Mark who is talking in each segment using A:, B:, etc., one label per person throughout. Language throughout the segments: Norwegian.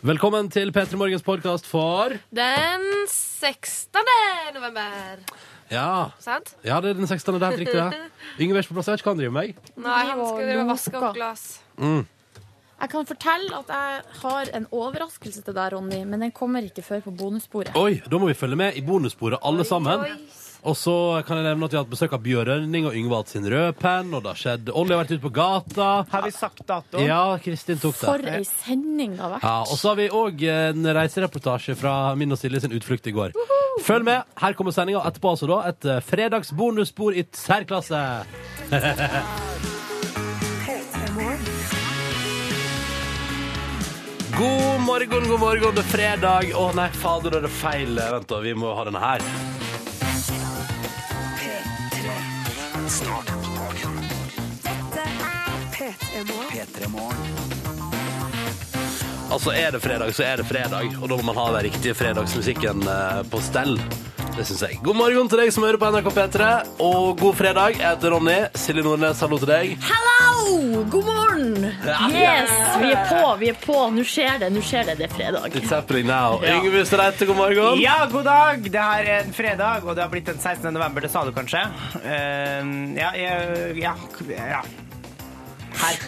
A: Velkommen til P3 Morgens podkast for
B: Den 16. november.
A: Ja,
B: Sant?
A: ja det er den 16. Det er helt riktig. det. Yngve er ikke på plass. Jeg vet ikke hva han driver med. jeg.
B: Nei, han
C: var
B: skal drive og vaske
C: lunka.
B: opp glass.
C: Jeg kan fortelle at jeg har en overraskelse til deg, Ronny, men den kommer ikke før på bonussporet.
A: Oi, Da må vi følge med i bonussporet, alle sammen. Og så kan jeg nevne at vi har hatt besøk av Bjørn Rønning og Yngve har hatt sin rødpenn, og det har skjedd Olli har vært ute på gata.
D: Har vi sagt dato?
A: Ja, Kristin tok
C: For
A: det.
C: ei sending det har vært.
A: Ja, Og så har vi òg en reisereportasje fra min og Silje sin utflukt i går. Følg med. Her kommer sendinga etterpå, altså, da. Et eh, fredagsbonusspor i særklasse. God morgen, god morgen, det er fredag. Å nei, fader, da er det feil. Vent, da. Vi må ha denne her. Altså, er det fredag, så er det fredag. Og da må man ha den riktige fredagsmusikken eh, på stell. Det syns jeg. God morgen til deg som hører på NRK P3, og god fredag. Jeg heter Ronny. Silje Nordnes, hallo til deg.
E: Hallo! God morgen!
A: Ja.
E: Yes, vi er på, vi er på. Nå skjer det, nå skjer det. Det er fredag.
A: It's happening now.
D: Ja.
A: Yngve Streite, god morgen.
D: Ja, god dag! Det her er en fredag, og det har blitt den 16. november, det sa du kanskje? Eh, ja, jeg- ja, ja. Her.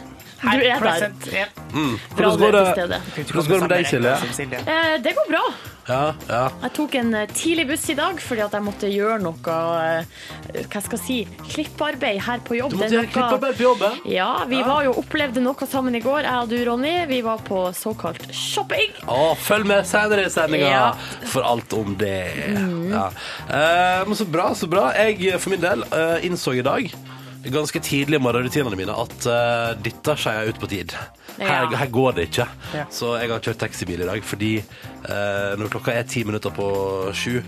D: Her,
E: Du er der.
D: produsent. Ja.
E: Bra
A: Hvordan
E: du
A: går
E: er til
A: det,
E: stede.
A: hvordan går det med deg, Silje?
D: Som Silje.
E: Eh, det går bra.
A: Ja, ja.
E: Jeg tok en eh, tidlig buss i dag fordi at jeg måtte gjøre noe eh, Hva skal jeg si? Klipparbeid her på jobb.
A: Du
E: Det er
A: måtte
E: noe-
A: klippe på jobben.
E: Ja, vi var jo opplevde noe sammen i går, jeg og du, Ronny. Vi var på såkalt shopping.
A: Å, følg med senere i sendinga
E: Ja.
A: for alt om det. Ja. Eh, men så bra, så bra. Jeg for min del eh, innså i dag ganske tidlig i morgenrutinene mine at eh, dette skeier jeg ut på tid. Her,
E: Ja.
A: her går det ikke.
D: Ja.
A: Så jeg har kjørt taxibil i dag fordi eh, når klokka er ti minutter på sju,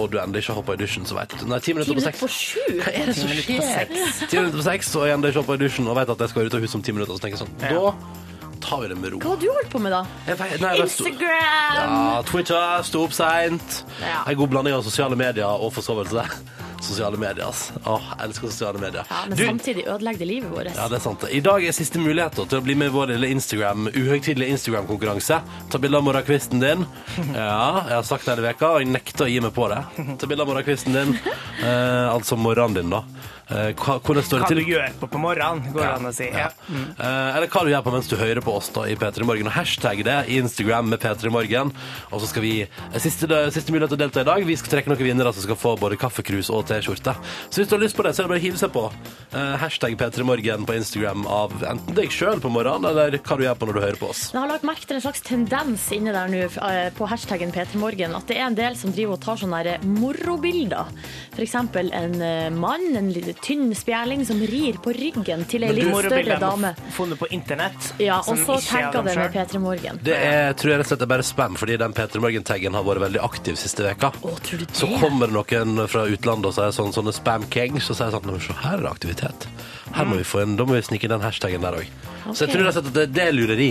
A: og du ennå ikke har hoppa i dusjen, så veit du Nei, ti
E: Ti
A: minutter på
E: minutter på
A: seks.
E: sju.
A: Hva er det som skjer? Ti minutter på seks, og jeg ennå ikke hoppa i dusjen og veit at jeg skal ut av huset om ti minutter. Så tenker jeg sånn, da tar vi det med ro.
E: Hva har du holdt på med, da?
A: Jeg vet- nei, jeg vet-
E: Instagram!
A: ja, Twitter, sto opp seint.
E: Ja.
A: En god blanding av sosiale medier og forsovelse. Sosiale medier, ass. Åh, jeg elsker sosiale medier.
E: Ja, men
A: Du-
E: samtidig ødelegger det livet vårt.
A: ja, det er sant. I dag er siste mulighet da, til å bli med i vår lille Instagram, uhøytidelige Instagram-konkurranse. Ta bilde av morgenkvisten din. Ja, jeg har sagt det hele veka, og jeg nekter å gi meg på det. Ta bilde av morgenkvisten din. Eh, altså morgenen din, da. Eh, hva- hvordan står det
D: Hva
A: til?
D: du gjør på på morgenen, går det an å si. Ja.
A: Eh, eller hva du gjør på mens du hører på oss da i P3 Morgen. Og hashtag det i Instagram med P3 Morgen. Og så skal vi eh, Siste, siste mulighet til å delta i dag. Vi skal trekke noen vinnere som skal få både kaffekrus og T-skjorte. Så hvis du har lyst på det, så er det bare å hive seg på. Eh, hashtag P3 Morgen på Instagram av enten deg sjøl på morgenen, eller hva du gjør på når du hører på oss.
E: Men Jeg har lagt merke til en slags tendens inne der nå eh, på hashtaggen P3morgen. At det er en del som driver og tar sånne der morobilder. F.eks. en eh, mann, en liten tynn spjæling, som rir på ryggen til ei litt større dame.
D: funnet på internett.
E: Ja,
D: som
E: og så
D: ikke er
E: tagger
D: dem
E: det med
D: selv.
E: P3morgen.
A: Det er, tror jeg rett og slett er bare spam, fordi den P3 Morgen-taggen har vært veldig aktiv siste veka.
E: Å, tror du
A: Så
E: det?
A: kommer det noen fra utlandet og sier sånn, sånne spam kings, og sier sånn, «Nå, se her er det aktivitet. Her må vi få inn, da må vi snike inn den hashtaggen der også. Så jeg
E: Ok.
A: tror rett og slett at det, det er lureri,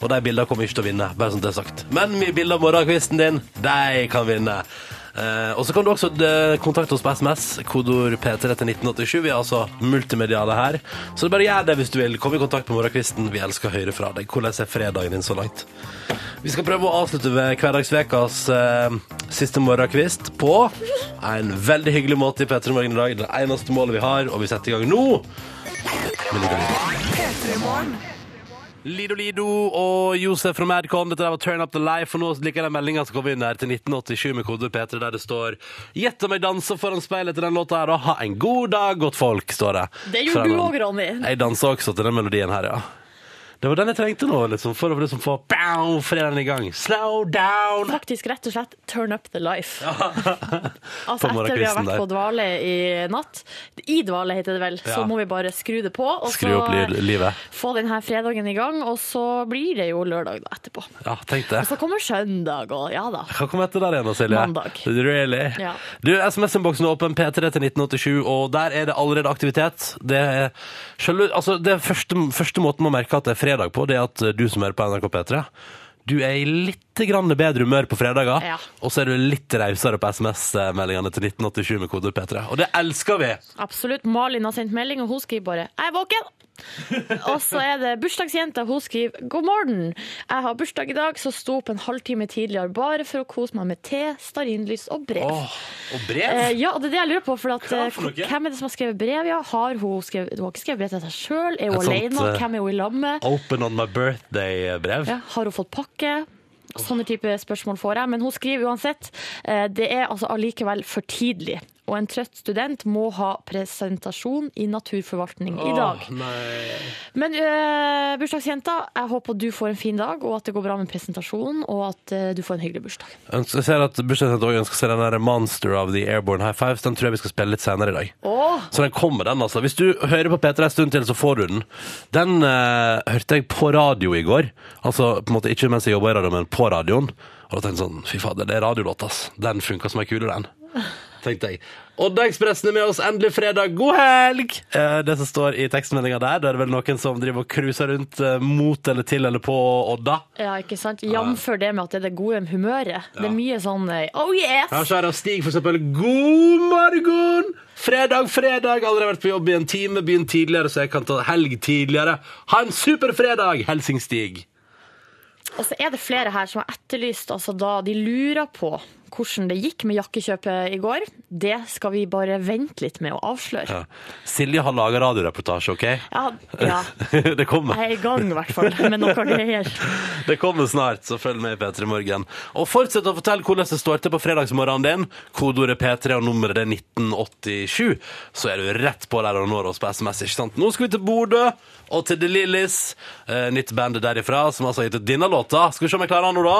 A: og de bildene kommer ikke til å vinne, bare sånn det er sagt. Men mye bilder av morgenkvisten din, de kan vinne. Eh, og så kan du også eh, kontakte oss på sms, kodord P3 til 1987. Vi er altså multimediale her. Så bare gjør det hvis du vil. Kom i kontakt med morgenkvisten. Vi elsker å høre fra deg. Hvordan er fredagen din så langt? Vi skal prøve å avslutte ved hverdagsvekas eh, siste morgenkvist på en veldig hyggelig måte i P3 Morgen i dag. Det er det eneste målet vi har, og vi setter i gang nå. med Lido Lido. Lido Lido og Josef fra Madcon. Dette der var Turn Up The Life. Og nå liker jeg den meldinga som kom inn her til 1987 med kode P3, der det står 'Gjett om jeg danser foran speilet til den låta her', og 'Ha en god dag, godt folk', står det.
E: Det gjorde
A: Fra
E: du
A: den-
E: òg, Ronny.
A: jeg dansa også til den melodien her, ja. Det var den jeg trengte nå, liksom, for å liksom få bam, fredagen i gang. Slow down!
E: Faktisk rett og slett turn up the life.
A: altså,
E: Altså etter vi har vært på dvale i natt, i dvale heter det vel, så
A: Ja.
E: må vi bare skru det på. Og
A: Skru opp
E: så
A: lyd, livet.
E: få denne fredagen i gang, og så blir det jo lørdag da etterpå.
A: Ja, tenk det.
E: Og så kommer søndag, og ja da.
A: Hva kom etter der igjen, da, Silje?
E: Mandag.
A: Really?
E: Ja.
A: Du, SMS-innboksen er åpen P3 til 1987, og der er det allerede aktivitet. Det er, selve- altså, det er første, første måten å merke at det er fredag på, det er at eh, du som hører på NRK P3, du er i litt grann bedre humør på fredager,
E: Ja.
A: og så er du litt rausere på SMS-meldingene til 1987 med kode P3. Og det elsker vi!
E: Absolutt. Malin har sendt melding, og hun skriver bare 'Jeg er våken'. Og så er det bursdagsjenta. Hun skriver 'God morgen'. Jeg har bursdag i dag, så sto opp en halvtime tidligere bare for å kose meg med te, stearinlys og brev.
A: Åh, og
E: Eh,
A: brev?
E: ja, og det er det jeg lurer på. For at,
A: Hva
E: eh,
A: for noe?
E: hvem er det som har skrevet brev? Ja? Har hun, skrevet, hun har ikke skrevet brev til seg sjøl? Er hun
A: Et sånt,
E: alene?
A: eh,
E: Hvem er hun i lag med?
A: Open on my birthday-brev?
E: Ja, har hun fått pakke? Sånne type spørsmål får jeg, men hun skriver uansett. eh, Det er altså allikevel for tidlig. Og en trøtt student må ha presentasjon i naturforvaltning i dag.
A: Åh, nei.
E: Men eh, bursdagsjenta, jeg håper du får en fin dag, og at det går bra med presentasjonen, og at eh, du får en hyggelig bursdag.
A: Ønsker- Jeg ser at bursdagsjenta også ønsker seg den der Monster of the Airborne High Fives. Den tror jeg vi skal spille litt senere i dag. Så den kommer, den, altså. Hvis du hører på P3 en stund til, så får du den. Den eh, hørte jeg på radio i går. Altså på en måte ikke mens jeg jobba i radio, men på radioen. Og da tenkte jeg sånn, fy fader, det er radiolåt, ass. Den funka som ei kule, den. Tenkte jeg. Oddaekspressen er med oss, endelig fredag, god helg! Eh, det som står i tekstmeldinga der, da er det vel noen som driver og cruiser rundt eh, mot eller til eller på Odda.
E: Ja, ikke sant? Jamfør det med at det er det gode humøret. Det er mye sånn eh, oh yes!
A: Her så er det Stig for eksempel God morgen! Fredag, fredag, allerede vært på jobb i en time Begynt tidligere, så jeg kan ta helg tidligere Ha en super fredag, Helsing Stig
E: Og så er det flere her som har etterlyst altså da de lurer på hvordan det gikk med jakkekjøpet i går. Det skal vi bare vente litt med å avsløre.
A: Silje har laget radioreportasje, ok?
E: Ja, ja.
A: det kommer,
E: Jeg er i gang i hvert fall med noe greier.
A: det kommer snart, så følg med i P3 Morgen Og fortsett å fortelle hvordan det står til på fredagsmorgenen din Kodordet P3 og nummeret det er 1987 Så er du rett på der og når oss på sms, ikke sant? Nå skal vi til Bodø og til The Lillis eh, Nytt bandet derifra som altså har gitt ut denne låta Skal vi se om jeg klarer den nå da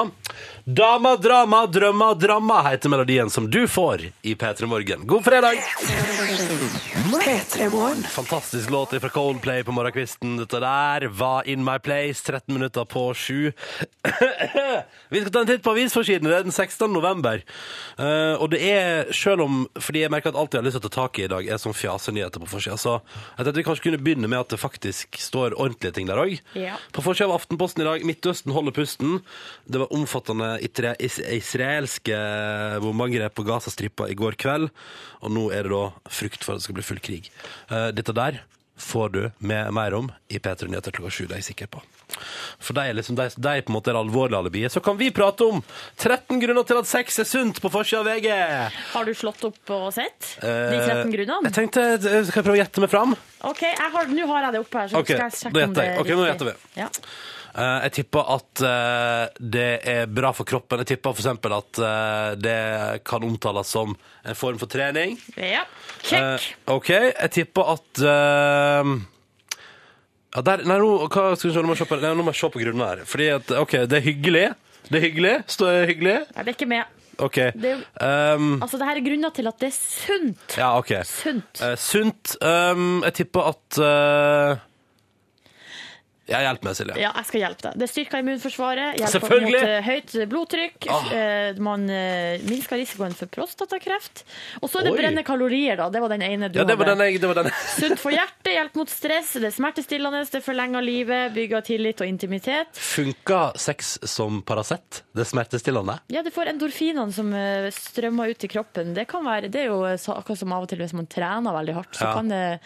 A: Dama, drama, drømma, dramma Heter melodien som du får i P3 Morgen God fredag! Fantastisk låt fra Coldplay på morgenkvisten. Dette der var In My Place, 13 minutter på sju. Vi skal ta en titt på avisforsidene. Det er den 16. november. Eh, og det er, selv om Fordi jeg merker at alt jeg har lyst til å ta tak i i dag, er sånn fjasenyheter på forsida. Så jeg tenkte vi kanskje kunne begynne med at det faktisk står ordentlige ting der òg.
E: Ja.
A: På forsida av Aftenposten i dag Midtøsten holder pusten. Det var omfattende itre- is israelske bombeangrep på Gazastripa i går kveld. Og nå er det da frykt for at det skal bli full krig. Eh, Dette der får du med mer om i P3 Nyheter klokka sju, det er jeg sikker på. For de er liksom, de, de er på en måte det alvorlige alibiet. Så kan vi prate om 13 grunner til at sex er sunt på forsida av VG!
E: Har du slått opp og sett de
A: Eh,
E: 13 grunnene?
A: Jeg tenkte, eh, Skal jeg prøve å gjette meg fram?
E: Ok, jeg har, Nå har jeg det oppe her, så
A: Ok,
E: skal jeg
A: da
E: sjekke om
A: gjetter
E: det
A: jeg.
E: er
A: Ok, nå
E: riktig.
A: gjetter vi.
E: Ja.
A: Eh, jeg tipper at eh, det er bra for kroppen. Jeg tipper for eksempel at eh, det kan omtales som en form for trening.
E: Ja. Kjekk.
A: Eh, OK. Jeg tipper at eh, ja, der, Nei, nå, hva, skal vi se, nå må jeg se på, nei, nå må jeg se på grunnen her. Fordi at OK, det er hyggelig. Det er hyggelig. Står det hyggelig?
E: Nei, det er ikke med.
A: OK.
E: Det
A: Um,
E: Altså, det her er grunner til at det er sunt.
A: ja, OK.
E: Sunt.
A: Eh, sunt. Um, jeg tipper at eh, Ja, hjelp meg, Silje.
E: Ja, jeg skal hjelpe deg. Det styrker immunforsvaret. Hjelper
A: Selvfølgelig.
E: mot eh, høyt blodtrykk.
A: Ah.
E: eh, Man eh, minsker risikoen for prostatakreft. Og så er det
A: Oi.
E: brenne kalorier, da. Det var den ene du
A: Ja, det var
E: hadde.
A: den e- jeg det var den.
E: Sunt for hjertet, hjelp mot stress, det er smertestillende, det forlenger livet, bygger tillit og intimitet.
A: Funka sex som Paracet? Det er smertestillende?
E: Ja, det får endorfinene som eh, strømmer ut i kroppen. Det kan være, det er jo eh, så- akkurat som av og til hvis man trener veldig hardt, så
A: Ja. Mm.
E: kan det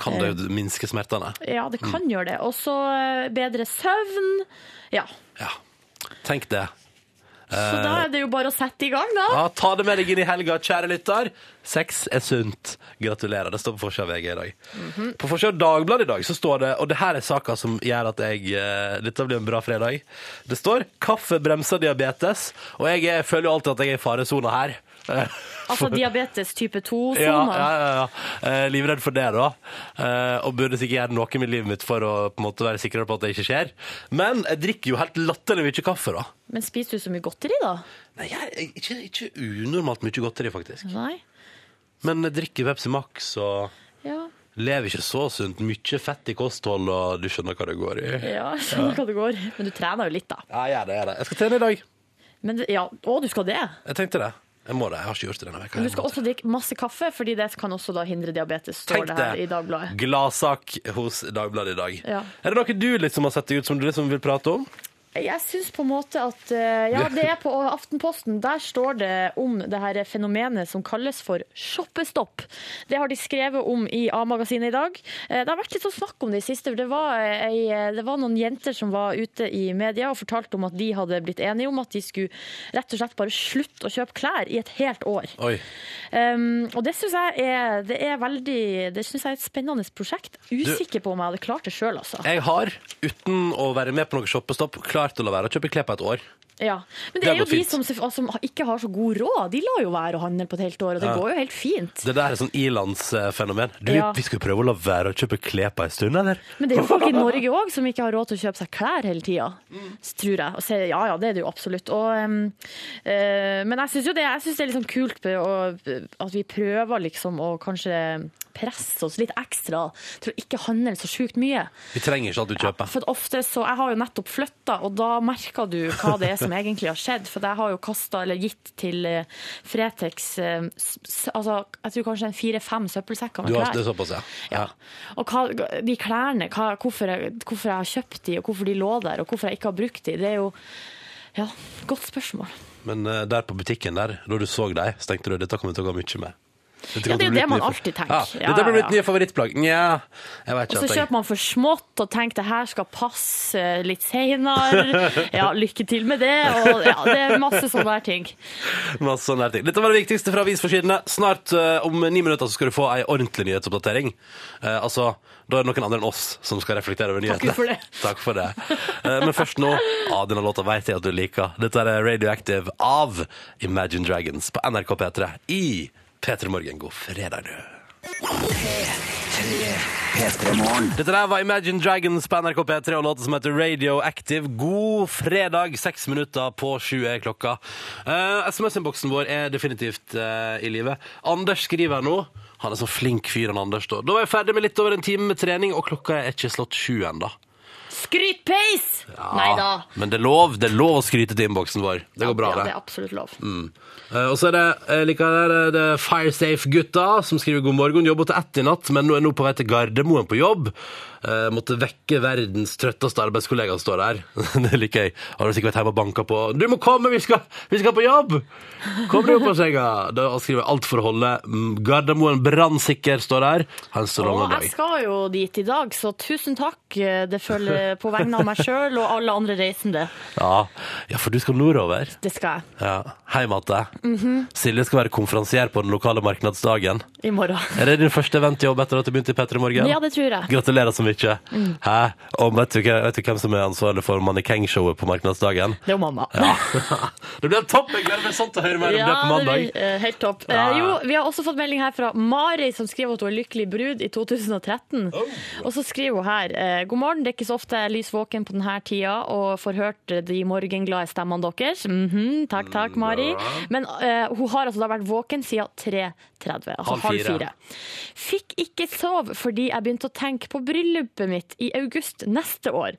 A: Kan det jo minske smertene?
E: Ja, det kan gjøre det. Og så eh, bedre søvn. Ja.
A: Ja. Tenk det.
E: Så
A: Eh.
E: da er det jo bare å sette i gang, da.
A: Ja, ta det med deg inn i helga, kjære lytter. Sex er sunt. Gratulerer. Det står på forsida av VG i dag. På forsida av Dagbladet i dag så står det, og det her er saka som gjør at jeg eh, Dette blir en bra fredag. Det står 'Kaffe bremser diabetes', og jeg er- føler jo alltid at jeg er i faresona her.
E: Altså diabetes type sånn, 2-soner.
A: Ja, ja, ja, ja. Eh, livredd for det, da. Eh, og burde sikkert gjøre noe med livet mitt for å på en måte være sikrere på at det ikke skjer. Men jeg drikker jo helt latterlig mye kaffe, da.
E: Men spiser du så mye godteri, da?
A: Nei, jeg, jeg- ikke, ikke unormalt mye godteri, faktisk.
E: Nei.
A: Men jeg drikker Pepsi Max og
E: Ja,
A: lever ikke så sunt. Mye fett i kosthold, og du skjønner hva det går i.
E: ja jeg skjønner hva det går. Men du trener jo litt, da.
A: Ja, jeg gjør det, jeg gjør det. Jeg skal trene i dag.
E: Men, det- ja. Å, du skal det?
A: Jeg tenkte det. Jeg må det. Jeg har ikke gjort det denne veka.
E: Men du skal også drikke masse kaffe, fordi det kan også da hindre diabetes, står
A: Tenk
E: det her i
A: det.
E: Dagbladet.
A: Gladsak hos Dagbladet i dag.
E: Ja.
A: Er det noe du liksom har sett deg ut som du liksom vil prate om?
E: Jeg syns på en måte at eh, Ja, det er på Aftenposten. Der står det om det her fenomenet som kalles for shoppestopp. Det har de skrevet om i A-magasinet i dag. Eh, Det har vært litt sånn snakk om det i siste. for Det var, eh, ei, eh, det var noen jenter som var ute i media og fortalte om at de hadde blitt enige om at de skulle rett og slett bare slutte å kjøpe klær i et helt år.
A: Oi.
E: Um, og det syns jeg er, det er veldig Det synes jeg er et spennende prosjekt. Usikker på om jeg hadde klart det sjøl, altså.
A: Jeg har, uten å være med på noe shoppestopp, klart å la være å kjøpe klær på et år.
E: Ja. Men det,
A: Det
E: er jo
A: går
E: de
A: fint.
E: som, selvf- som ikke har så god råd. De lar jo være å handle på et helt år, og det går jo helt fint.
A: Det der er sånn ilandsfenomen. Du,
E: Ja.
A: vi skal prøve å la være å kjøpe klær på en stund, eller?
E: Men det er jo folk i Norge òg som ikke har råd til å kjøpe seg klær hele tida, tror jeg. Og så, ja ja, det er det jo absolutt. Og, um, eh, men jeg syns jo det, jeg synes det er litt sånn kult på, å, at vi prøver liksom å kanskje presse oss litt ekstra til å ikke handle så sjukt mye.
A: Vi trenger ikke alt du kjøper.
E: For at ofte så, Jeg har jo nettopp flytta, og da merker du hva det er som egentlig har skjedd. For jeg har jo kastet, eller gitt til eh, Fretex eh, s- s- altså, Jeg tror kanskje en fire-fem søppelsekker
A: Du
E: med
A: har det er
E: klær.
A: såpass, ja.
E: Ja. Og hva, de klærne, hva, hvorfor, jeg, hvorfor jeg har kjøpt de, og hvorfor de lå der, og hvorfor jeg ikke har brukt de, det er jo ja, godt spørsmål.
A: Men eh, der på butikken der, da du så deg, så tenkte du dette kommer til å gå mye med. Dette
E: Ja, det er
A: kommer til å bli
E: jo det
A: et
E: man
A: nytt-
E: alltid tenker.
A: Ja,
E: Ja,
A: dette blir
E: ja,
A: mitt nye favorittplagg. Nja, jeg vet
E: Og
A: ikke.
E: så
A: at jeg-
E: kjøper man for smått og tenker det her skal passe litt seinere. Ja, lykke til med det. Og ja, det er masse sånne her ting.
A: Masse sånne her ting. Dette var det viktigste fra avisforsidene. Snart, eh, om ni minutter, så skal du få ei ordentlig nyhetsoppdatering. Eh, altså, da er det noen andre enn oss som skal reflektere over nyhetene.
E: for det.
A: Takk for det. Eh, men først nå, ah, denne låta vet jeg at du liker. Dette er Radioactive av Imagine Dragons på NRK P3 i P3 Morgen. God fredag, du. Dette der var Imagine Dragons på NRK P3 og låten som heter Radioactive. God fredag, seks minutter på sju er klokka. Eh, SMS-innboksen vår er definitivt eh, i live. Anders skriver nå. Han er så flink fyr, han Anders. Da Da var jeg ferdig med litt over en time med trening, og klokka er ikke slått sju ennå.
E: Skrytpeis! Nei da.
A: Men det er lov det er lov å skryte til innboksen vår. Det går bra,
E: ja,
A: det.
E: det er absolutt lov.
A: Eh, Og så er det, jeg liker det, det er Firesafe-gutta som skriver god morgen, jobber til ett i natt, men nå er nå på vei til Gardermoen på jobb. Eh, måtte vekke verdens trøtteste arbeidskollega står der. det liker jeg. Har du sikkert vært hjemme og banka på. Du må komme, vi skal, vi skal på jobb! Kom du opp på senga! Da skriver jeg alt for å holde mm, Gardermoen brannsikker står der. Ha en så lang
E: Og
A: dag.
E: jeg skal jo dit i dag, så tusen takk. Det følger på vegne av meg sjøl og alle andre reisende.
A: Ja. ja, for du skal nordover.
E: Det skal jeg
A: Ja. Hei, Matte.
E: Mhm.
A: Silje skal være konferansier på den lokale marknadsdagen.
E: i morgen.
A: Er det din første eventjobb etter at du begynte i P3 Morgen?
E: Ja, det tror jeg. Mm.
A: Gratulerer så mye. Hæ? Og vet du, hva- vet du hvem som er ansvarlig for Mannekeng-showet på Markedsdagen?
E: Det er jo mamma.
A: Ja. det blir topp! Jeg gleder meg sånn til å høre mer om det på
E: Ja,
A: mandag.
E: blir, eh, helt topp.
A: Ja.
E: Eh, jo, vi har også fått melding her fra Mari, som skriver at hun er lykkelig brud i 2013.
A: Oh.
E: Og så skriver hun her eh, God morgen, det er ikke så ofte jeg er lys våken på denne tida og får hørt de morgenglade stemmene deres. Mhm, takk,
A: Mm,
E: takk, Mari. Men eh, hun har altså da vært våken siden 3.30, altså
A: Halv
E: halv
A: fire.
E: fire. Fikk ikke sove fordi jeg begynte å tenke på bryllupet mitt i august neste år.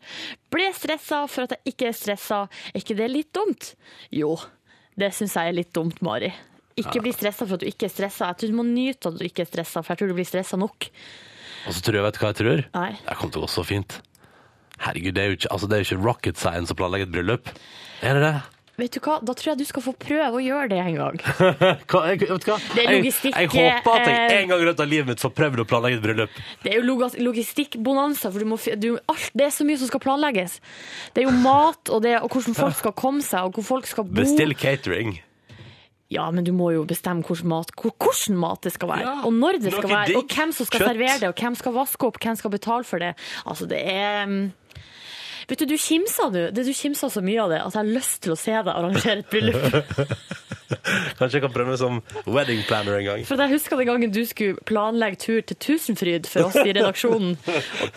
E: Ble stressa for at jeg ikke er stressa. Er ikke det litt dumt? Jo, det syns jeg er litt dumt, Mari. Ikke bli stressa for at du ikke er stressa. Jeg tror du må nyte at du ikke er stressa, for jeg tror du blir stressa nok.
A: Og så tror jeg, vet du hva jeg tror?
E: Nei.
A: Det kommer til å gå så fint. Herregud, det er jo ikke, altså, det er jo ikke rocket science å planlegge et bryllup. Er det det?
E: Vet du hva, da tror jeg du skal få prøve å gjøre det en gang.
A: Hva, jeg, vet du hva?
E: Det er
A: jeg,
E: logistikk,
A: jeg håper at jeg
E: eh, Oh.
A: en gang i løpet av livet mitt får prøvd å planlegge et bryllup.
E: Det er jo log- logistikkbonanza, for du må, fi- du, alt, det er så mye som skal planlegges. Det er jo mat, og, det, og hvordan folk skal komme seg, og hvor folk skal bo.
A: Bestill catering.
E: Ja, men du må jo bestemme hvordan mat, hvor- hvordan mat det skal være,
A: Ja,
E: og når det skal
A: noe
E: være, og
A: digg.
E: hvem som skal
A: Kjøtt.
E: servere det, og hvem skal vaske opp, hvem skal betale for det. Altså, det er mm, Vet du, du kimsa, du. Det, du kimsa så mye av det at jeg har lyst til å se deg arrangere et bryllup.
A: Kanskje jeg kan prøve meg som wedding planner en gang.
E: For jeg husker den gangen du skulle planlegge tur til Tusenfryd for oss i redaksjonen.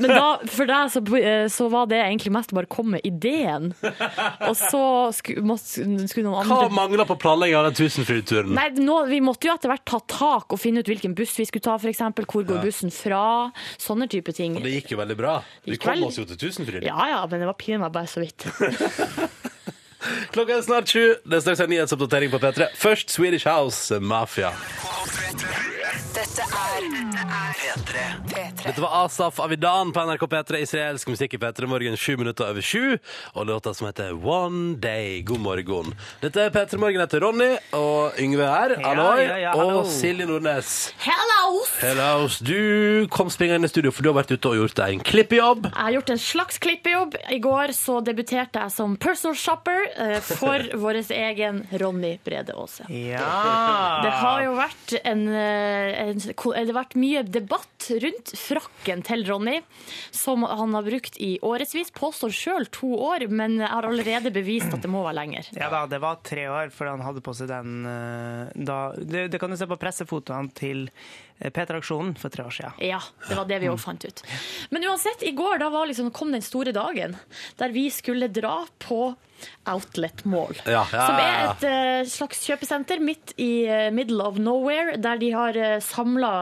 E: Men da, for deg så, eh, så var det egentlig mest bare å komme med ideen. Og så skulle, måtte, skulle noen andre
A: Hva mangler på planlegging av den Tusenfryd-turen?
E: Nei, nå, Vi måtte jo etter hvert ta tak og finne ut hvilken buss vi skulle ta, f.eks. Hvor går bussen fra? Sånne type ting.
A: Og det gikk jo veldig bra. Vi
E: gikk
A: kom
E: vel-
A: oss jo til Tusenfryd.
E: Ja ja, men det var pinlig meg bare så vidt.
A: Klokka er snart sju. eh, Det er straks en nyhetsoppdatering på P3. Først Swedish House Mafia.
F: Dette
A: Dette var Asaf Avidan på NRK P3, israelsk musikk i P3 Morgen, sju minutter over sju, og låta som heter One Day. God morgen. Dette er P3 Morgen etter Ronny, og Yngve her, Alloy,
D: ja, ja, hallo.
A: og Silje Nordnes.
E: Hello!
A: Hello, du kom springende inn i studio, for du har vært ute og gjort deg en klippejobb.
E: Jeg har gjort en slags klippejobb. I går så debuterte jeg som personal shopper eh, for vår egen Ronny Brede Aase.
D: Ja.
E: Det
A: Ah.
E: har jo vært, en, eh, en, ko- eh, det har vært mye debatt rundt frakken til Ronny, som han har brukt i årevis. Påstår sjøl to år, men jeg har allerede bevist at det må være lenger.
D: Ja da, det var tre år fordi han hadde på seg den eh, da Det, det kan du se på pressefotoene til eh, P3-aksjonen for tre år siden.
E: Ja, det var det vi òg fant ut. Men uansett, i går da var liksom, kom den store dagen der vi skulle dra på Outlet Mall.
A: Ja, ja,
E: Som er
A: ja, ja.
E: et eh, slags kjøpesenter midt i eh, middle of nowhere, der de har uh, samla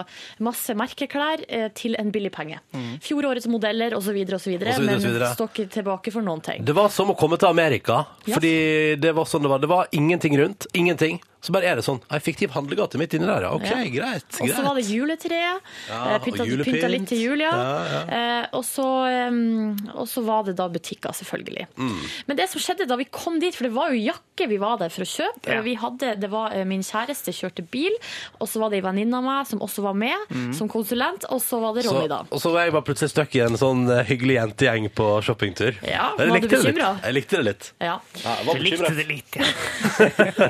E: masse merkeklær eh, til en billig penge. Fjorårets modeller osv., osv.,
A: Mm. Og så videre, og
E: men
A: så videre.
E: står ikke tilbake for noen ting.
A: Det var som å komme til Amerika,
E: Ja.
A: fordi det var sånn det var. Det var ingenting rundt, ingenting. Så bare er det sånn, ei fiktiv handlegate midt inni der, ja. Ok,
E: Ja.
A: greit,
E: Og så var
A: greit.
E: det juletreet.
A: Ja,
E: eh, pynta,
A: og julepynt.
E: pynta litt til jul, ja.
A: Ja,
E: Eh, og, så, eh, og så var det da butikker, selvfølgelig.
A: Mm.
E: Men det som skjedde da vi kom dit, for det var jo jakke vi var der for å kjøpe
D: Ja.
E: vi hadde, det var eh, Min kjæreste kjørte bil, og så var det ei venninne av meg som også var med som konsulent, og så var det
A: Så,
E: Ronny, da.
A: og Mm. så var jeg bare plutselig støkk i en sånn eh, hyggelig jentegjeng på shoppingtur.
E: Ja,
A: Jeg
E: var du
A: likte det litt.
E: bekymret?
A: Jeg likte det litt.
E: Ja.
A: Ja, jeg var
D: Jeg likte
A: bekymret.
D: det litt, ja.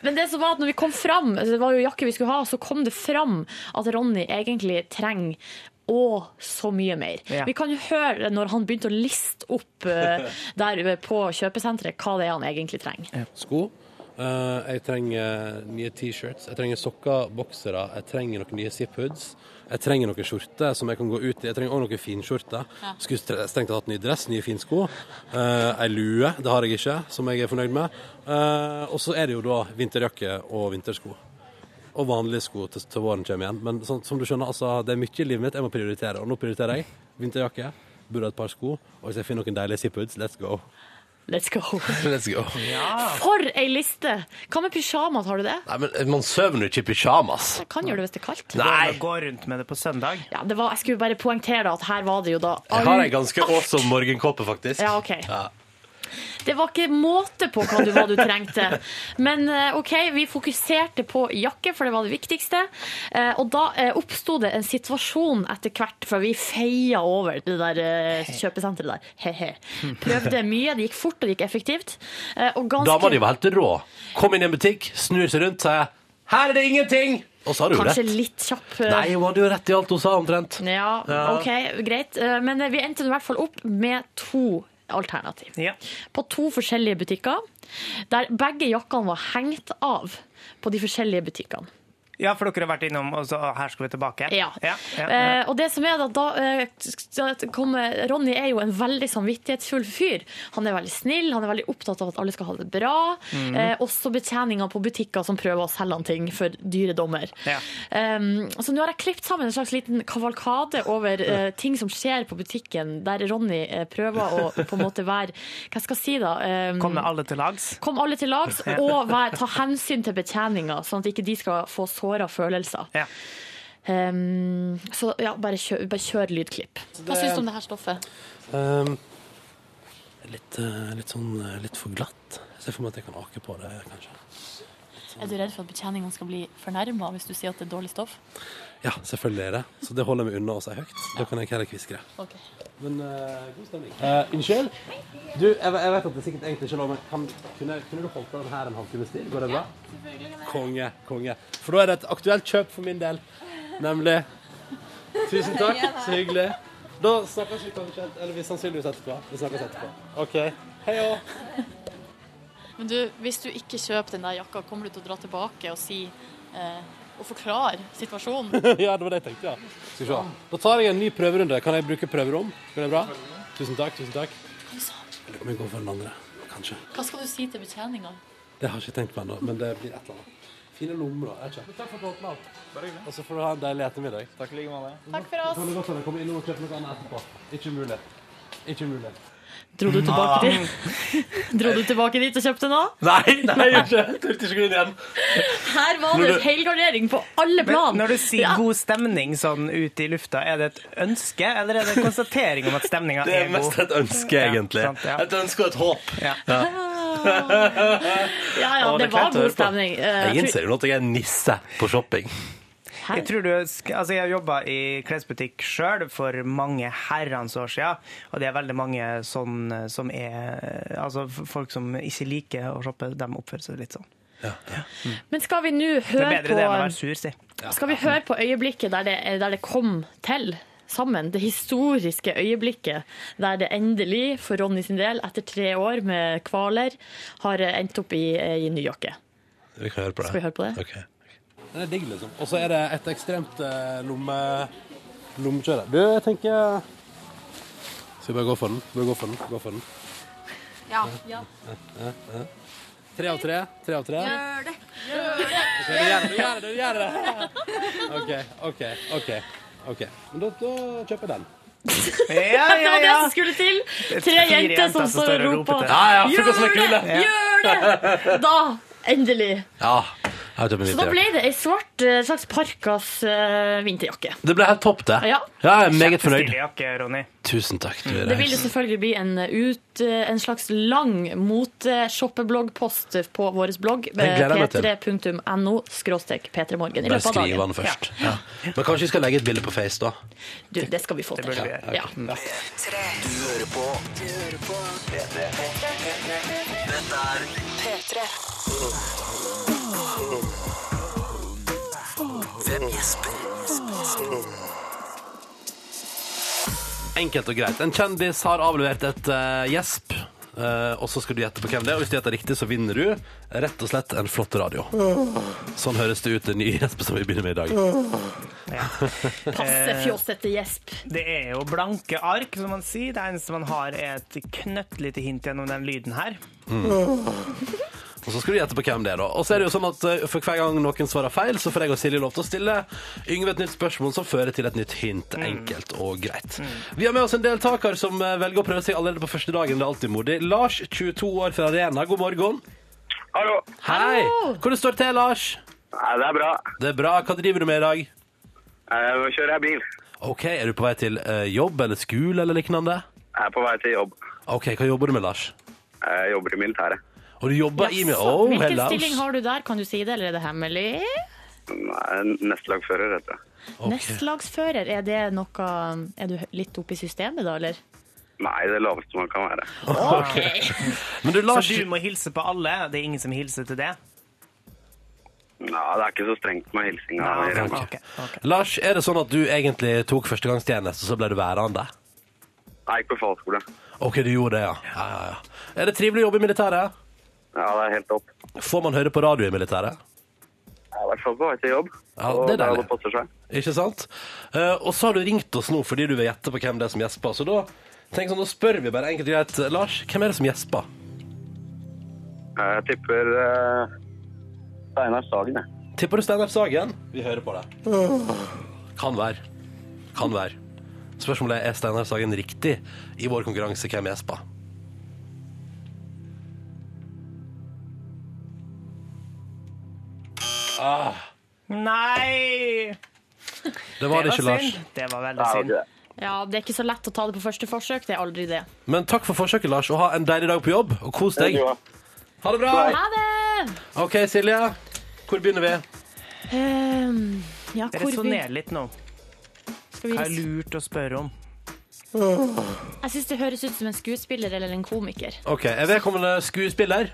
E: Men det som var at når vi kom fram, altså, det var jo jakke vi skulle ha, så kom det fram at Ronny egentlig trenger å, så mye mer.
D: Ja.
E: Vi kan jo høre det når han begynte å liste opp eh, der på kjøpesenteret hva det er han egentlig trenger.
A: sko. Eh, jeg trenger nye T-shirts, jeg trenger sokker, boksere, jeg trenger noen nye zip-hoods. Jeg trenger noen skjorter som jeg kan gå ut i. Jeg trenger også noen finskjorter. Skulle stre- strengt tatt hatt ny dress, nye finsko. Uh, ei lue, det har jeg ikke, som jeg er fornøyd med. Eh, og så er det jo da vinterjakke og vintersko. Og vanlige sko til, til våren kommer igjen. Men sånn, som du skjønner, altså, det er mye i livet mitt jeg må prioritere. Og nå prioriterer jeg vinterjakke, burde ha et par sko, og hvis jeg finner noen deilige zip-hoods, let's go.
E: Let's go.
A: Let's go.
E: For ei liste! Hva med pysjamas, har du det?
A: Nei, men eh, man søvner jo ikke i pyjamas.
E: Jeg kan gjøre det hvis det er kaldt.
A: Nei.
D: Gå rundt med det på søndag.
E: Ja, det var, jeg skulle bare poengtere da, at her var det jo da
A: Jeg har en ganske awesome morgenkåpe, faktisk.
E: Ja, ok.
A: Ja.
E: Det var ikke måte på hva du, hva du trengte. Men eh, OK, vi fokuserte på jakke, for det var det viktigste. Eh, Og da eh, oppsto det en situasjon etter hvert, for vi feia over det der eh, kjøpesenteret der. He-he. Prøvde mye, det gikk fort og det gikk effektivt. Eh, Og ganske
A: Dama di var helt rå. Kom inn i en butikk, snur seg rundt, sier 'Her er det ingenting!' Og så har du jo
E: Kanskje
A: rett.
E: litt kjapp. eh,
A: Nei, hun hadde jo rett i alt hun sa, omtrent.
E: Ja,
A: Ja.
E: OK, greit. Eh, Men eh, vi endte nå i hvert fall opp med to alternativ.
D: Ja.
E: på to forskjellige butikker, der begge jakkene var hengt av på de forskjellige butikkene.
D: ja, for dere har vært innom, og så ah, her skal vi tilbake.
E: Ja.
D: ja, ja, ja.
E: Eh, og det som er da, da eh, da kommer- Ronny er jo en veldig samvittighetsfull fyr. Han er veldig snill, han er veldig opptatt av at alle skal ha det bra.
D: Mhm.
E: Eh, også betjeninga på butikker som prøver å selge han ting for dyre dommer.
D: Ja.
E: Eh, så nå har jeg klippet sammen en slags liten kavalkade over eh, ting som skjer på butikken, der Ronny eh, prøver å på en måte være Hva skal jeg si da? Eh,
D: Kom med alle til lags.
E: Kom alle til lags, og vær, ta hensyn til betjeninga, sånn at ikke de skal få såra følelser.
D: Ja.
E: Ehm, så ja, bare kjør, bare kjør lydklipp. Hva syns du om det her stoffet?
A: Ehm, litt, eh, litt sånn eh, litt for glatt. Jeg ser for meg at jeg kan ake på det, kanskje.
E: Er du redd for at betjeninga skal bli fornærma hvis du sier at det er dårlig stoff?
A: Ja, selvfølgelig er det. Så det holder jeg meg unna å si høyt. Da kan jeg heller kviskre.
E: Ok.
A: Men eh, god stemning. Eh, Unnskyld? Du, jeg, jeg vet at det sikkert egentlig ikke er lov, men kan, kunne, kunne du holdt på den her en halvtimes tid? Går det bra? Konge, konge. For da er det et aktuelt kjøp for min del, nemlig. Tusen takk, så hyggelig. Da snakkes vi kanskje, eller vi sannsynligvis etterpå. Vi snakkes etterpå. OK. Hei òg.
F: Men du, hvis du ikke kjøper den der jakka, kommer du til å dra tilbake og si eh, og forklare situasjonen?
A: ja, det var det jeg tenkte, ja. Skal vi se. Da tar jeg en ny prøverunde. Kan jeg bruke prøverom? Går det bra? Tusen takk, tusen takk. Eller om jeg går for den andre. Kanskje.
F: Hva skal du si til betjeninga?
A: Det har jeg ikke tenkt på ennå, men det blir et eller annet. Fine lommer, da. er det ikke? Takk for praten. da. Og så får du ha en deilig ettermiddag. Takk like måte. Takk for oss. Kan du godt hende komme innom og kjøpe noe annet etterpå. Ikke mulig. Ikke mulig.
E: Dro du tilbake dit, Dro du tilbake dit og kjøpte noe?
A: Nei, nei, jeg gjorde ikke. Jeg turte ikke gå inn igjen.
E: Her var det
A: Når du-
E: helgardering på alle plan!
D: Men når du sier
E: Ja.
D: god stemning sånn ute i lufta, er det et ønske, eller er det en konstatering om at stemninga
A: Det
D: er
A: er mest
D: god?
A: et ønske, egentlig.
D: sant, ja.
A: Et ønske og et håp.
D: Ja.
E: Ja, ja,
A: Å,
E: det
A: er
E: var
A: kleint å høre
E: god
A: på.
E: stemning. Eh,
A: Jeg
E: tror-
A: innser jo nå at jeg er en nisse på shopping.
E: Her.
D: Jeg tror du, sk- altså jeg jobba i klesbutikk sjøl for mange herrens år sia, og det er veldig mange sånn som er Altså f- folk som ikke liker å shoppe, de oppfører seg litt sånn.
E: Men skal vi nå
D: Det er
E: høre
D: bedre det enn å være
E: på
D: sur, si.
E: Skal vi høre på øyeblikket der det, der det kom til sammen? Det historiske øyeblikket der det endelig, for Ronny sin del, etter tre år med kvaler, har eh, endt opp i ei ny jakke.
A: Vi kan høre på det.
E: Skal vi høre på det?
A: Ok. Den er digg, liksom. Og så er det et ekstremt eh, lomme... lommekjøre. Du, jeg tenker Skal vi bare gå for den? Bare gå for den. Gå for den.
B: Ja.
A: Tre av tre. Tre av tre.
B: Gjør det.
A: Du gjør det, du gjør det, du gjør det. OK, OK, OK. ok. Men da, da kjøper jeg den.
D: Ja,
E: Det
D: ja,
E: var det
D: ja.
E: som skulle til! Tre
D: Fire
E: jenter som står og roper. Sånn
D: til.
A: ja,
E: Gjør det! Da, endelig.
A: Ja. Jeg kjøper
E: Så da ble det ei svart eh, slags parkas eh, vinterjakke.
A: Det ble helt topp, det.
E: Ja.
A: jeg er meget fornøyd.
D: Stilig jakke, Ronny.
A: Tusen takk. Du
E: Det vil jo selvfølgelig bli en, eh, ut, en slags lang moteshoppebloggpost på vår blogg.
A: Den gleder jeg meg til.
E: p3.no skråstrek p3morgen i
A: Bare
E: løpet av
A: skrive
E: dagen.
A: den først. Ja. Men kanskje vi skal legge et bilde på Face, da.
E: Du, det skal vi få til.
D: burde vi gjøre.
E: Ja.
A: Enkelt og greit. En kjendis har avlevert et eh, gjesp. eh, og så skal du gjette på hvem det er, og hvis du gjetter riktig, så vinner du rett og slett en flott radio. Sånn høres det ut, det nye gjespet som vi begynner med i dag.
D: Eh,
E: Passe fjåsete gjesp.
D: Det er jo blanke ark, som man sier. Det eneste man har, er et knøttlite hint gjennom den lyden her.
A: Og så skal du gjette på hvem det er, da. Og så er det jo sånn at eh, for hver gang noen svarer feil, så får jeg og Silje lov til å stille Yngve et nytt spørsmål som fører til et nytt
E: Mm.
A: hint. Enkelt og greit. Vi har med oss en deltaker som eh, velger å prøve seg allerede på første dagen. Det er alltid modig. Lars, 22 år fra Arena. God morgen.
G: Hallo.
A: Hei!
E: Hallo!
A: Hvordan står det til, Lars?
G: Nei, det er bra.
A: Det er bra. Hva driver du med i dag?
G: Jeg kjører jeg bil.
A: Ok, Er du på vei til eh, jobb eller skole eller lignende?
G: Jeg er på vei til jobb.
A: Ok, Hva jobber du med, Lars?
G: Jeg jobber i militæret.
A: Og du jobber i med
E: Jaså,
A: oh,
E: Hvilken
A: Hellas.
E: stilling har du der? Kan du si det, eller er det hemmelig?
G: Nei, Nestlagfører heter det.
A: Ok.
E: Nestlagsfører, er det noe Er du litt oppe i systemet da, eller?
G: Nei, det laveste man kan være.
A: Men du,
D: Så
A: Lars,
D: du må hilse på alle. Det er ingen som hilser til det.
G: Ja, det er ikke så strengt med hilsinga. i
D: Ja,
G: Rema.
D: ok, ok.
A: Lars, er det sånn at du egentlig tok førstegangstjeneste, og så ble du værende?
G: Jeg gikk på fallskole.
A: Ok, du gjorde det, ja. ja, ja, ja. Er det trivelig å jobbe i militæret?
G: Ja, det er helt topp.
A: Får man høre på radio i militæret?
G: Jeg er i hvert fall på vei til jobb.
A: Ja,
G: og
A: det er
G: da
A: deilig.
G: det passer seg.
A: Ikke sant? Eh, og så har du ringt oss nå fordi du vil gjette på hvem det er som gjesper. Så da, tenk sånn, da spør vi bare enkelt og greit Lars, hvem er det som gjesper?
G: Jeg tipper eh, Steinar Sagen, jeg.
A: Tipper du Steinar Sagen? Vi hører på det. Kan være. Kan være. Spørsmålet er er Steinar Sagen riktig i vår konkurranse Hvem gjesper?
D: Nei!
A: Det var det ikke, Lars.
D: synd. Det var
G: Ja,
D: veldig
G: det er
D: synd.
G: ikke det.
E: Ja, det er ikke så lett å ta det på første forsøk. Det er aldri det.
A: Men takk for forsøket, Lars, og ha en deilig dag på jobb. Og kos deg.
G: Det er bra.
A: Ha det bra.
E: Ha det!
A: OK, Silje. Hvor begynner vi?
E: Ehm, ja, hvor
D: Resonner litt nå.
E: skal vi
D: Hva er lurt å spørre om?
E: Jeg syns det høres ut som en skuespiller eller en komiker.
A: OK, er vedkommende skuespiller?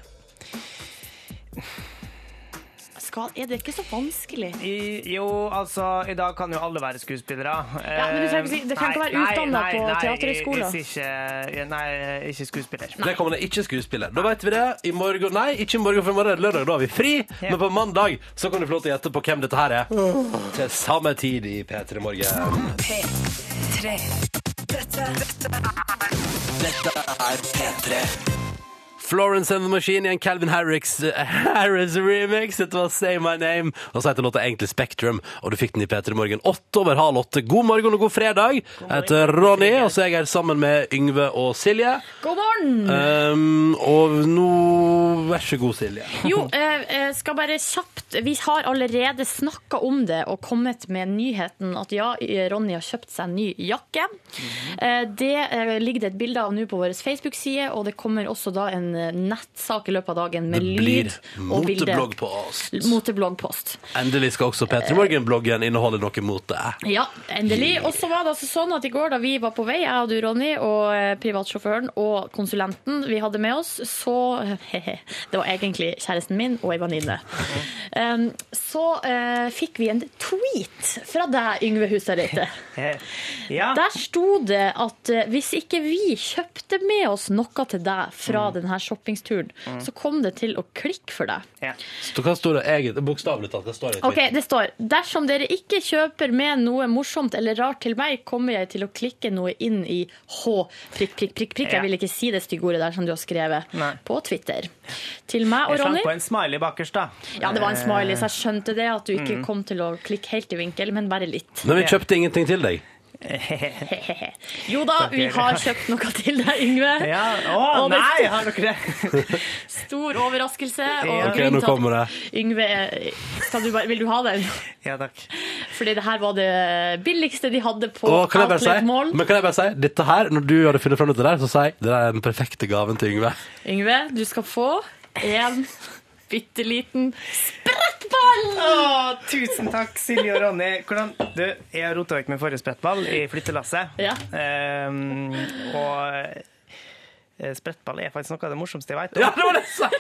E: Skal, er det ikke så vanskelig?
D: I, jo, altså, i dag kan jo alle være skuespillere. Eh,
E: Ja, men du trenger ikke si- det trenger ikke være utdannet på teaterhøyskolen.
D: Ikke, nei, ikke skuespiller.
A: Vedkommende ikke skuespiller. Da vet vi det. I morgen Nei, ikke i morgen, for i morgen er det lørdag. Da har vi fri. Men på mandag så kan du få lov til å gjette på hvem dette her er. Til samme tid i P3 Morgen. Florence and the Machine i en Calvin Harris, eh, Harris remix. Dette var Say My Name. Og så heter låta egentlig Spektrum, og du fikk den i P3 Morgen åtte over halv åtte. God morgen og god fredag. Jeg heter Ronny, og så er jeg her sammen med Yngve og Silje.
E: God morgen!
A: Um, og nå Vær så god, Silje.
E: Jo, eh, eh, skal bare kjapt Vi har allerede snakka om det og kommet med nyheten at ja, Ronny har kjøpt seg en ny jakke. Eh, Det eh, ligger det et bilde av nå på vår Facebook-side, og det kommer også da en eh, nettsak i løpet av dagen med
A: Det blir
E: lyd og bilde.
A: moteblogg på oss.
E: Motebloggpost.
A: Endelig skal også P3 Morgen-bloggen inneholde noe mote.
E: Ja, endelig. Og så var det altså sånn at i går da vi var på vei, jeg og du, Ronny, og eh, privatsjåføren og konsulenten vi hadde med oss, så Det var egentlig kjæresten min og ei venninne. Um, så eh, fikk vi en tweet fra deg, Yngve Husarøyte.
D: Eh, Ja.
E: Der sto det at eh, hvis ikke vi kjøpte med oss noe til deg fra
D: Mm.
E: denne shoppingsturen, så kom det til å klikke for deg.
D: ja.
A: Så hva står det egentlig? Bokstavelig talt. Det står i
E: Ok, det står Dersom dere ikke kjøper med noe morsomt eller rart til meg, kommer jeg til å klikke noe inn i H prikk, prikk, prikk, prikk.
D: Ja.
E: Jeg vil ikke si det stygge ordet der som du har skrevet
D: Nei.
E: på Twitter. Til meg
D: Jeg
E: og
D: slang
E: Ronny.
D: på en smiley bakerst, da.
E: Ja, det var en
D: Eh, mm.
E: smiley, så jeg skjønte det. At du ikke kom til å klikke helt i vinkel, men bare litt.
A: Men vi kjøpte ingenting til deg.
E: Hehehe. Jo da, vi har kjøpt noe til deg, Yngve.
D: Ja. Å
E: Og det-
D: nei, har dere det?
E: Stor overraskelse. Og
D: Ja.
A: Ok,
E: grunnen
A: nå
E: til at-
A: kommer det.
E: Yngve, skal du bare, vil du ha den?
D: Ja takk.
E: Fordi det her var det billigste de hadde på
A: Og kan jeg bare si,
E: Outlet Mall.
A: men kan jeg bare si dette her, når du hadde funnet fram dette der, så sa jeg det er den perfekte gaven til Yngve.
E: Yngve, du skal få en bitte liten sprettball!
D: Å, tusen takk, Silje og Ronny. Hvordan, du, jeg rota vekk min forrige sprettball i flyttelasset.
E: Ja.
D: Ehm, og eh, sprettball er faktisk noe av det morsomste jeg vet. Eh,
A: Ja, det var det jeg sa!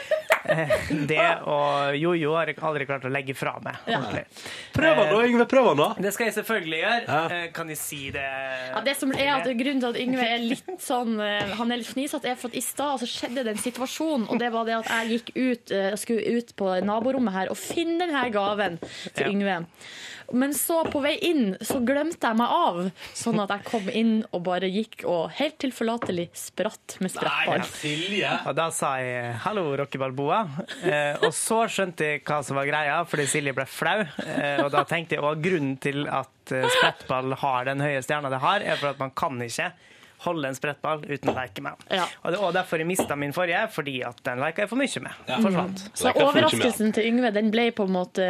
D: Det og jojo har jeg aldri klart å legge fra meg. ordentlig.
A: Prøv han nå, Yngve. Prøv han nå.
D: Det skal jeg selvfølgelig gjøre.
A: Ja.
D: Eh, Kan jeg si det?
E: Ja, det som er at Grunnen til at Yngve er litt sånn eh, Han er litt fnisete, er for at i stad så skjedde det en situasjon, og det var det at jeg gikk ut eh, skulle ut på naborommet her og finne denne gaven til
D: Ja.
E: Yngve. Men så på vei inn så glemte jeg meg av, sånn at jeg kom inn og bare gikk og helt tilforlatelig spratt med sprettball.
A: Silje.
D: Og da sa jeg 'hallo, Rocky Balboa'. Eh, og så skjønte jeg hva som var greia, fordi Silje ble flau. Eh, og da tenkte jeg at grunnen til at eh, sprettball har den høye stjerna det har, er for at man kan ikke holde en sprettball uten å leke med den.
E: Ja.
D: Og det var derfor jeg mista min forrige, fordi at den leka jeg for mye med. Forsvant.
E: Så overraskelsen til Yngve den ble på en måte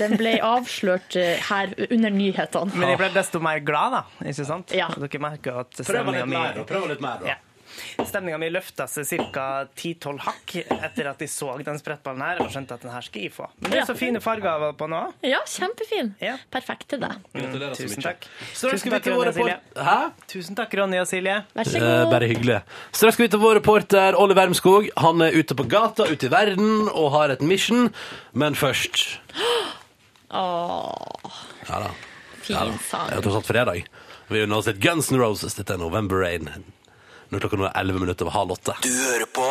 E: Den ble avslørt eh, her under nyhetene.
D: Men jeg ble desto mer glad, da. Ikke sant?
E: Ja.
D: Dere merker jo at
A: Prøv
D: stemninga
A: litt
D: mi
A: mer, da. Prøv litt mer, da.
D: Ja. Stemninga mi løfta seg ca. 10-12 hakk etter at de så den sprettballen her og skjønte at den her skal jeg få. Men det er så fine farger på nå.
E: Ja, kjempefin.
D: Ja.
E: Perfekt til deg.
A: Gratulerer så
D: Tusen
A: mye.
D: takk.
A: Straks skal vi til
D: Tusen
A: vår
D: takk, Ronny og Silje.
A: report... Hæ?
D: Tusen takk, Ronny og Silje.
E: Vær så
A: Eh,
E: god.
A: bare hyggelig. Straks skal vi til vår reporter Olle Wermskog. Han er ute på gata, ute i verden, og har et mission. Men først
E: Åh,
A: Ja da.
E: fin sang.
A: Det er tross alt fredag. Vi unner oss litt Guns N' Roses. Dette er November Rain. Nå er klokka nå er 11 minutter over halv åtte.
H: Du hører på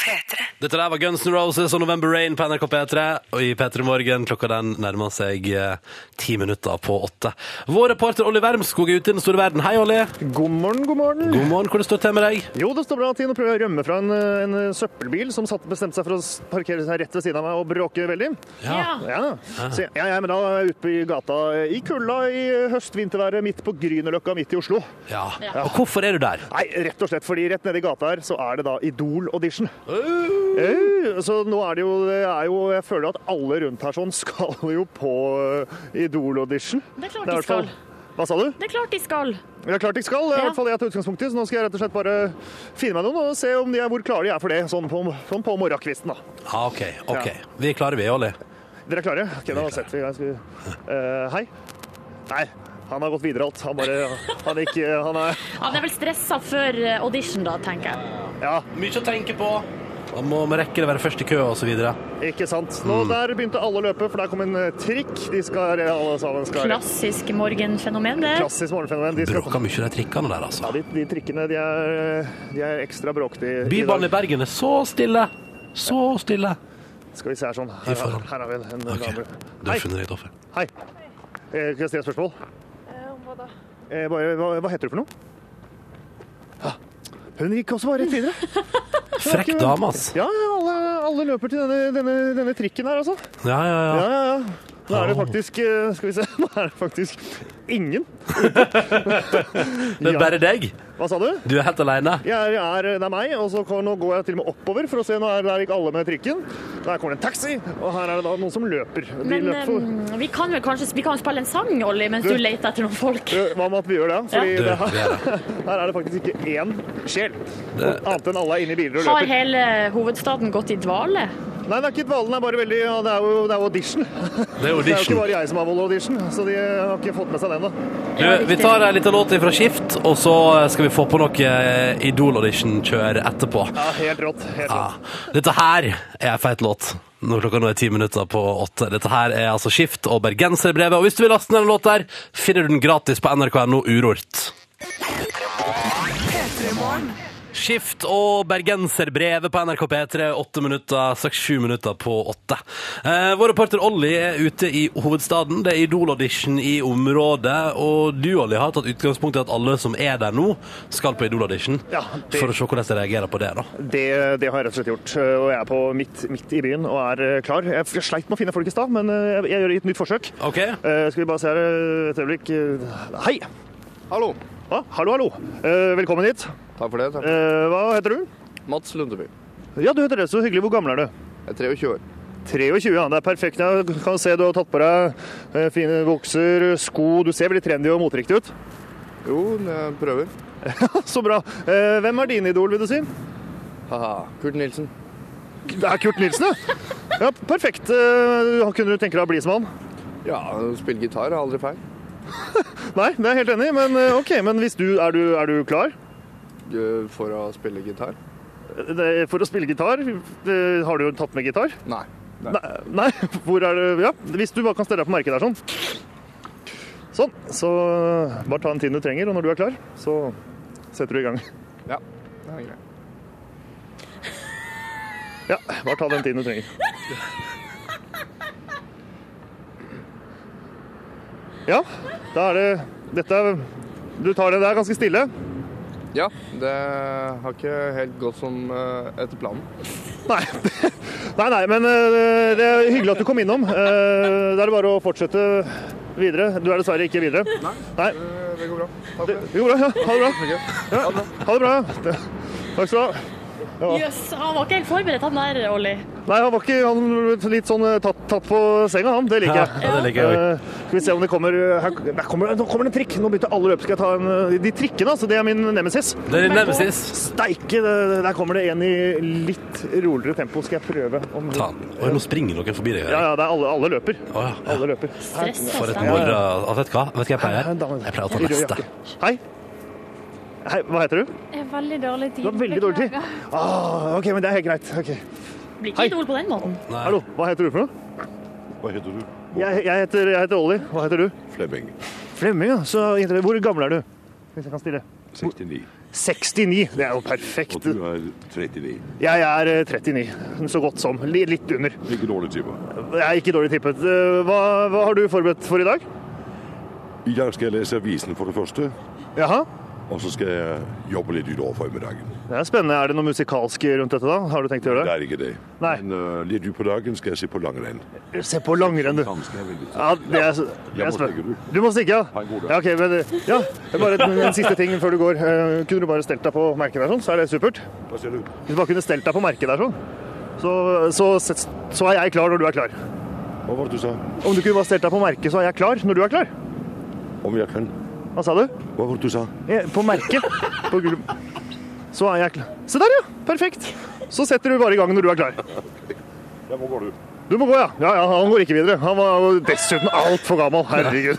H: P3.
A: Dette der var Guns N' Roses og November Rain på NRK P3. Og i P3 Morgen klokka den nærmer seg eh, ti minutter på åtte. Vår reporter Olli Wermskog er ute i den store verden. Hei, Olli.
I: God morgen, god morgen.
A: God morgen. Hvordan står det til med deg?
I: Jo, det står bra til. Nå prøver jeg å rømme fra en, en søppelbil som satt, bestemte seg for å s- parkere seg rett ved siden av meg og bråke veldig.
E: Ja.
I: Ja, så, ja, ja men da er jeg ute på- i gata i kulda i høst-vinterværet midt på Grünerløkka midt i Oslo.
A: Ja. Og hvorfor er du der?
I: Nei, rett og slett fordi rett nede i gata her så er det da Idol-audition. Au, Så nå er det jo, det er jo Jeg føler at alle rundt her sånn skal jo på eh, Idol-audition.
E: Det er klart
I: i
E: de
I: hvert fall-
E: skal.
I: Hva sa du?
E: Det er klart de skal.
I: Det er klart de skal. Det er i
E: Ja.
I: hvert fall jeg til utgangspunktet. Så nå skal jeg rett og slett bare finne meg noen og se om de er, hvor klare de er for det, sånn på, sånn på morgenkvisten. da.
A: Ja, OK. ok. Vi klarer vi, Olli.
I: Dere er klare? Ok, da setter vi i gang. Skal vi- Eh, hei. Nei, han har gått videre alt. Han bare Han gikk Han er
E: Han er vel stressa før eh, audition, da, tenker jeg.
I: Ja,
A: Mye å tenke på. Da må vi rekke det, være først i kø og så videre.
I: ikke sant. Nå
A: Mm.
I: Der begynte alle å løpe, for der kom en eh, trikk. De skal alle sammen skal
E: Klassisk morgenfenomen, det.
I: Klassisk morgenfenomen. De, skal,
A: Bråka mye de trikkene der, altså.
I: ja, de, de trikkene de er, de er ekstra bråkete. i- i dag.
A: Bybanen i Bergen er så stille. Så stille.
I: Skal vi se her sånn. Her,
A: forhold.
I: her har vi en, en
A: OK.
I: dame.
A: Du har funnet ditt offer.
I: Hei. Eh, Kan jeg stille et Eh, spørsmål? Eh, Hva da? Hva, hva heter du for noe? Ja, Hun gikk også bare rett videre.
A: Frekk dame, ass.
I: Ja, ja, alle, alle løper til denne, denne, denne trikken her, altså.
A: Ja, ja,
I: Ja,
A: ja.
I: ja, ja. Nå er det faktisk eh, Skal vi se. Nå er det faktisk ingen.
A: Det er bare deg.
I: Hva sa du?
A: Du er helt alene.
I: Jeg er, jeg er, det er meg, og så kan, nå går jeg til og med oppover for å se. Nå er der gikk alle med trikken. Der kommer det en taxi, og her er det da noen som løper. De
E: Men
I: løper for.
E: eh, vi kan vel kanskje vi kan jo spille en sang, Olli, mens
I: Du-
E: du leter etter noen folk.
I: Eh, Hva med at vi gjør det? Fordi
A: Du,
I: det
A: det
I: her,
A: er det.
I: her er det faktisk ikke én sjel. Og Annet enn alle er inne i biler og
E: Har
I: løper.
E: hele hovedstaden gått i dvale?
I: Nei, det er ikke dvalen, det er bare veldig ja, Det er jo, det er jo audition.
A: Det er
I: Det er jo ikke
A: audition.
I: bare jeg som har vold audition, så de har ikke fått med seg den, da.
A: Du, vi tar en liten låt fra Skift, og så skal vi få på noe Idol-audition-kjør etterpå.
I: Ja, helt rått. Helt
A: Ja.
I: rått.
A: Dette her er en feit låt. Når klokka nå er ti minutter på åtte. Dette her er altså Skift og Bergenserbrevet. Og hvis du vil laste ned en låt der, finner du den gratis på nrk.no Urort. Skift og bergenserbrevet på NRK P3, åtte minutter, straks sju minutter på åtte. Eh, vår reporter Olli er ute i hovedstaden. Det er Idol-audition i området. Og du, Olli, har tatt utgangspunkt i at alle som er der nå, skal på Idol-audition.
I: Ja, det-
A: For å se hvordan de reagerer på det, da.
I: Det, det har jeg rett og slett gjort. Og jeg er på midt, midt i byen og er eh, klar. Jeg f- sleit med å finne folk i stad, men eh, jeg, jeg gjør et nytt forsøk.
A: OK?
I: Eh, skal vi bare se her eh, et øyeblikk. Eh, Hei!
J: Hallo.
I: Ja, hallo, hallo. Eh, velkommen hit.
J: Takk for det. Takk.
I: Eh, hva heter du?
J: Mats Lundeby.
I: Ja, du heter det. Så hyggelig. Hvor gammel er du?
J: Jeg er 23 år.
I: 23, ja. Det er perfekt. Jeg kan se du har tatt på deg eh, fine bukser, sko. Du ser veldig trendy og moteriktig ut.
J: Jo, jeg prøver.
I: Så bra. Eh, hvem er din idol, vil du si?
J: Haha. Kurt Nilsen.
I: Det er Kurt Nilsen, ja. Ja, perfekt. Eh, kunne du tenke deg å bli som han?
J: Ja, å spille gitar er aldri feil.
I: Nei, det er jeg helt enig i, men eh, OK. Men hvis du er, du er du klar
J: Eh, For å spille gitar?
I: Det- for å spille gitar? eh, Har du tatt med gitar?
J: Nei.
I: Nei, nei, hvor er det Ja, hvis du bare kan stelle deg på merket der sånn. Sånn. Så bare ta den tiden du trenger, og når du er klar, så setter du i gang.
J: Ja, det er greit.
I: Ja, bare ta den tiden du trenger. Ja, da er det Dette er Du tar det der ganske stille.
J: Ja, det har ikke helt gått som eh, etter planen.
I: Nei. Nei, nei, men eh, det er hyggelig at du kom innom. Eh, Da er det bare å fortsette videre. Du er dessverre ikke videre. Nei.
J: Eh, Det går bra. Takk for
I: Det,
J: det.
I: jo, bra. Ja, ha det bra. Ja, ha det bra. Det- Takk skal du ha.
E: Jøss, han var ikke helt forberedt, han der, Olli.
I: Nei, han var ikke han ble litt sånn eh, tatt, tatt på senga, han. Det liker
A: Ja,
I: jeg.
A: ja, det liker jeg òg.
I: Eh, skal vi se om det kommer, eh, her, der kommer Nå kommer det en trikk! Nå begynte alle å løpe. Skal jeg ta en eh, De trikkene, altså. Det er min nemesis.
A: Det er nemesis.
I: Steike, det- der kommer det en i litt roligere tempo. Skal jeg prøve om
A: Ta den. Oi, nå springer noen forbi deg.
I: Ja,
A: Erik.
I: ja, det er alle, alle løper.
A: Å, ja.
I: Alle løper.
E: Stressa
A: For et
E: stemning.
A: moro. Ja, Vet du hva Vet du hva jeg pleier?
I: Her er en dame.
A: Jeg pleier å ta
I: I rød
A: neste.
I: jakke. Hei. Hei, Hva heter du?
B: Jeg har veldig dårlig tid.
I: Du har veldig dårlig tid. Ah, ok, men det er helt greit. Ok.
E: Blir
I: Hei.
E: ikke idol på den måten.
A: Nei.
I: Hallo, hva heter du for noe?
J: Hva heter du?
I: Jeg, jeg heter, jeg heter Olli. Hva heter du?
J: Flemming.
I: Flemming, ja. Så inter- hvor gammel er du? Hvis jeg kan stille.
J: 69.
I: 69. Det er jo perfekt.
J: er 39.
I: Jeg er eh, 39. Så godt som. Li- Litt under.
J: Ikke dårlig type.
I: Jeg er ikke dårlig tippet. Eh, Hva, hva har du forberedt for i dag?
J: I dag skal jeg lese avisen for det første,
I: Jaha.
J: og så skal jeg jobbe litt utover formiddagen.
I: Det er spennende. Er det noe musikalsk rundt dette da? Har du tenkt å gjøre det?
J: er ikke det.
I: Nei.
J: uh, litt utpå dagen skal jeg se på langrenn.
I: Se på langrenn, du. Ja, det
J: må
I: er, det er spennende.
J: stikke, du.
I: Du må stikke, ja.
J: Ha en god dag.
I: ja, ok, men, ja. Bare en, en siste ting før du går. Eh, Kunne du bare stelt deg på merket der sånn, så er det supert.
J: Hva sier du?
I: Hvis du bare kunne stelt deg på merket der sånn, så, så, så er jeg klar når du er klar.
J: Hva var det du sa?
I: Om du kunne bare stelt deg på merket, så er jeg klar når du er klar.
J: Om jeg kan?
I: Hva sa du?
J: Hva var det du sa?
I: Eh, På merket. På gul- Så er jeg klar. Se der, ja. Perfekt. Så setter du bare i gang når du er klar.
J: Jeg må gå, du.
I: Du må gå, ja. Ja, ja, Han går ikke videre. Han var jo dessuten altfor gammel. Herregud.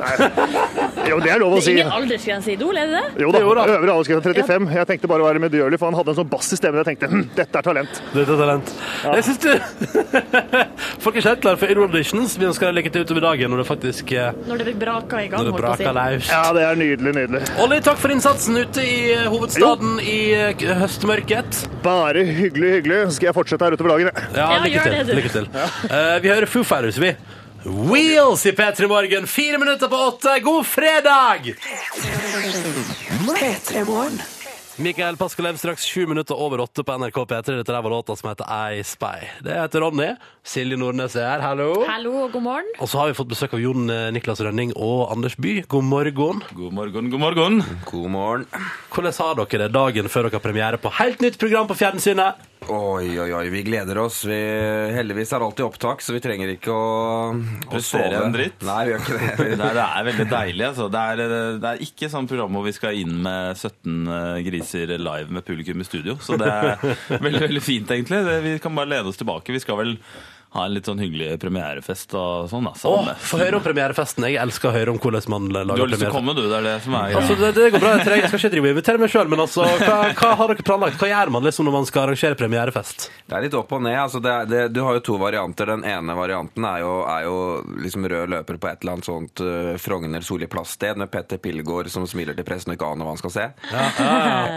I: Nei. Jo, det er lov å
E: Det er
I: si.
E: ingen aldersgrense i Idol, er det det?
I: Jo da, øvre aldersgrense 35. Jeg tenkte bare å være medgjørlig, for han hadde en sånn bass i stemmen. Jeg tenkte hm, dette er talent.
A: Dette er talent. Jeg synes du Folk er ikke helt klare for Idol Auditions. Vi ønsker deg lykke til utover dagen når det faktisk eh,
E: Når det braker i gang,
A: Når det
E: holdt
A: braker
E: jeg på å si.
A: løs.
I: Ja, det er nydelig, nydelig.
A: Olli, takk for innsatsen ute i eh, hovedstaden i eh, k- høstmørket.
I: Bare hyggelig, hyggelig. Så skal jeg fortsette her utover dagen. jeg.
A: Ja,
E: Ja,
A: lykke
E: gjør
A: til.
E: det, du.
A: Lykke til. Eh, vi hører Foo Fighters, vi. Wheels i P3 Morgen, fire minutter på åtte. God fredag!
H: P3 Morgen.
A: Mikael Paskalev straks sju minutter over åtte på NRK P3. Dette der var låta som heter I Spy. Det heter Ronny. Silje Nordnes er her, hallo.
E: Hallo og god morgen.
A: Og så har vi fått besøk av Jon eh, Niklas Rønning og Anders By. God morgen.
K: God morgen, god morgen.
A: God morgen. Hvordan har dere det dagen før dere har premiere på helt nytt program på fjernsynet?
K: Oi, oi, oi. Vi gleder oss. Vi, heldigvis er alltid opptak, så vi trenger ikke å prestere.
L: sove en dritt.
K: Nei, vi gjør ikke det.
L: Nei, det er veldig deilig. Altså. Det, er, det er ikke sånn program hvor vi skal inn med 17 griser live med publikum i studio. Så det er veldig veldig fint, egentlig. Det, vi kan bare lene oss tilbake. Vi skal vel ha en litt sånn hyggelig premierefest og sånn. da,
A: Åh,
L: sammen.
A: Få høre om premierefesten. Jeg elsker å høre om hvordan man lager premiere.
L: Du har lyst til å komme, du. Det er det som er
A: Altså, det, det går bra. Jeg trenger- jeg skal ikke drive og invitere meg sjøl, men altså, hva, hva har dere planlagt? Hva gjør man liksom når man skal arrangere premierefest?
K: Det er litt opp og ned. Altså det er, det, du har jo to varianter. Den ene varianten er jo, er jo liksom rød løper på et eller annet sånt eh, Frogner Solli Plass-sted med Petter Pilgaard som smiler til pressen og ikke aner hva han skal se.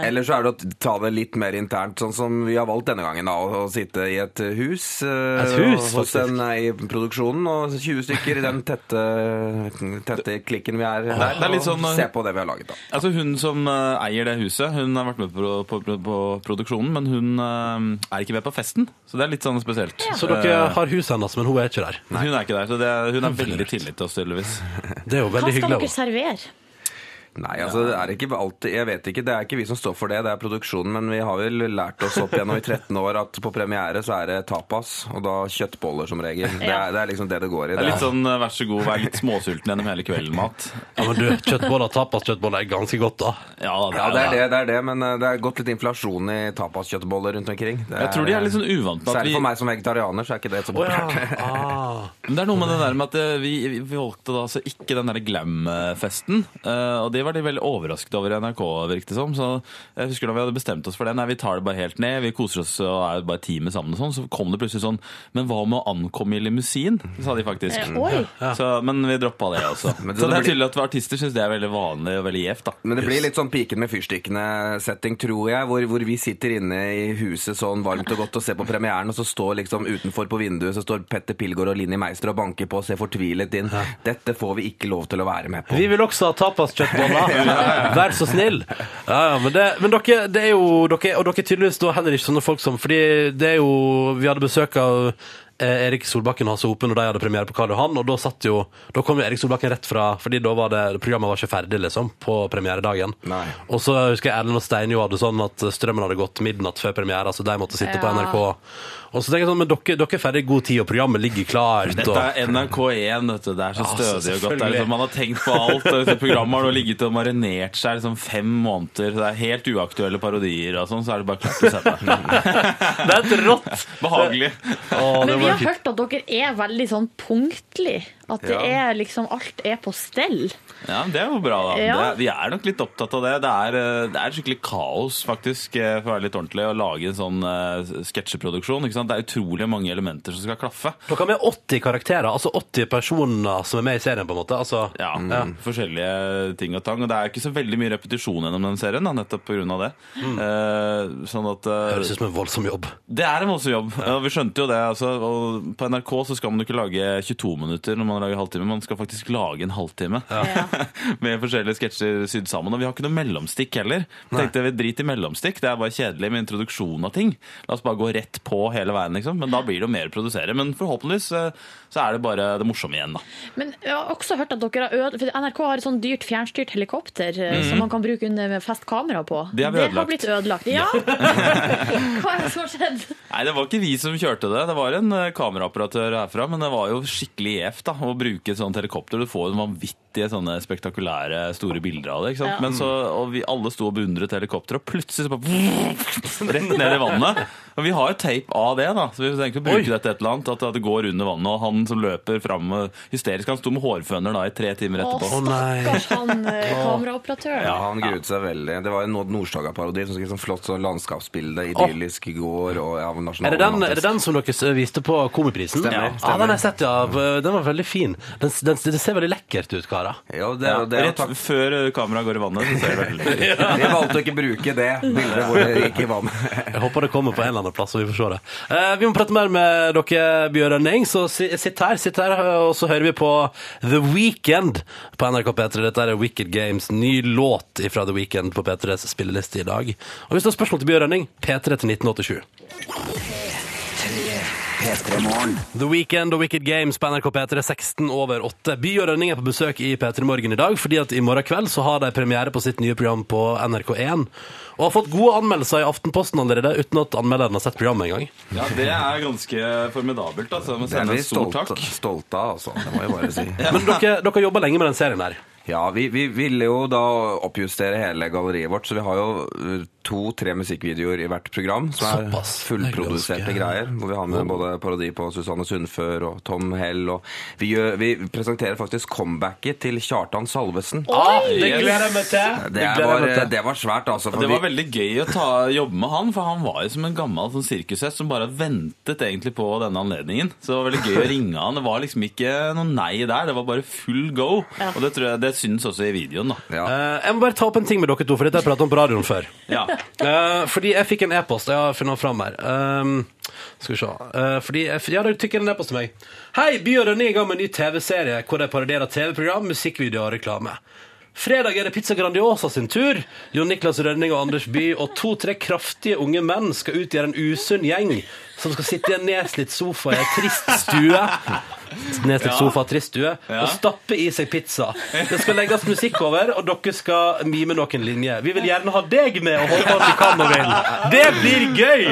K: Eller så er det å ta det litt mer internt, sånn som vi har valgt denne gangen. da, Å, å sitte i et hus, eh,
A: Et hus,
K: hos en øh, i produksjonen, og 20 stykker i den tette, øh, tette klikken vi er der.
L: det er litt sånn,
K: og se på det vi har laget, da.
L: Altså Hun som eh, eier det huset, hun har vært med på, på, på, på produksjonen, men hun eh, er ikke med på festen. Så det er litt sånn spesielt.
A: Så dere
L: Eh,
A: har huset hennes, men hun er ikke der.
L: Hun er ikke der, så det, hun er veldig tillit til oss, tydeligvis.
A: Det er jo
E: Hva skal dere servere?
K: Nei, altså det er ikke alltid Jeg vet ikke, det er ikke vi som står for det, det er produksjonen. Men vi har vel lært oss opp gjennom i 13 år at på premiere så er det tapas, og da kjøttboller som regel. Det
L: Ja.
K: er, det er liksom det det går i.
L: Det er litt sånn eh, vær så god, vær litt småsulten gjennom hele kvelden-mat.
A: Ja, men du, kjøttboller, tapaskjøttboller er ganske godt, da.
L: Ja,
K: Ja, det er det, det er det, men eh, det er gått litt inflasjon i tapaskjøttboller rundt omkring. Det
L: Jeg tror de er litt sånn uvant med at vi-
K: Særlig for meg som vegetarianer, så er ikke det så populært.
L: Men det er noe med det der med at eh, vi, vi valgte da altså ikke den der glam-festen. eh, Og det var de veldig overrasket over i NRK, virket det som. Så jeg husker da vi hadde bestemt oss for det. Nei, vi tar det bare helt ned. Vi koser oss og er bare teamet sammen og sånn. Så kom det plutselig sånn Men hva med å ankomme i limousin? sa de faktisk.
K: Eh, oi.
L: Så, men vi droppa det også.
K: Men det-
L: så det
K: det
L: er
K: blir-
L: tydelig at artister syns det er veldig vanlig og veldig gjevt, da.
K: Men det blir litt sånn Piken med fyrstikkene-setting, tror jeg, hvor, hvor vi sitter inne i huset sånn varmt og godt og ser på premieren, og så står liksom utenfor på vinduet så står Petter Pilgaard og Linni Meister og banker på og ser fortvilet inn. Dette får vi ikke lov til å være med på.
A: Vi vil også ha tapaskjøttboller. Vær så snill. Ja, ja, men det, men dere, det er jo dere, Og dere er tydeligvis da heller ikke sånne folk som Fordi det er jo Vi hadde besøk av eh, Erik Solbakken og Hasse Hope når de hadde premiere på Karl Johan, og da satt jo Da kom jo Erik Solbakken rett fra Fordi da var det programmet var ikke ferdig, liksom, på premieredagen. Og så husker jeg Erlend og Steinjo hadde sånn at strømmen hadde gått midnatt før premiere, så de måtte sitte på
L: Ja.
A: NRK. Og så tenker jeg sånn, men dere, dere er ferdig i god tid, og programmet ligger klart.
L: Dette
A: og...
L: er NRK1, vet du. Det er så
A: Ja, så
L: stødig og godt. Det er
A: selvfølgelig.
L: liksom, man har tenkt på alt. og dette Programmet har nå ligget og marinert seg liksom fem måneder. Det er helt uaktuelle parodier og sånn, så er det bare klart å sette deg.
A: Det er et rått
L: Behagelig.
E: Men vi har hørt at dere er veldig sånn punktlig. At det
L: Ja.
E: er liksom alt er på stell.
L: Ja, men Det er jo bra, da.
E: Ja.
L: Det, vi er nok litt opptatt av det. Det er, eh, det er skikkelig kaos, faktisk, eh, for å være litt ordentlig, å lage en sånn eh, sketsjeproduksjon. ikke sant? Det er utrolig mange elementer som skal klaffe.
A: Dere har med 80 karakterer, altså 80 personer som er med i serien, på en måte. Altså,
L: Ja, Mm. forskjellige ting og tang. Og det er ikke så veldig mye repetisjon gjennom den serien, da, nettopp pga. det. Eh, sånn at eh,
A: Mm. Høres ut som en voldsom jobb.
L: Det er en voldsom jobb. og Vi skjønte jo det. Altså, og på NRK så skal man jo ikke lage 22 minutter når man lager halvtime, man skal faktisk lage en halvtime med forskjellige sketsjer sydd sammen. Og vi har ikke noe mellomstikk heller. Vi tenkte vi drit i mellomstikk, det er bare kjedelig med introduksjon av ting. La oss bare gå rett på hele veien, liksom. Men da blir det jo mer å produsere. Men forhåpentligvis eh, så er det bare det morsomme igjen, da.
E: Men jeg har også hørt at dere har øde, for NRK har et sånn dyrt fjernstyrt helikopter eh,
L: Mhm.
E: som man kan bruke under med fest kamera på.
L: Det har vi ødelagt.
E: har blitt ødelagt. Ja! Hva er det som har skjedd?
L: Nei, det var ikke vi som kjørte det. Det var en eh, kameraoperatør herfra, men det var jo skikkelig gjevt da, å bruke et sånt helikopter. Du får jo vanvittige sånne spektakulære store bilder av det. ikke sant?
K: Ja.
L: Men så, og vi alle sto og beundret helikopteret, og plutselig så bare rett ned i vannet. Og vi har jo tape av det, da, så vi tenkte å bruke
K: Oi.
L: det til et eller annet. At, at det går under vannet, og han som løper fram eh, hysterisk, han sto med hårføner da i tre timer
E: Å,
L: etterpå.
E: stakkars han eh, kameraoperatøren.
K: Ja, han gruet seg veldig. Det var en Odd Nordstoga-parodi. som skulle sånn Flott sånn landskapsbilde, idyllisk i går og ja, nasjonal
A: Er det, den, er det den som dere s- viste på Komiprisen?
K: Stemmer,
A: ja.
K: stemmer.
A: Ja, den har jeg sett, ja. Den var veldig fin. Den, s- den, s- det ser veldig lekkert ut, der, da?
K: Ja, det, er- det er jo
L: Rett før eh, kameraet går i vannet. Så ser det veldig
K: Vi valgte å ikke bruke det bildet hvor det gikk i vann.
A: Jeg håper det kommer på en eller annen plass, så vi får se det. Eh, vi må prate mer med dere, Bjørn Eng, så si, sitt her, sitt her, eh, og så hører vi på The Weekend på NRK P3. Dette er Wicked Games, ny låt fra The Weekend på P3s spilleliste i dag. Og hvis du har spørsmål til Bjørn Eng, P3 til 1987. The Weekend og Wicked Games på NRK P3 16 over 8. By og Rønning er på besøk i P3 Morgen i dag, fordi at i morgen kveld så har de premiere på sitt nye program på NRK1. Og har fått gode anmeldelser i Aftenposten allerede, uten at anmelderen har sett programmet engang.
L: Ja, Det er ganske formidabelt. Altså. Men
K: Det er
L: send
K: vi
L: en stor takk.
K: stolte, stolte av, altså. Det må jeg bare si.
A: Men dere, dere jobba lenge med den serien der.
K: Ja, vi, vi ville jo da oppjustere hele galleriet vårt, så vi har jo eh, to-tre musikkvideoer i hvert program. Som er
A: Såpass.
K: fullproduserte
A: Det er ganske-
K: greier. Hvor vi har
L: Oh.
K: med både parodi på Susanne Sundfør og Tom Hell. Og vi, gjør, vi presenterer faktisk comebacket til Kjartan Salvesen.
L: Ah, det gleder jeg meg til.
K: Det,
L: Det gleder jeg meg
K: var,
L: til.
K: det var svært, altså.
L: Og
K: for
L: det var
K: vi-
L: veldig gøy å ta, jobbe med han, for han var jo som en gammel sånn sirkushest som bare ventet egentlig på denne anledningen. Så det var veldig gøy å ringe han. Det var liksom ikke noe nei der, det var bare full go. Og det, tror jeg, det syns også i videoen, da.
A: Eh, jeg må bare ta opp en ting med dere to, for dette har jeg pratet om på radioen før.
L: Ja.
A: Eh, fordi jeg fikk en e-post. Jeg har funnet fram her. Um, skal vi se. Eh, fordi jeg, f- ja, det fikk en e-post til meg. Hei, By og Rønne er i gang med en ny TV-serie hvor de parodierer TV-program, musikkvideoer og reklame. Fredag er det Pizza Grandiosa sin tur. Jon Niklas Rønning og Anders Bye og to-tre kraftige unge menn skal utgjøre en usunn gjeng som skal sitte i en nedslitt sofa i ei trist stue. Nedslitt
L: Ja.
A: sofa, trist stue.
L: Ja.
A: Og stappe i seg pizza. Det skal legges musikk over, og dere skal mime noen linjer. Vi vil gjerne ha deg med og holde oss i kammeren. Det blir gøy!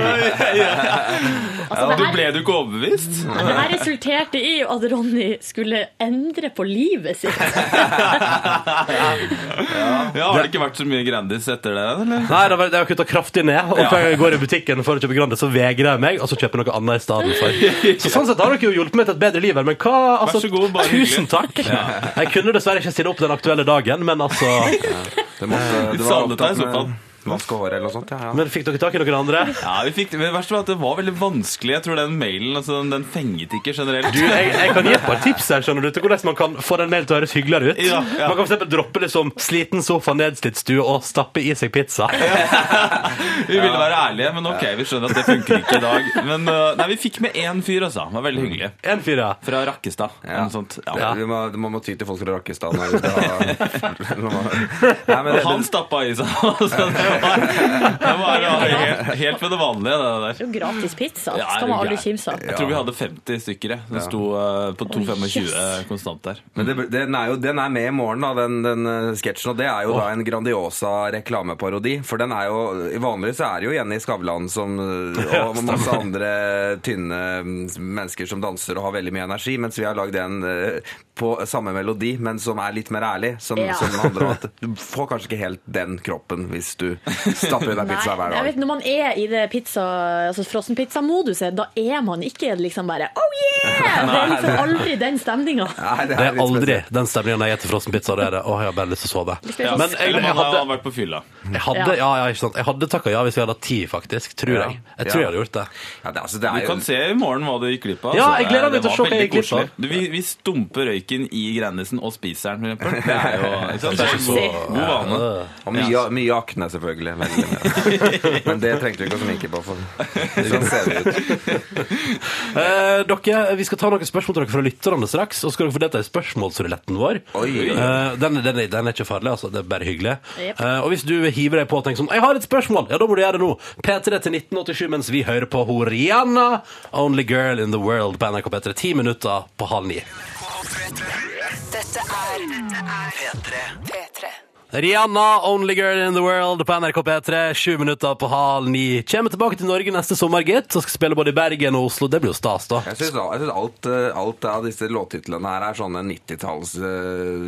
L: Ja, du ble du ikke overbevist?
E: Men det her resulterte i at Ronny skulle endre på livet sitt.
L: Ja, Har det ikke vært så mye Grandis etter det? eller?
A: Nei, da var- jeg har kutta kraftig ned. Og hver gang jeg går i butikken for å kjøpe Grande, så vegrer jeg meg, og så kjøper jeg noe annet i stedet. for. Så sånn sett har dere jo hjulpet meg til et bedre liv her, men hva altså,
L: Vær så god, bare
A: Tusen
L: hyggelig.
A: takk!
L: Ja.
A: Jeg kunne dessverre ikke stille opp den aktuelle dagen, men altså
L: Vi
K: Det måtte, det var
L: savnet deg
K: opptatt
L: i så fall.
K: med vaske håret eller noe sånt. Ja, ja.
A: Men fikk dere tak i noen andre?
L: Ja, vi fikk det, men det verste var at det var veldig vanskelig. Jeg tror den mailen altså, den, den fenget ikke generelt.
A: Du, jeg, jeg kan gi et par tips her, skjønner du, til hvordan man kan få den mailen til å høres hyggeligere ut.
L: Ja, ja.
A: Man kan for eksempel droppe liksom sliten sofa, nedslitt stue og stappe i seg pizza.
L: Vi ville være ærlige, men ok, vi skjønner at det funker ikke i dag. Men øh, nei, vi fikk med én fyr, altså. Han var veldig hyggelig.
A: En fyr, ja.
L: Fra Rakkestad. eller noe sånt. Ja.
K: Vi må, man må ty til folk fra Rakkestad når vi skal ha Nei, men
L: Og
K: det-
L: han stappa i seg. Altså, det var, det var ja, helt, helt ved det vanlige, det der.
E: Det er jo gratis pizza.
L: Ja, er
E: Skal
L: du
E: man aldri
L: gæren?
E: kimse av.
L: Jeg tror vi hadde 50 stykker. jeg. Den sto øh, på 2,25
E: yes.
L: konstant der.
K: Men det, den, er jo, den er med i morgen, da, den, den eh, sketsjen. Og det er jo da en Grandiosa reklameparodi. For den er jo i Vanligvis så er det jo Jenny Skavlan som, eh,
L: Ja,
K: og
L: stemmer.
K: masse andre tynne mm, mennesker som danser og har veldig mye energi. Mens vi har lagd en eh, på samme melodi, men som er litt mer ærlig. Som,
E: Ja.
K: som handler om at du får kanskje ikke helt den kroppen hvis du stapper i deg pizza
E: jeg
K: hver dag.
E: vet, Når man er i det pizza, altså frossenpizza-moduset, da er man ikke liksom bare Oh yeah! Det er liksom aldri den stemninga.
K: Nei,
A: Det er aldri den stemningen jeg gir til frossenpizza. Det er det. Åh, jeg har bare lyst til å sove.
E: sånn.
L: Ja,
A: Men jeg,
L: eller
A: jeg
L: man har
A: hadde,
L: vært på fylla.
A: jeg hadde, ja, ja, ikke sant. Jeg hadde takka ja hvis vi hadde hatt ti, faktisk. Tror jeg. Jeg tror jeg hadde gjort det.
K: Ja, det, altså, det
L: Du
K: er jo
L: kan se i morgen hva du gikk glipp av.
A: Ja,
L: altså.
A: jeg gleder meg
L: Det
A: til å
L: var
A: se hva jeg
L: veldig
A: gikk glipp av.
L: koselig. Du, vi, vi stumper røyken i grandisen og spiser den, for eksempel. Det er jo ikke sant? Det er en god, god vane.
K: Og mye, mye akne, selvfølgelig. Veldig mye. Men det trengte vi ikke å sminke på. For sånn ser det ut.
A: Eh, dere, vi skal ta noen spørsmål til dere fra lytterne straks. Og så skal dere få delta i spørsmålsruletten vår.
K: Oi.
A: Eh, den, den, er- den er ikke farlig, altså. Det er bare hyggelig.
E: Jep.
A: Eh, og hvis du hiver deg på og tenker sånn 'Jeg har et spørsmål', ja, da må du gjøre det nå. P3 til 1987 mens vi hører på ho Rihanna, 'Only Girl in the World' på NRK P3. Ti minutter på halv ni.
H: Dette er P3. P3.
A: Rihanna, 'Only Girl in the World' på NRK P3. Sju minutter på halv ni. Kommer tilbake til Norge neste sommer, gitt. Og skal spille både i Bergen og Oslo. Det blir jo stas, da.
K: Jeg syns alt, eh, alt av disse låttitlene her er sånne 90-talls eh,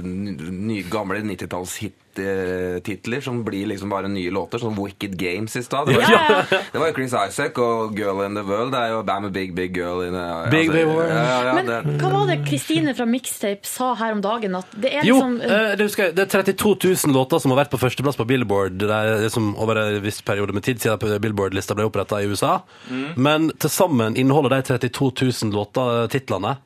K: ny, Gamle 90-tallshit-titler som blir liksom bare nye låter. Sånn Wicked Games i stad. Det, var-
A: Ja.
K: det var jo Chris Isaac og Girl in the World. Det er jo I'm a big, big girl in a altså,
A: Big, big world.
K: Ja, ja, ja,
E: Men
K: det,
E: hva var det Kristine fra Mixtape sa her om dagen? At det er
A: Jo,
E: liksom
A: eh, det, husker jeg, det er 32 000 låter som har vært på førsteplass på Billboard det er liksom over en viss periode med tid siden Billboard-lista ble oppretta i USA.
K: Mm.
A: Men til sammen inneholder de 32 000 låter, titlene, eh,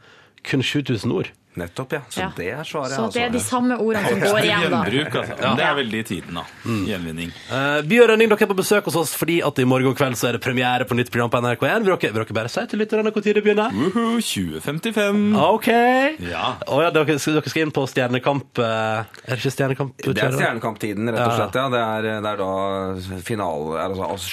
A: kun 7000 ord.
K: Nettopp, ja. Så
E: Ja.
K: det er svaret.
E: Så det er de
K: altså.
E: samme ordene som går igjen, da.
L: Gjenbruk, altså.
A: Ja.
L: Men det er veldig i tiden, da. Gjenvinning.
A: Eh, Bjørn Rønning, dere er på besøk hos oss fordi at i morgen kveld så er det premiere på nytt program på NRK1. Vil dere, vil dere bare si til lytterne når det begynner?
K: Mm.
L: Woohoo, 2055.
A: OK.
L: Ja.
A: Å ja, dere, skal- dere skal inn på Stjernekamp eh, Er det ikke Stjernekamp? du
K: Det er
A: kjører?
K: Stjernekamp-tiden, rett og
A: Ja.
K: slett. Ja. Det, er, det er da final, er altså, altså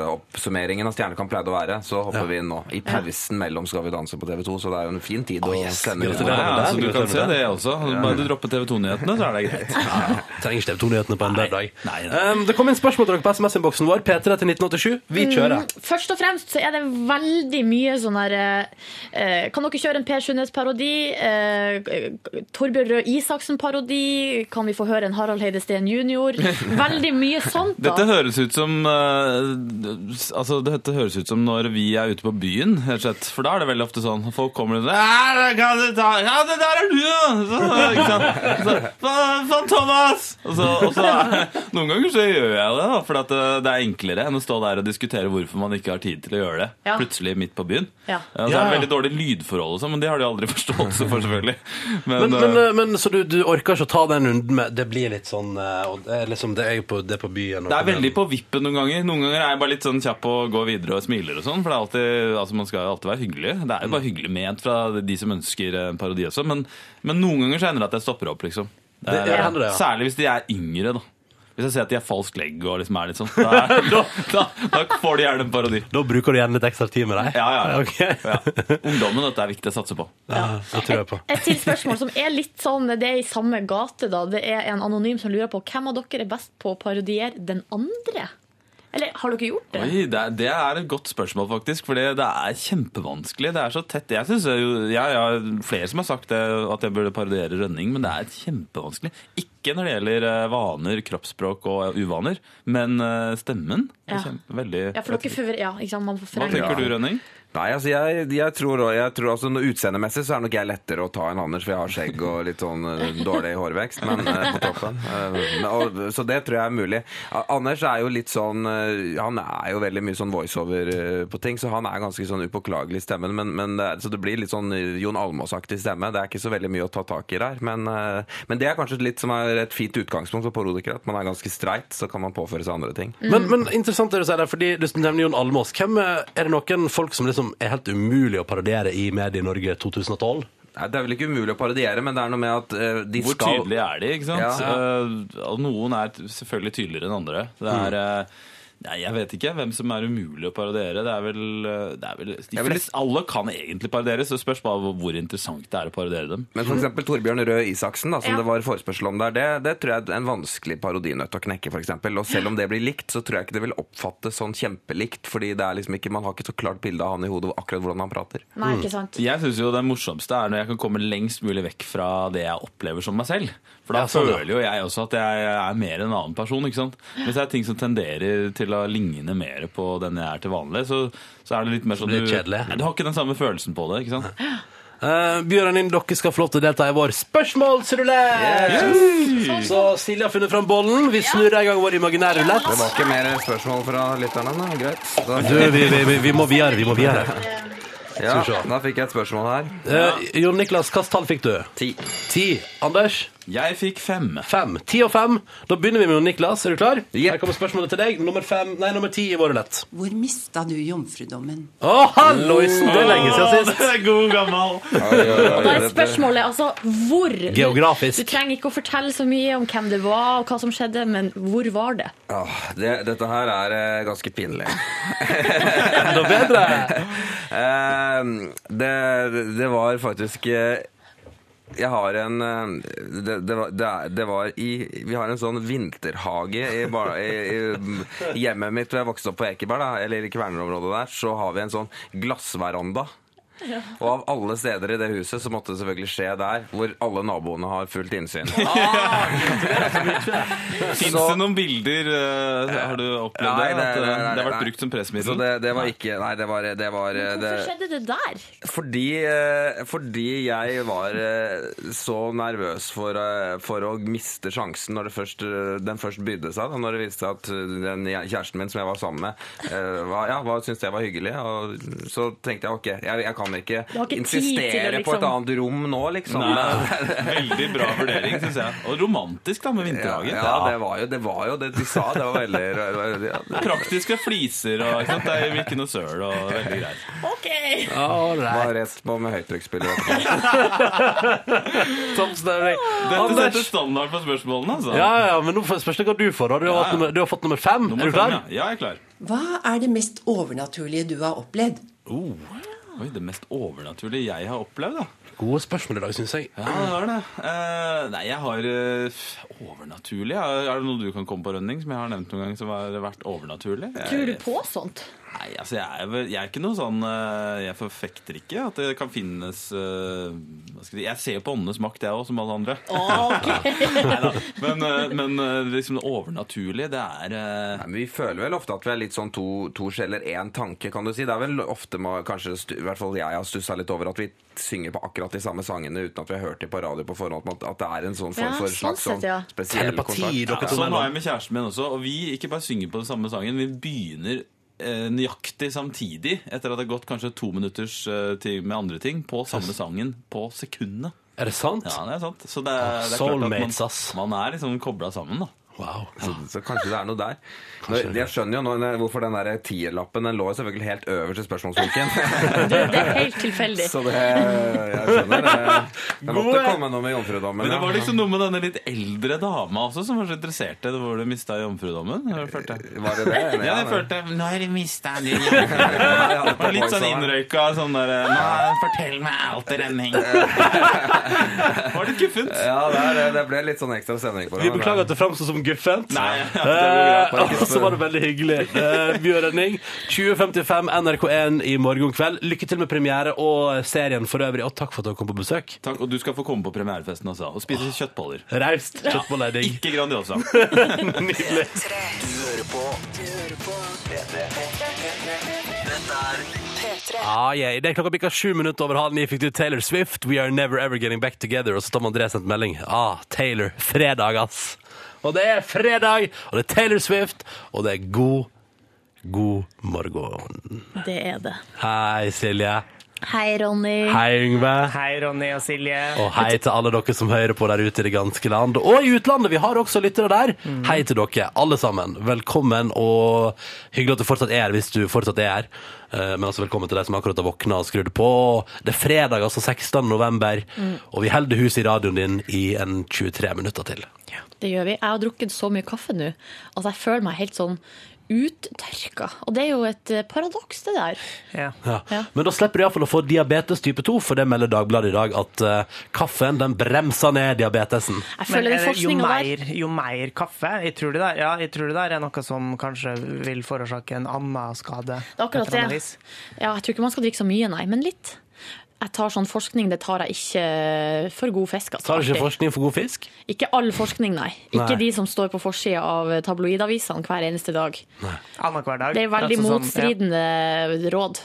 K: sluttoppsummeringen av Stjernekamp pleide å være. Så hopper vi inn nå. I pausen mellom Skal vi danse på TV 2, så det er jo en fin tid å sende ut.
L: Ja, ja, så altså, du kan se det også.
K: Ja.
L: Bare du dropper TV 2-nyhetene, så er det greit.
A: Trenger ikke TV 2-nyhetene på en lørdag. Um, det kom inn spørsmål til dere på SMS-innboksen vår. P3 til 1987. Vi kjører.
E: Mm, Først og fremst så er det veldig mye sånn her eh, Kan dere kjøre en Per Sundnes-parodi? Eh, Torbjørn Røe Isaksen-parodi? Kan vi få høre en Harald Heide Steen jr.? Veldig mye sånt, da.
L: Dette høres ut som eh, Altså, dette høres ut som når vi er ute på byen, rett og slett. For da er det veldig ofte sånn Folk kommer og sier «Ja, da kan du ta- Ja, det der er du, ja! Så, ikke sant? Så, faen, faen, Thomas! Og så, og så Noen ganger så gjør jeg det, da, for at eh, det er enklere enn å stå der og diskutere hvorfor man ikke har tid til å gjøre det.
E: Ja.
L: Plutselig midt på byen.
E: Ja.
L: Ja, så er det veldig dårlig lydforhold og sånn, men det har de aldri forståelse for, selvfølgelig.
A: Men,
L: eh,
A: men, eh, men så du, du orker ikke å ta den runden med Det blir litt sånn eh, og det, er liksom, det er jo på, det er på byen. og-
L: Det er veldig på vippen noen ganger. Noen ganger er jeg bare litt sånn kjapp og går videre og smiler og sånn. For det er alltid, altså man skal jo alltid være hyggelig. Det er jo bare hyggelig ment fra de som ønsker en parodi også. Men, men noen ganger så hender det at jeg stopper opp, liksom. Det
A: Det-
L: er-
A: det hender det, ja.
L: Særlig hvis de er yngre, da. Hvis jeg ser at de er falsk legg og liksom er litt sånn, da, er- da, da, da får de gjerne en parodi.
A: Da bruker du gjerne litt ekstra tid med deg?
L: Ja, ja. ja.
A: Ok.
L: ja. Ungdommen, dette er viktig å satse på.
A: Ja, det tror jeg på.
E: Et til spørsmål som er litt sånn Det er i samme gate, da. Det er en anonym som lurer på hvem av dere er best på å parodiere den andre? Eller har dere gjort det?
L: Oi, det, er- det er et godt spørsmål, faktisk. For det det er kjempevanskelig. Det er så tett. Jeg synes jo, jeg, jeg har flere som har sagt det, at jeg burde parodiere Rønning, men det er kjempevanskelig. Ikke når det gjelder eh, vaner, kroppsspråk og uvaner, men eh, stemmen.
E: Ja.
L: er kjem- Veldig
E: Ja, for dere forvre- ja, ikke sant? Man
L: Hva
E: forvrenger.
L: tenker du, Rønning?
K: Nei, altså jeg, jeg tror, også- jeg tror altså, noe Utseendemessig så er nok jeg lettere å ta enn Anders, for jeg har skjegg og litt sånn eh, dårlig hårvekst men, eh, på toppen. Eh, men- og, så det tror jeg er mulig. A- Anders er jo litt sånn eh, Han er jo veldig mye sånn voiceover eh, på ting, så han er ganske sånn upåklagelig i stemmen. Men, men, det er- så det blir litt sånn Jon Almaas-aktig stemme. Det er ikke så veldig mye å ta tak i der. Men, eh, men det er kanskje litt som er et fint utgangspunkt for parodikere, at man er ganske streit, så kan man påføre seg andre ting.
A: Men, men interessant er det å si det, fordi du nevner Jon Almaas. Hvem eh, Er det noen folk som liksom er helt umulig å parodiere i Medie-Norge 2012?
K: Nei, Det er vel ikke umulig å parodiere, men det er noe med at eh, de
L: Hvor
K: skal
L: tydelige er de? ikke sant?
K: Ja.
L: Eh, og noen er t- selvfølgelig tydeligere enn andre. Det er,
K: Mm.
L: eh, nei, Jeg vet ikke hvem som er umulig å parodiere. Det er vel, eh, det er vel de
K: Jeg vil-
L: fleste, Alle kan egentlig parodieres. Det spørs bare hvor- hvor interessant det er å parodiere dem.
K: Men for eksempel Torbjørn Røe Isaksen, da, som
L: Ja.
K: det var forespørsel om der, det, det tror jeg er en vanskelig parodinøtt å knekke, for eksempel. Og selv om det blir likt, så tror jeg ikke det vil oppfattes sånn kjempelikt, fordi det er liksom ikke, man har ikke så klart bilde av han i hodet akkurat hvordan han prater.
E: Nei,
L: Mm.
E: ikke sant.
L: Jeg syns jo det morsomste er når jeg kan komme lengst mulig vekk fra det jeg opplever som meg selv. For da
K: Ja, sånn, ja.
L: føler jo jeg også at jeg er mer en annen person. ikke sant? Hvis det er ting som tenderer til å ligne mer på den jeg er til vanlig, så, så er det litt mer sånn
A: Det blir
L: du,
A: kjedelig.
L: Nei, du har ikke den samme følelsen på det. ikke sant?
A: Uh, Bjørn Lind, dere skal få lov til å delta i vår spørsmålsrulett!
L: Yes!
A: Så Silje har funnet fram bollen. Vi snurrer i gang vår imaginære rulett.
K: Det var ikke mer spørsmål fra lytterne, da. Greit. Da,
A: Du, vi, vi, vi, vi må videre. Vi må videre.
K: ja,
A: Skal vi se.
K: da fikk jeg et spørsmål her.
A: Eh, Jon Niklas, hvilket tall fikk du?
K: Ti.
A: Ti. Anders?
L: Jeg fikk fem.
A: Fem. Ti og fem. Da begynner vi med Jon Niklas. Er du klar? Her kommer spørsmålet til deg. Nummer fem, nei, nummer ti i vår rulett.
M: Hvor mista du jomfrudommen?
A: Å, halloisen! Det er lenge siden sist.
L: Det er god, gammel.
E: Og da er spørsmålet altså hvor
A: Geografisk.
E: Du trenger ikke å fortelle så mye om hvem det var og hva som skjedde, men hvor var det?
K: Åh, det, dette her er eh, ganske pinlig.
A: Enda bedre!
K: Ehm, det, det var faktisk eh, Jeg har en eh, det, det, var, det, er- det var i Vi har en sånn vinterhage i, bar- i, i hjemmet mitt hvor jeg vokste opp på Ekeberg, da, eller i Kverner-området der, så har vi en sånn glassveranda. Og av alle steder i det huset så måtte det selvfølgelig skje der hvor alle naboene har fullt innsyn.
L: Ah! Fins
K: Så-
L: det noen bilder eh, Har du opplevd
K: Nei,
L: det? At, eh,
K: nei, nei,
L: det har vært
K: nei.
L: brukt som
K: Så
L: pressmiddel?
K: det, det var ikke Nei, det var, Eh, det var
E: Hvorfor
K: det,
E: skjedde det der?
K: Fordi, eh, fordi jeg var eh, så nervøs for, eh, for å miste sjansen når det først, eh, den først bydde seg. Da, når det viste seg at den jeg- eh, kjæresten min som jeg var sammen med, eh, var, ja, var, syntes det var hyggelig. Og så tenkte jeg ok, jeg, jeg kan kan ikke,
E: Du har ikke tid
K: insistere
E: til å
K: på et
E: liksom-
K: annet rom nå, liksom.
L: Nei, veldig bra vurdering, syns jeg. Og romantisk, da, med vinterhagen.
K: Ja, ja, det var jo det, var jo det de sa. Det var veldig det var- ja.
L: Praktiske fliser og ikke sant? Det er ikke noe søl og veldig greit.
E: OK!
K: Bare rett på med høytrykksspiller.
A: sånn
L: Dette
A: Anders!
L: setter standard for spørsmålene, altså.
A: Ja, ja, men nå får- spørs det hva du får. da. Du har,
L: Ja,
A: hatt
L: ja.
A: nummer, du har fått nummer fem. er du klar?
L: Ja, jeg er klar.
M: Hva er det mest overnaturlige du har opplevd?
L: Oh. Oi, det mest overnaturlige jeg har opplevd, da.
A: Gode spørsmål i dag, syns jeg.
L: Ja, det var det. Eh, nei, jeg har eh, overnaturlig ja. Er det noe du kan komme på, Rønning, som jeg har nevnt noen gang som har vært overnaturlig?
E: Tror du på sånt?
L: Nei, altså jeg er, vel, jeg er ikke noe sånn eh, Jeg forfekter ikke at det kan finnes eh, hva skal jeg, si, jeg ser jo på åndenes makt, jeg òg, som alle andre. Neida. men, eh, men eh, liksom det overnaturlige, det er eh,
K: Nei, men vi føler vel ofte at vi er litt sånn to, to sjeler, én tanke, kan du si. Det er vel ofte man, kanskje, stu- i hvert fall jeg har stussa litt over at vi synger på akkurat de samme sangene uten at vi har hørt dem på radio på forhånd. At, at det er en sånn form
E: Ja,
K: for
E: sånn
K: slags sånn
E: sett, ja.
K: spesiell kontakt.
L: Ja, Sånn var jeg med kjæresten min også. Og vi ikke bare synger på den samme sangen, vi begynner eh, nøyaktig samtidig, etter at det har gått kanskje to minutters eh, tid med andre ting, på samme sangen på sekundene.
A: Er det sant?
L: Ja, det er sant. Så det, er- det er klart at man,
A: Soulmates,
L: man er liksom kobla sammen, da.
K: Så, så kanskje det er noe der. Nå, jeg skjønner jo nå når- hvorfor den der tierlappen den lå jo selvfølgelig helt øverst i spørsmålsbunken.
E: Det er helt tilfeldig.
K: Så det, jeg skjønner det. Det måtte
L: Gode.
K: komme noe med jomfrudommen.
L: Men det
K: ja.
L: var liksom noe med denne litt eldre dama også som var så interessert i det, hvor du mista jomfrudommen. jeg Følte.
K: Var det det? eller?
L: Ja, jeg
K: det-
L: følte Når mista du
K: jomfrudommen?
L: Og Litt sånn innrøyka sånn der Nå, fortell meg alt, Renning. Var det guffent?
K: Ja, det, er det, det ble litt sånn ekstra stemning på det.
A: Vi beklager at det framstår som guffent.
K: Nei, ja, det går greit, bare
A: Eh,
K: ikke
A: Og så var det veldig hyggelig. Eh, Bjørn Rønning, 2055 NRK1 i morgen kveld. Lykke til med premiere og serien for øvrig, og takk for at dere kom på besøk.
L: Takk, Og du skal få komme på premierefesten også, og spise kjøttboller.
A: Raust.
L: Ja.
A: Kjøttboller er digg.
L: Ikke Grandiosa.
A: Nydelig.
H: Du hører på P3. Dette er P3.
A: Ah, yeah. Det er klokka bikka sju minutter over halv ni. Fikk du Taylor Swift, We Are Never Ever Getting Back Together? Og så Tom André sendte melding. Ah, Taylor. Fredag, ass. Og det er fredag, og det er Taylor Swift, og det er god, god morgen.
E: Det er det.
A: Hei, Silje.
E: Hei, Ronny.
A: Hei, Yngve.
D: Hei, Ronny og Silje.
A: Og hei til alle dere som hører på der ute i det ganske land. Og i utlandet! Vi har også lyttere der.
E: Mm.
A: Hei til dere, alle sammen. Velkommen, og hyggelig at du fortsatt er her hvis du fortsatt er her. Eh, Men altså velkommen til deg som akkurat har våkna og skrudd på. Det er fredag, altså 16. november,
E: Mm.
A: og vi holder huset i radioen din i en 23 minutter til.
E: Det gjør vi. Jeg har drukket så mye kaffe nå at jeg føler meg helt sånn uttørka. Og det er jo et eh, paradoks, det der.
A: Ja.
E: Ja.
A: Men da slipper du iallfall å få diabetes type 2, for det melder Dagbladet i dag at eh, kaffen den bremser ned diabetesen.
D: Men er det jo mer, jo mer kaffe, jeg tror, det der, ja, jeg tror det der er noe som kanskje vil forårsake en annen skade.
E: Det er akkurat
D: på et eller annet
E: det.
D: vis.
E: Ja, jeg tror ikke man skal drikke så mye, nei, men litt. Jeg tar sånn forskning, det tar jeg ikke for god fisk. altså,
A: Tar du ikke
E: alltid.
A: forskning for god fisk?
E: Ikke all forskning, nei. Ikke
A: Nei.
E: de som står på forsida av tabloidavisene hver eneste dag.
D: Annenhver dag.
E: Det er veldig
D: Altså sånn,
E: motstridende råd.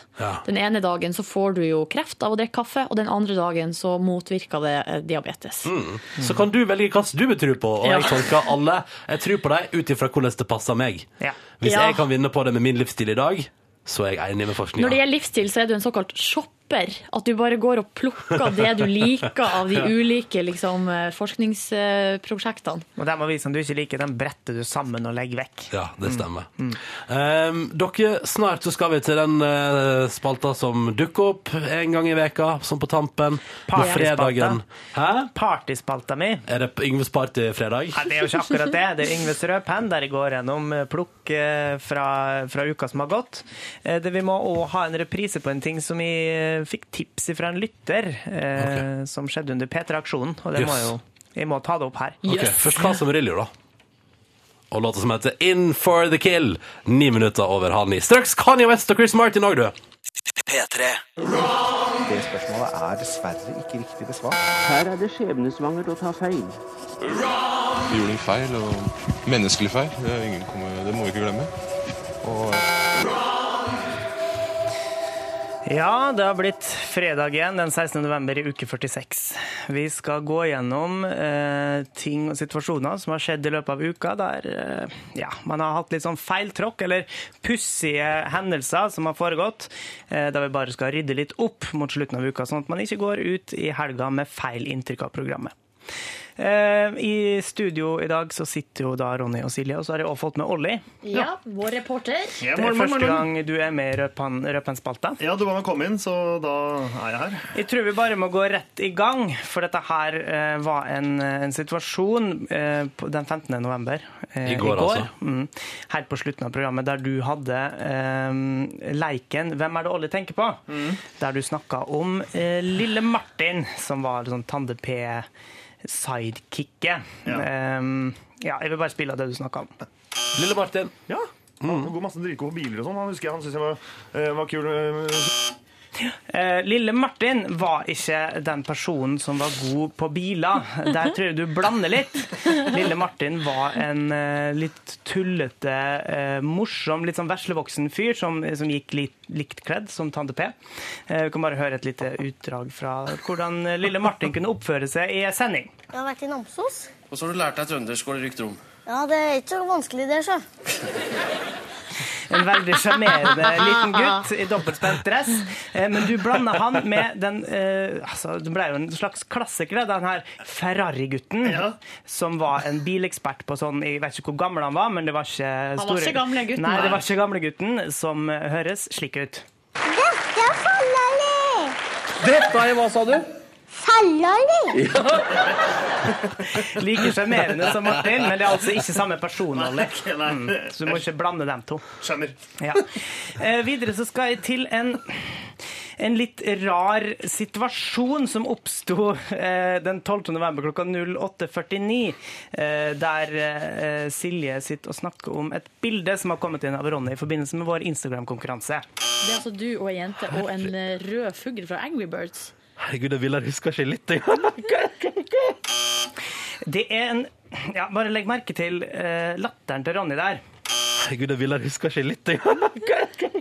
E: Den ene dagen så får du jo kreft av å drikke kaffe, og den andre dagen så motvirker det eh, diabetes.
A: Mm. Så kan du velge hva du vil tro på, og
E: Ja.
A: jeg tolker alle. Jeg tror på deg ut ifra hvordan det passer meg.
D: Ja.
A: Hvis
E: Ja.
A: jeg kan vinne på det med min livsstil i dag, så er jeg enig med
E: Når det
A: forskninga.
E: gjelder livsstil, så er du en såkalt shopper. At du bare går og plukker det du liker av de
D: Ja.
E: ulike liksom, eh, forskningsprosjektene.
D: Og de avisene du ikke liker, de bretter du sammen og legger vekk.
A: Ja, det stemmer.
E: Mm.
A: Um, dere, snart så skal vi til den eh, spalta som dukker opp en gang i veka, som på tampen. På fredagen. Hæ?
D: Partyspalta mi.
A: Er det Yngves partyfredag?
D: Nei, det er jo ikke akkurat det. Det er Yngves rød penn der jeg går gjennom eh, plukk eh, fra, fra uka som har gått. Eh, Det, vi må òg ha en reprise på en ting som vi eh, fikk tips fra en lytter, eh, som skjedde under P3-aksjonen. Og det må
A: Yes.
D: jo, jeg må ta det opp her.
A: Ok, Først hva som riller, da. Og låta som heter In for the kill. Ni minutter over halv ni. Straks Kanye West og Chris Martin òg, du.
N: P3.
O: Det spørsmålet er dessverre ikke riktig besvart. Her er det skjebnesvangert å ta feil.
P: Vi gjorde en feil, og menneskelig feil. Det, er ingen komme, det må vi ikke glemme. Og
D: Ja, det har blitt fredag igjen, den 16. november i uke 46. Vi skal gå gjennom eh, ting og situasjoner som har skjedd i løpet av uka, der eh, ja, man har hatt litt sånn feiltråkk eller pussige hendelser som har foregått, eh, der vi bare skal rydde litt opp mot slutten av uka, sånn at man ikke går ut i helga med feil inntrykk av programmet. Eh, I studio i dag så sitter jo da Ronny og Silje, og så har jeg også fått med Olli.
E: Ja, vår reporter.
D: Det er første gang du er med i Rødpann- Rødpannspalta.
I: Ja, du ba meg komme inn, så da er jeg her.
D: Jeg tror vi bare må gå rett i gang, for dette her eh, var en, en situasjon eh, på- den 15. november. eh,
A: I går, altså.
D: Mm, her på slutten av programmet, der du hadde eh, leiken 'Hvem er det Olli tenker på?'
A: Mm.
D: Der du snakka om eh, lille Martin, som var sånn Tande-P-sidekicket. Ja. Eh, ja, jeg vil bare spille av det du snakka om.
A: Lille Martin.
I: Ja. Han går masse dritgode biler og sånn. Han husker jeg, han syntes jeg var, eh, var kul. eh,
D: Eh, Lille Martin var ikke den personen som var god på biler. Der tror jeg du blander litt. Lille Martin var en eh, litt tullete, eh, morsom, litt sånn veslevoksen fyr som, som gikk litt likt kledd som Tante P. Eh, vi kan bare høre et lite utdrag fra hvordan eh, Lille Martin kunne oppføre seg i sending.
N: Jeg har vært i Namsos.
Q: Og så har du lært deg trøndersk, går det rykter om.
N: Ja, det er ikke så vanskelig, det, sjø.
D: En veldig sjarmerende liten gutt i dobbeltspent dress. Eh, Men du blander han med den eh, altså, Det ble jo en slags klassiker, da, den her Ferrari-gutten. Som var en bilekspert på sånn Jeg vet ikke hvor gammel han var, men det var
E: Han
D: ikke
E: var ikke gamle gutten,
D: Nei, det
E: nei.
D: var ikke gamle gutten som eh, høres slik ut.
N: Dette er Fallali!
D: Dette er hva, sa du?
N: Fallali!
D: Like sjarmerende som Martin, men det er altså ikke samme person. Olli. Mm, så du må ikke blande dem to.
I: Skjønner.
D: Ja. Eh, videre så skal jeg til en en litt rar situasjon som oppsto eh, den 12. november klokka 08.49, eh, der eh, Silje sitter og snakker om et bilde som har kommet inn av Ronny i forbindelse med vår Instagram-konkurranse.
E: Det er altså du og ei jente og en eh, rød fugl fra Angry Birds.
D: Herregud, jeg vil jeg husker ikke litt engang. Det er en ja, Bare legg merke til eh, latteren til Ronny der. Herregud, jeg vil jeg husker ikke litt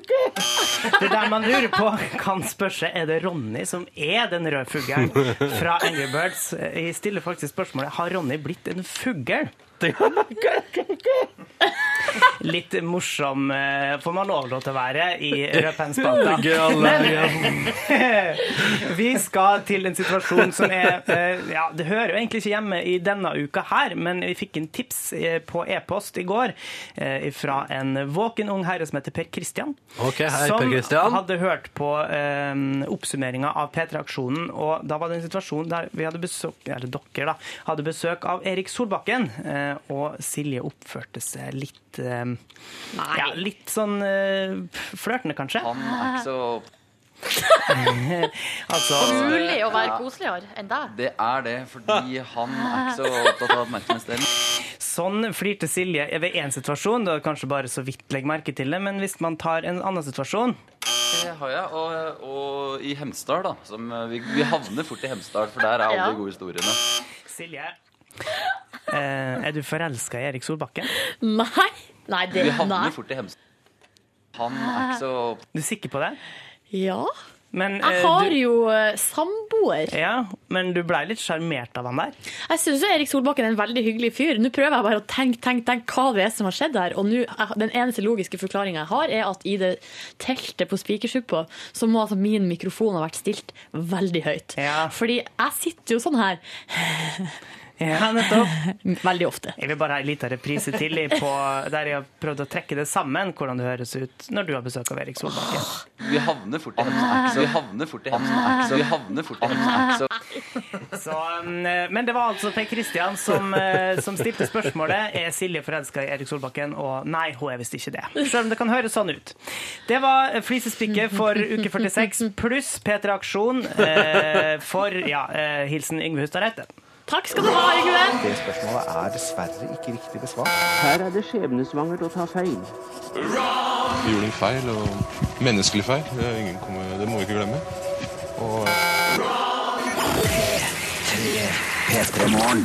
D: Det der man lurer på, kan spørre seg er det Ronny som er den røde fuglen fra Angry Birds. Jeg stiller faktisk spørsmålet har Ronny blitt en fugl. Litt morsom eh, får man lov til å være i Rødpennspalta.
A: Gøy,
D: Vi skal til en situasjon som er eh, Ja, det hører jo egentlig ikke hjemme i denne uka her, men vi fikk en tips eh, på e-post i går eh, fra en våken ung herre som heter Per Christian.
A: Ok, hei,
D: som
A: Per Christian.
D: hadde hørt på eh, oppsummeringa av P3-aksjonen, og da var det en situasjon der vi hadde besøk, eller dere da, hadde besøk av Erik Solbakken, eh, og Silje oppførte seg litt eh, ja, litt sånn eh, flørtende, kanskje. Han
R: er ikke så-
D: altså,
E: Mulig å være
R: Ja.
E: koseligere enn deg.
R: Det er det, fordi han er ikke så opptatt av oppmerksomhetsdelen.
D: Sånn flirte Silje ved én situasjon. Det er kanskje bare så vidt legg merke til det, men hvis man tar en annen situasjon
R: Det har jeg, og, og i Hemsedal, da. Som vi, vi havner fort i Hemsedal, for der er alle
D: Ja.
R: de gode historiene.
D: Silje. eh, Er du forelska i Erik Solbakken?
E: Nei. Nei, det,
R: Vi havner
E: nei.
R: fort i Hemsedal. Han er ikke så
D: Du er sikker på det?
E: Ja.
D: Men, eh,
E: Jeg har
D: du-
E: jo eh, samboer.
D: Ja, men du blei litt sjarmert av han der.
E: Jeg syns Erik Solbakken er en veldig hyggelig fyr. Nå prøver jeg bare å tenke tenk, tenk, hva det er som har skjedd her. Og nå, eh, den eneste logiske forklaringa jeg har, er at i det teltet på Spikersuppa, så må altså min mikrofon ha vært stilt veldig høyt. Fordi jeg sitter jo sånn her
D: Ja, nettopp.
E: veldig ofte.
D: Jeg vil bare ha en liten reprise til i på, der jeg har prøvd å trekke det sammen, hvordan det høres ut når du har besøk av Erik Solbakken.
R: Vi havner fort i Hemsedal. Vi havner fort i Hemsedal. Vi havner fort i Hemsedal.
D: Så, mm, eh, men det var altså Per Christian som, eh, som stilte spørsmålet Er Silje forelska i Erik Solbakken. Og nei, hun er visst ikke det. Selv om det kan høres sånn ut. Det var eh, flisespikket for uke 46 pluss P3 Aksjon eh, for ja, eh, hilsen Yngve Hustad Reite.
E: Takk skal du ha, Yngve.
O: Det spørsmålet er dessverre ikke riktig besvart. Her er det skjebnesvangert å ta feil.
P: Vi gjorde en feil, og menneskelig feil. Det, er ingen kommer, det må vi ikke glemme. Og
H: P3 Morgen.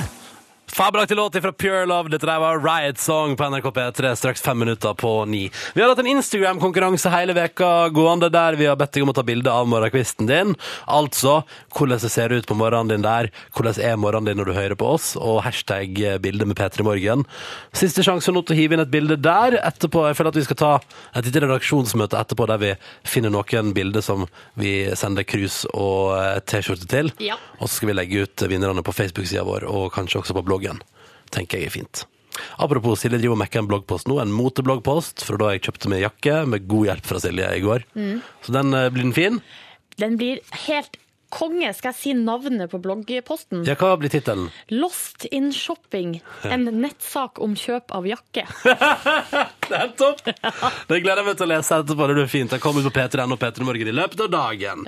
A: Fabelaktig låt fra Pure Love. Dette der var Riot Song på NRK P3 straks fem minutter på ni. Vi har hatt en Instagram-konkurranse hele veka gående der vi har bedt deg om å ta bilde av morgenkvisten din. Altså hvordan det ser ut på morgenen din der, hvordan er morgenen din når du hører på oss, og hashtag eh, bilde med P3 Morgen. Siste sjanse nå til å hive inn et bilde der. Etterpå, Jeg føler at vi skal ta et lite redaksjonsmøte etterpå der vi finner noen bilder som vi sender krus og eh, T-skjorte til.
H: Ja.
A: Og så skal vi legge ut vinnerne på Facebook-sida vår, og kanskje også på bloggen. Tenker jeg er fint. Apropos, Silje driver og mekker en bloggpost nå, en motebloggpost fra da jeg kjøpte meg jakke, med god hjelp fra Silje i går.
E: Mm.
A: Så den eh, blir den fin.
E: Den blir helt konge. Skal jeg si navnet på bloggposten?
A: Ja, hva blir tittelen?
E: Lost in shopping. En nettsak om kjøp av jakke.
A: Det er topp! Det gleder jeg meg til å lese etterpå. Det blir fint. Jeg kommer på P3N og P3 Morgen i løpet av dagen.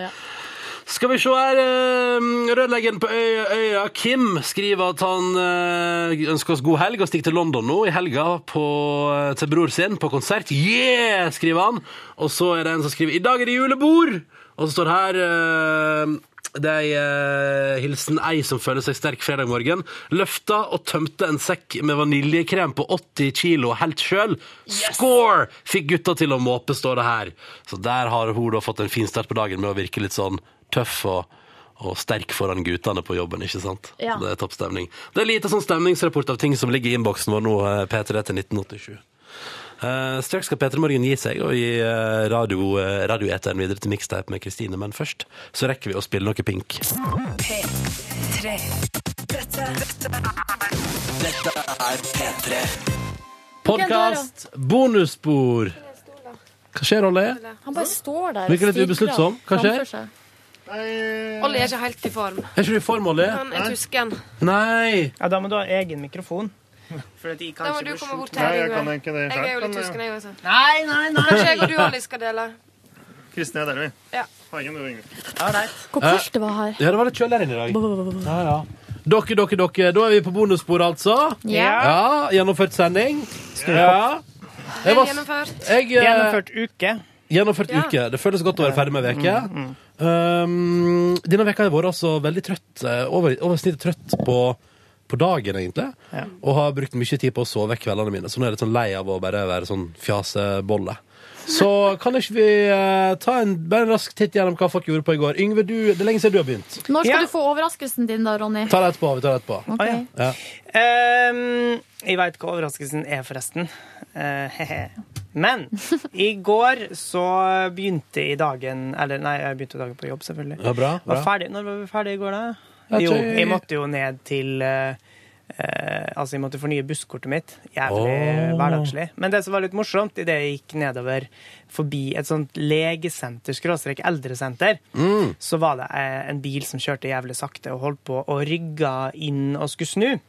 A: Skal vi se her eh, Rødleggeren på øya, øya Kim skriver at han eh, ønsker oss god helg og stikker til London nå i helga på, eh, til bror sin på konsert. Yeah! skriver han. Og så er det en som skriver I dag er det julebord! Og så står det her eh, det er eh, hilsen ei som føler seg sterk fredag morgen. Løfta og tømte en sekk med vaniljekrem på 80 kilo helt sjøl. Score! Fikk gutta til å måpe, står det her. Så der har hun da fått en fin start på dagen med å virke litt sånn tøff og, og sterk foran guttene på jobben, ikke sant?
H: Ja.
A: Det er topp stemning. Det er lite sånn stemningsrapport av ting som ligger i innboksen vår nå, eh, P3 til 1987. Eh, straks skal P3 Morgen gi seg og gi eh, radio, eh, radioeteren videre til mixtape med Kristine, men først så rekker vi å spille noe pink.
H: P3. Dette, dette er Dette er P3.
A: Podkast, bonusspor. Hva skjer, Olle?
C: Han bare står der. og
A: Virker litt
C: stirrer
A: ubesluttsom. Hva skjer?
C: framfor seg.
B: Olje er ikke helt i form.
A: Er ikke du i form, Olle?
B: Han er tysken.
A: Nei!
D: Ja, da må du ha egen mikrofon. For at de kan
B: Da må
D: ikke
B: du
D: bli
B: komme
D: sjuk.
B: bort her. Yngve. Jeg er jo litt tysken, jeg også. Nei, nei,
D: nei.
B: Kanskje jeg og du, Olli, skal dele.
I: Kristin er der, vi.
B: Ja.
I: Hagen, du og Yngve.
C: Hvor
D: Eh,
C: kaldt det var her.
A: Ja, det var litt kjøligere enn i dag. Ja, ja. Dere, dere, dere. Da er vi på bonussporet, altså.
C: Ja.
A: Ja, Gjennomført sending. Ja. Jeg var- jeg, eh,
D: Gjennomført uke.
A: Gjennomført
D: Ja. Mm,
A: uke. Det føles godt å være ferdig med en uke. Um, denne veka har jeg vært altså veldig trøtt, eh, over, over snittet trøtt på, på dagen, egentlig. Og har brukt mye tid på å sove vekk kveldene mine, så nå er jeg litt sånn lei av å bare være sånn fjasebolle. Så kan ikke vi eh, ta en, bare en rask titt gjennom hva folk gjorde på i går? Yngve, du, det er lenge siden du har begynt.
C: Når skal du få overraskelsen din, da, Ronny?
A: Ta det etterpå. Vi tar det etterpå.
C: Ok. Ah,
A: Ja.
D: Ehm, jeg veit hva overraskelsen er, forresten. Eh, hehe. Men i går så begynte jeg dagen Eller nei, jeg begynte dagen på jobb, selvfølgelig.
A: Ja, bra, bra.
D: Var ferdig. Når var vi ferdig i går, da?
A: Jeg
D: Jo,
A: tror-
D: jeg måtte jo ned til eh, eh, altså, jeg måtte fornye busskortet mitt.
A: Åh.
D: Jævlig hverdagslig. Men det som var litt morsomt, idet jeg gikk nedover forbi et sånt legesenter, skråstrek eldresenter,
A: Mm.
D: så var det eh, en bil som kjørte jævlig sakte og holdt på å rygge inn og skulle snu.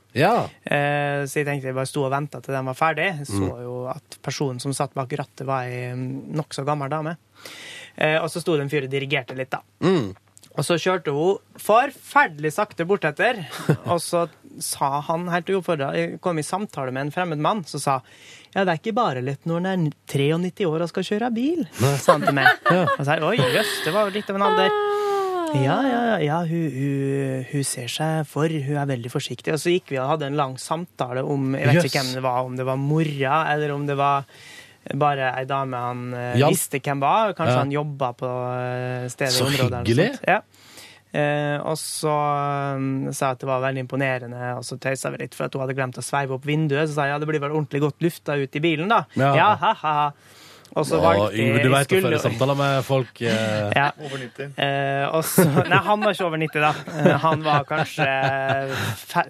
D: Eh, Så jeg tenkte jeg bare sto og venta til den var ferdig. Jeg så
O: Mm.
D: jo at personen som satt bak rattet, var ei mm, nokså gammel dame. Eh, Og så sto det en fyr og dirigerte litt, da.
A: Mm.
D: Og så kjørte hun forferdelig sakte bortetter. Og så sa han helt uoppfordra Jeg kom i samtale med en fremmed mann som sa ja, det er ikke bare lett når en er 93 år og skal kjøre bil, sa han til meg. Og så, Oi, jøss, det var jo litt av en alder.
A: Ah.
D: Ja, ja, ja, ja hun, hun, hun ser seg for. Hun er veldig forsiktig. Og så gikk vi og hadde en lang samtale om Jeg vet
A: Jøss.
D: ikke hvem det var, om det var mora, eller om det var bare ei dame han eh,
A: Jan-
D: visste hvem var. Kanskje
A: Ja.
D: han jobba på eh, stedet.
A: Så
D: i området eller noe
A: hyggelig.
D: sånt. Ja. Eh, og så um, sa jeg at det var veldig imponerende, og så tøysa vi litt for at hun hadde glemt å sveive opp vinduet. Så sa jeg ja, det blir vel ordentlig godt lufta ut i bilen, da.
A: Ja.
D: Ja, ha, ha. Og så
A: Å,
D: valgte
A: Yngve, du
D: jeg
A: vet å
D: skulle-
A: føre samtaler med folk. eh.
D: ja. Eh, og så, nei, han var ikke over 90, da. Eh, han var kanskje fe-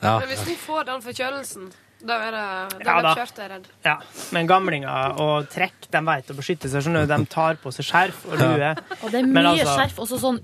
A: Ja.
B: Men hvis du får den forkjølelsen, da er det, da
D: Ja,
B: er det
D: da.
B: kjørt, jeg er redd.
D: Men gamlinger og trekk, de vet å beskytte seg. Skjønner du? De tar på seg skjerf og lue.
C: Og det er
D: Men
C: mye
D: altså-
C: skjerf, også sånn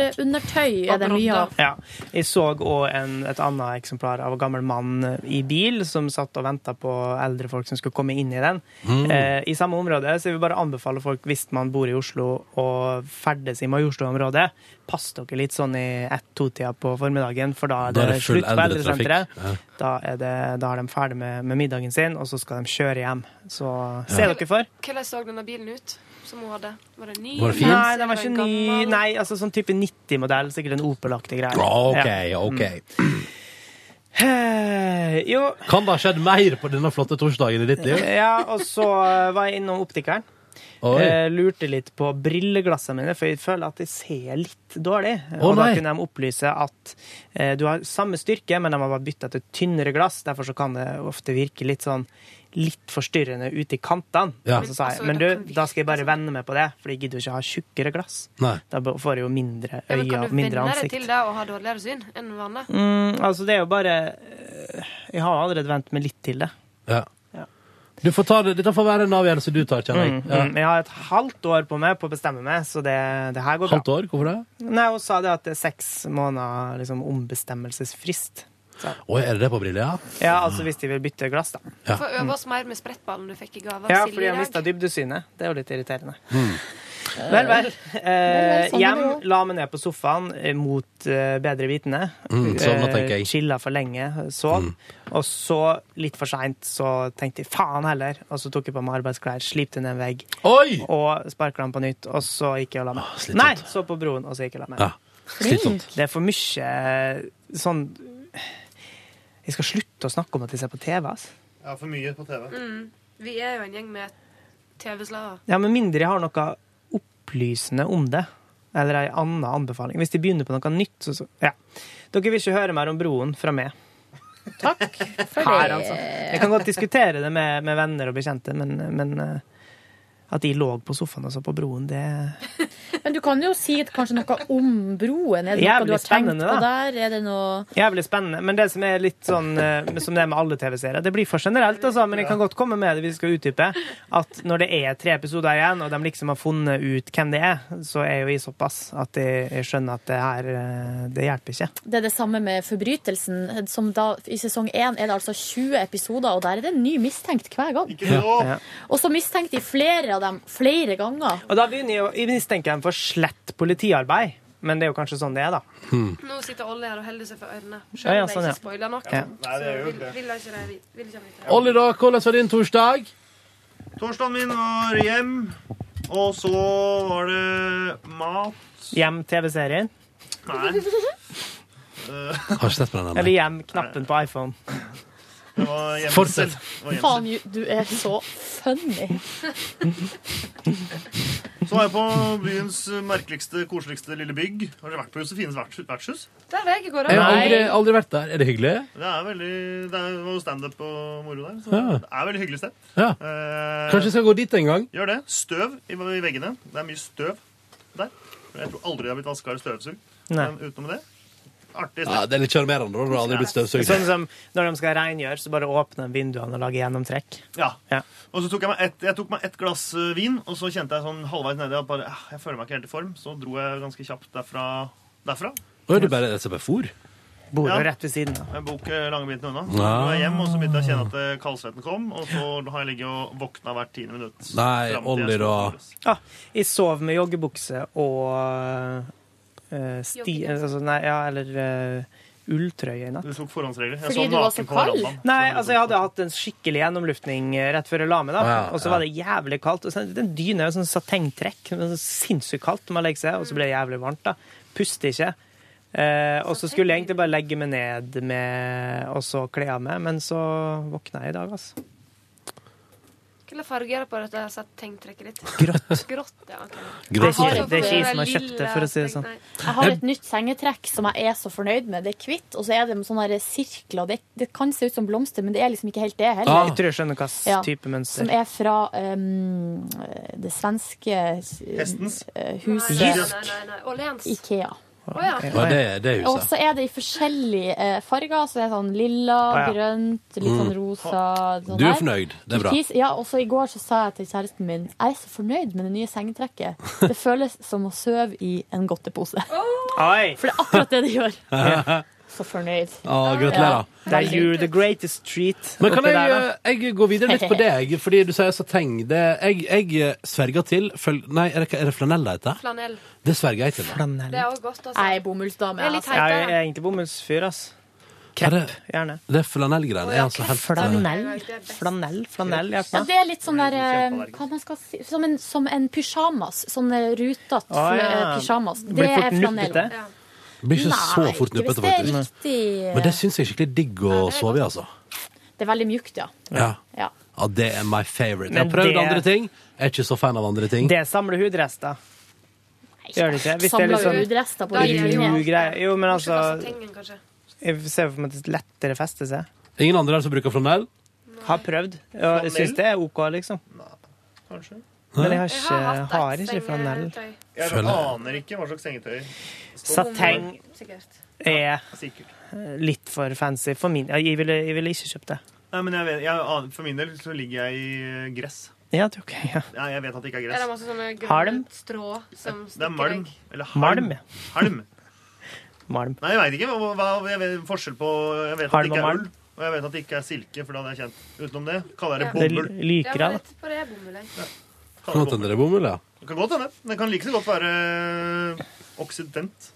C: ullundertøy er det mye av.
D: Ja. Jeg så òg et annet eksemplar av en gammel mann i bil som satt og venta på eldre folk som skulle komme inn i den.
O: Mm.
D: Eh, I samme område så jeg vil bare anbefale folk, hvis man bor i Oslo og ferdes i Majorstua-området, pass dere litt sånn i ett-to-tida på formiddagen, for da er
A: Da
D: det,
A: er det full
D: slutt på
A: eldretrafikk.
D: eldresenteret.
A: Ja.
D: Da, er det, da er de ferdig med, med middagen sin, og så skal de kjøre hjem. Så se dere for.
B: Hvordan så denne bilen ut? Som hun hadde? Var det ny?
D: Nei, den var ikke ny.
A: Ah,
D: Nei, altså sånn type 90-modell, sikkert en Opel-aktig greie.
A: Ok,
D: Ja.
A: ok.
D: Eh, jo,
A: Kan det ha skjedd mer på denne flotte torsdagen i ditt liv?
D: ja, og så eh, var jeg innom optikeren.
A: Oi.
D: Eh, lurte litt på brilleglassene mine, for jeg føler at jeg ser litt dårlig.
A: Å,
D: og da
A: nei.
D: kunne de opplyse at eh, du har samme styrke, men de har bare bytta til tynnere glass. Derfor så kan det ofte virke litt sånn litt forstyrrende ute i kantene.
A: Ja.
D: Og så sa jeg,
A: Altså,
D: men
A: det
D: du, da skal jeg
B: liksom
D: bare vende meg på det, for jeg gidder jo ikke ha tjukkere glass.
A: Nei.
D: Da b- får jeg jo mindre
B: Ja, men
D: øyne
B: kan
D: og
B: du
D: mindre
B: venne deg
D: ansikt.
B: til det og ha dårligere syn enn vanlig?
D: Mm, altså, det er jo bare eh, Jeg har allerede vent meg litt til det.
A: Ja. Du får ta det, Dette får være en avgjørelse du tar, kjenner jeg.
D: Mm, mm. Jeg har et halvt år på meg på å bestemme meg, så det, det her går bra.
A: Halvt år? Hvorfor det?
D: Nei, Hun sa det at det er seks måneder liksom, ombestemmelsesfrist. Så,
A: Oi, er det det på briller, ja?
D: ja, altså hvis de vil bytte glass, da.
B: Du får øve oss mer med sprettballen du fikk i gave av
D: Ja,
B: Silje
D: fordi
B: i
D: jeg mista
B: dag.
D: dybdesynet. Det er jo litt irriterende.
A: Mm.
D: Vel, vel.
B: vel,
D: Eh,
B: sånn
D: hjem,
B: er det
D: la meg ned på sofaen eh, mot eh, bedre vitende.
A: Mm, sovna,
D: Eh,
A: tenker jeg. Hmm.
D: Chilla for lenge, sov. Og så, litt for seint, så tenkte jeg faen heller. Og så tok jeg på meg arbeidsklær, slipte ned en vegg og sparka den på nytt. Og så gikk jeg og la meg. Nei, så på broen, og så gikk jeg og la meg.
A: Ja. Slitsomt.
D: Det er for mye eh, sånn Jeg skal slutte å snakke om at jeg ser på TV, altså.
I: Ja, for mye på TV.
B: Mm. Vi er jo en gjeng med TV-slaver.
D: Ja, med mindre jeg har noe opplysende om det. Eller ei anna anbefaling. Hvis de begynner på noe nytt, så, så ja. Dere vil ikke høre mer om broen fra meg. Takk
S: for
D: Her,
S: det.
D: altså. Jeg kan godt diskutere det med, med venner og bekjente, men, men eh, at de lå på sofaen og så på broen, det
E: Men du kan jo si et- kanskje noe om broen. Er det noe
D: Jævlig
E: du har tenkt
D: spennende,
E: på
D: da.
E: der? Er det noe
D: Jævlig spennende. Men det som er litt sånn eh, som det er med alle TV-serier Det blir for generelt, altså, men jeg kan godt komme med det vi skal utdype. At når det er tre episoder igjen, og de liksom har funnet ut hvem det er, så er jo jeg såpass at jeg, jeg skjønner at det her eh, Det hjelper ikke.
E: Det er det samme med forbrytelsen. Som da, I sesong én er det altså 20 episoder, og der er det en ny mistenkt hver gang.
D: Ja.
E: Og så mistenkte de flere av dem flere ganger.
D: Og da begynner jeg å jeg mistenker dem for slett politiarbeid. Men det er jo kanskje sånn det er, da.
B: Nå sitter Olli her og holder seg for ørene.
D: Ja,
B: Selv
D: ja,
B: om
D: sånn,
B: jeg
D: ja.
B: ikke spoiler nok.
D: Ja.
I: Nei, det er jo
B: Så
I: det.
B: vil, vil jeg ikke det. Vil ikke det.
A: Olli, da, hvordan var din torsdag?
I: Torsdagen min var hjem, og så var det mat.
D: Hjem TV-serien.
I: Nei. Eh,
A: Har ikke sett på den ennå.
D: Eller hjem-knappen på iPhone.
I: Det var hjemsel.
A: Fortsett.
I: Det var hjemsel.
E: Faen, ju- du er så funny.
I: Så var jeg på byens merkeligste, koseligste lille bygg. Har dere vært på Josefines verts- vertshus?
B: Der er jeg i går.
A: Jeg har
B: Nei.
A: aldri, aldri vært der. Er det hyggelig?
I: Det er veldig, det er- det var jo standup og moro der. Så
A: Ja.
I: Det er veldig hyggelig sted.
A: Ja.
I: Eh,
A: Kanskje jeg skal gå dit en gang?
I: Gjør det. Støv i, i veggene. Det er mye støv der. Jeg tror aldri det har blitt vaska eller støvsugd
D: Nei.
I: Men utenom det.
A: Ja,
I: Artig sted.
A: det er litt sjarmerende. da, når det aldri blir støvsugd.
D: Sånn som når de skal rengjøre, så bare åpner de vinduene og lager gjennomtrekk.
I: Ja.
D: Ja.
I: Og så tok jeg meg ett jeg tok meg ett glass eh, vin, og så kjente jeg sånn halvveis nedi at bare, ah, jeg føler meg ikke helt i form. Så dro jeg ganske kjapt derfra. derfra.
A: Nå er det bare SB-fòr.
D: Bor jo
I: Ja.
D: rett ved siden av.
I: Jeg bok eh, lange biten unna. Så
A: Ah.
I: dro jeg hjem, og så begynte jeg å kjenne at eh, kaldsvetten kom, og så har jeg ligget og våkna hvert tiende minutt.
A: Nei,
I: Fram til
A: Olli,
I: jeg
A: da.
I: skulle-
D: Ja, jeg sov med joggebukse og eh, sti... Altså, nei, ja, eller eh, ulltrøye i natt.
I: Du tok forhåndsregler. Jeg
D: Fordi
I: sov
D: du var
I: naken
D: så
I: på
D: kald?
I: verandaen.
D: Nei, altså jeg hadde hatt en skikkelig gjennomluftning eh, rett før jeg la meg, da.
A: Sånn Å, ja,
D: Og så var det jævlig kaldt. Og så, den dyna er jo sånn satengtrekk. men så Sinnssykt kaldt når man legger seg, og så blir det jævlig varmt, da. Puster ikke. Eh, og så skulle jeg egentlig bare legge meg ned med, og så kle av meg, men så våkna jeg i dag, altså.
B: Hvilken farge er det på dette sattengtrekket ditt?
D: Grått.
B: Grått, ja, ok.
E: Jeg
D: Grått.
E: har
D: Det er ikke- det er
E: et-
D: ikke jeg som har kjøpt det, for å si det sånn.
E: Jeg har et nytt sengetrekk som jeg er så fornøyd med. Det er hvitt, og så er det med sånne her sirkler. Det, det kan se ut som blomster, men det er liksom ikke helt det
A: Ah,
E: heller.
D: Jeg tror jeg skjønner hva s-
E: Ja,
D: type mønster.
E: Som er fra um, det svenske eh,
D: Hestens?
E: eh,
B: Nei,
E: huset
B: nei, nei, nei. Åhléns.
E: Ikea.
B: Å ja.
A: Ja, det, det er
E: Og
A: huset.
E: så er det i forskjellige eh, farger. Så det er sånn lilla,
A: Å, Ah, ja. Mm.
E: grønt, litt sånn rosa. Sånn
A: Du er
E: der.
A: fornøyd. Det er bra.
E: Ikke is- Ja, og så I går så sa jeg til kjæresten min jeg er så fornøyd med det nye sengetrekket. Det føles som å sove i en godtepose.
D: Oi!
E: For det er akkurat det det gjør.
A: Ja.
E: Så fornøyd.
A: Ja, gratulerer.
E: Ja.
D: Det er you, the greatest treat.
A: Men kan
D: oppi
A: jeg, eh,
D: der, da.
A: jeg gå videre litt på deg? Fordi du sier sateng. Det, jeg, jeg sverger til føl- Nei, er det, er det flanell det heter?
B: Flanell.
A: Det sverger jeg til. da.
B: Det er også godt, altså.
E: Jeg er bomullsdame. altså.
B: Det er litt
D: Jeg er
B: heitere.
D: jeg er egentlig bomullsfyr, ass.
A: Er det,
D: Gjerne.
A: det er flanellgreiene. Er altså helt
D: Flanell. Flanell, flanell. Ja,
E: Ja, det er litt sånn der eh, hva man skal si, som, en, som en pysjamas. Sånn eh, rutete
D: Å, ja.
E: eh, pysjamas.
D: Blir
E: Det
D: fort
E: er flanell.
D: nuppete.
A: Blir ikke så
E: Nei,
A: fort
E: ikke hvis
A: nuppete,
E: det er
A: faktisk.
E: riktig. eh,
A: Men det syns jeg er skikkelig digg å sove i, altså.
E: Det er veldig mjukt, ja.
A: Ja.
E: ja.
A: ja, det er my favorite. Jeg
D: Men
A: har prøvd
D: det-
A: andre ting. Jeg er ikke så fan av andre ting.
D: Det samler hudrester. Gjør det ikke? Hvis det er
E: Samler
D: litt sånn
E: hudrester på
D: litt
E: dine hender.
D: mjuk greie. Jo, men altså
B: Tengen, kanskje.
D: Jeg ser for meg at det lettere fester seg.
A: Ingen andre her som bruker flanell?
D: Har prøvd. Og jeg syns det er OK, liksom.
I: Kanskje.
D: Men jeg har ikke, har ikke flanell.
I: Jeg
D: Føler-
I: aner ikke hva slags sengetøy.
D: Sateng.
B: Sikkert.
D: Er
I: Sikkert.
D: litt for fancy for min Jeg ville, jeg ville ikke kjøpt det.
I: Nei, men jeg vet, jeg, aner- For min del så ligger jeg i eh, gress.
D: Ja, det er OK. Ja.
I: Ja, jeg vet at det ikke er
B: Er det
I: gress.
B: masse sånne
D: Halm?
B: grønne strå som
I: Det er
B: stikker
I: malm.
B: deg?
I: Eller halm.
D: Malm. ja.
I: Halm.
D: Malm.
I: Nei, jeg veit ikke. Hva, hva, jeg vet, forskjell på Jeg vet at
D: Halm
I: det
D: og
I: ikke er
D: malm.
I: ull, og jeg vet at det ikke er silke, for da hadde jeg kjent utenom det. Kaller
B: Ja.
I: jeg det
B: Ja,
I: bomull.
B: men litt på det bomull, jeg.
A: Kan hende det er bomull, ja.
I: Det kan godt hende. Men det kan like så godt være eh, oksident.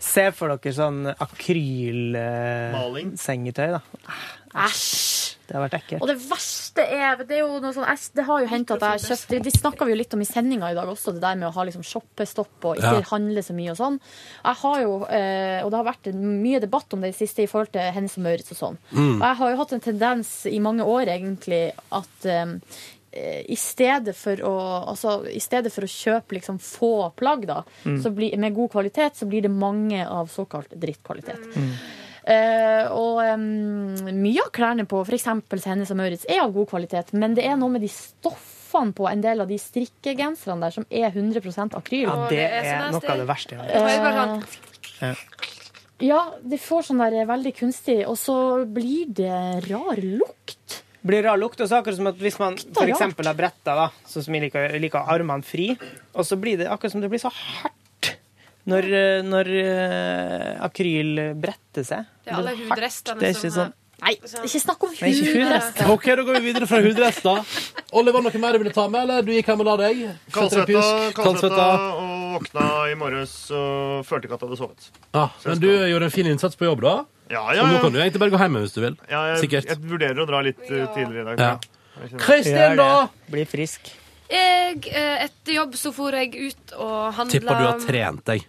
D: Se for dere sånn Eh,
I: Maling.
D: akrylsengetøy, da.
E: Æsj!
D: Det har vært ekkelt.
E: Og det verste er Det, er jo noe sånn, æsj, det har jo hendt at jeg har kjøpt Det, det snakka vi jo litt om i sendinga i dag også, det der med å ha liksom shoppestopp og ikke
T: Ja.
E: handle så mye og sånn. Jeg har jo, eh, og det har vært mye debatt om det i det siste i forhold til Hennes og Maurits og sånn.
T: Mm.
E: Og jeg har jo hatt en tendens i mange år egentlig at eh, eh, i stedet for å, altså, i stedet for å kjøpe liksom få plagg da,
T: Mm.
E: så blir- med god kvalitet, så blir det mange av såkalt drittkvalitet.
T: Mm.
E: Eh, og em, mye av klærne på f.eks. Hennes og Maurits er av god kvalitet, men det er noe med de stoffene på en del av de strikkegenserne der som er 100 akryl.
D: Ja, det er noe av det verste jeg har hørt.
B: sånn,
E: Eh,
D: Ja.
E: ja, det får sånn der veldig kunstig, og så blir det rar lukt.
D: blir rar lukt. Og så akkurat som at hvis man for
E: rart.
D: eksempel har bretta, da, sånn som jeg liker, jeg liker armene fri, og så blir det akkurat som det blir så hardt når, eh, når eh, akryl bretter seg.
B: Det er alle
D: blir hardt.
B: hudrestene
D: Det er ikke
B: som eh, har-
D: sånn
E: Nei, ikke snakk om
D: Nei, ikke hudrester.
A: OK, da går vi videre fra hudrester. Oliver, noe mer du ville ta med, eller du gikk hjem og la deg? Føtter i
I: Kaldsvetta,
A: pjusk,
I: kaldsvetta og våkna i morges og følte ikke at jeg hadde sovet.
A: Ja, Ah, men du gjorde en fin innsats på jobb, da.
I: Ja, ja,
A: Og nå
I: ja.
A: kan du egentlig bare gå hjem hvis du vil.
I: Ja, jeg,
A: Sikkert.
I: jeg vurderer å dra litt eh,
A: Ja.
I: tidligere i dag. Ja.
A: Kristin, Gjør det. da?
D: Bli frisk.
B: Jeg, eh, etter jobb så for jeg ut og handla
A: Tipper du har trent deg.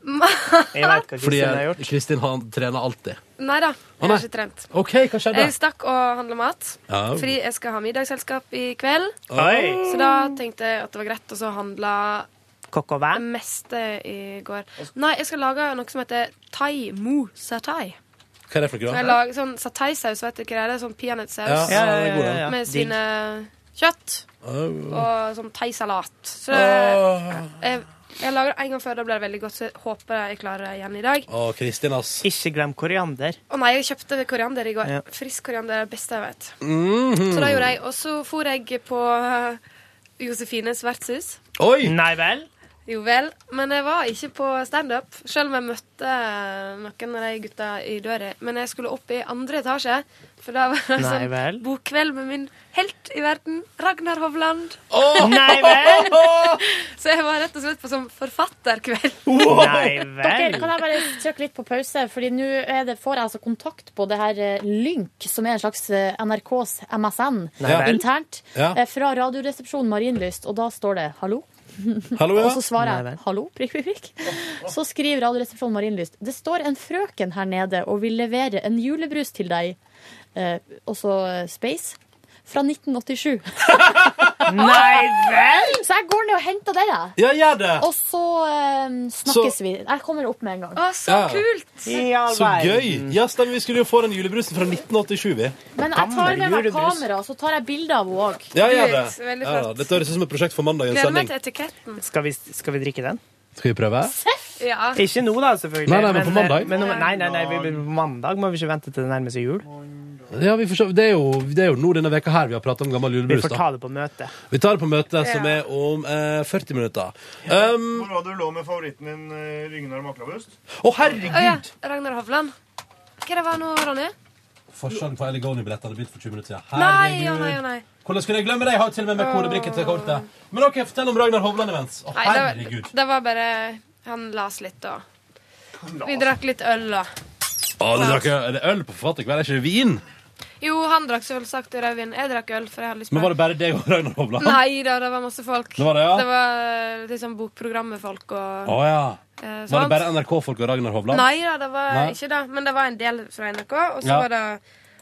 A: Fordi jeg- Kristin han trener alltid.
B: Nei da,
A: Å,
B: jeg
A: nei.
B: har ikke trent.
A: OK, hva skjedde?
B: Jeg stakk og handla mat,
A: Ja.
B: fordi jeg skal ha middagsselskap i kveld.
A: Oi.
B: Så da tenkte jeg at det var greit å så handle
D: Kokk
B: det
D: og vær.
B: meste i går. Nei, jeg skal lage noe som heter thai mu satai.
A: Hva er det for noe?
B: Som jeg lager, sånn satai-saus, vet du hva det er? Det er Sånn
A: Ja,
B: peanøttsaus
A: ja, ja, ja, ja, ja.
B: med
A: Digg.
B: sine kjøtt
A: Åh.
B: og sånn thaisalat. Så
A: Åh.
B: jeg, Eh, jeg lager det en gang før, da ble det veldig godt, så jeg håper jeg klarer det igjen i dag.
A: Å, Kristin, ass.
D: Ikke glem koriander.
B: Å nei, jeg kjøpte koriander i går.
D: Ja. Mm.
B: Frisk koriander er det beste jeg vet.
A: Mhm.
B: Så det gjorde jeg. Og så for jeg på eh, Josefines vertshus.
A: Oi!
D: Nei vel?
B: Jo vel. Men jeg var ikke på standup, selv om jeg møtte eh, noen av de gutta i døra. Men jeg skulle opp i andre etasje, for da var det
D: Nei vel?
B: sånn bokkveld med min helt i verden, Ragnar Hovland.
D: Åh! Nei vel?
B: så jeg var rett og slett på sånn forfatterkveld.
D: Nei
E: Dere, kan jeg bare trykke litt på pause? Fordi nå er det- får jeg altså kontakt på det her eh, Lynk, som er en slags eh, NRKs MSN
T: Nei vel.
E: internt,
T: Ja.
E: eh, fra Radioresepsjonen Marienlyst, og da står det 'hallo'.
T: Hallo, ja.
E: Og så
T: Nei
E: svarer
T: vel.
E: jeg 'hallo', prikk, prikk, prikk. Så skriver Radioresepsjonen Marienlyst 'det står en frøken her nede og vil levere en julebrus til deg', eh, og så eh, Space, fra 1987.
D: Nei vel?
E: Så jeg går ned og henter det, jeg.
A: Ja, gjør det.
E: Og så eh, snakkes vi. Jeg kommer opp med en gang.
B: Å,
A: så Ja. kult! Så gøy! Ja, stemmer. Vi skulle jo få den julebrusen fra 1987, vi.
E: Men jeg tar med meg kamera, så tar jeg bilder av henne òg.
A: Ja, gjør det.
B: Veldig
A: Ja,
B: flott.
A: dette høres ut som et prosjekt for mandagens
B: Gleder
A: sending.
B: meg til etiketten.
D: Skal vi, skal vi drikke den?
A: Skal vi prøve?
B: Ja.
D: Ikke nå, da, selvfølgelig.
A: Nei, nei, men på mandag.
D: Men, om- nei, nei, nei, vi- vi- på mandag må vi ikke vente til det nærmer seg jul.
A: Ja, vi får se. Det er jo, det er jo nå denne veka her vi har pratet om gammel
D: Vi
A: julebrus.
D: får
A: da.
D: ta det på møtet.
A: Vi tar det på møtet som er om eh, 40 minutter. Um,
I: Hvor var det du lå med favoritten din, eh, Rygnar Maklabust?
A: Å, herregud!
B: Å ja, Ragnar Hovland. Hva det var nå, Ronny?
A: Forskjellen på Elegoni-billettene blitt for 20 minutter siden.
B: Nei, ja,
A: Herregud.
B: nei, ja, nei.
A: Hvordan skulle jeg glemme det? Jeg har jo til og med med kodebrikke til kortet. Men ok, fortell om Ragnar Hovland imens. Å,
B: nei det,
A: herregud.
B: var, det var bare Han las litt, og Vi drakk litt øl, da.
A: Å, det drakk jeg- er det øl på forfatterkveld, er ikke det vin?
B: Jo, han drakk selvsagt rødvin. Jeg drakk øl, for jeg hadde lyst
A: Men
B: på
A: var det bare deg og Ragnar Hovland?
B: Nei da, det var eh, masse folk.
A: Det var det, ja?
B: var liksom bokprogrammet folk og
A: Å ja.
B: Eh, så
A: Var
B: han-
A: det bare NRK-folk og Ragnar Hovland?
B: Nei da, det var
A: Nei.
B: ikke det. Men det var en del fra NRK. Og så
A: Ja.
B: var det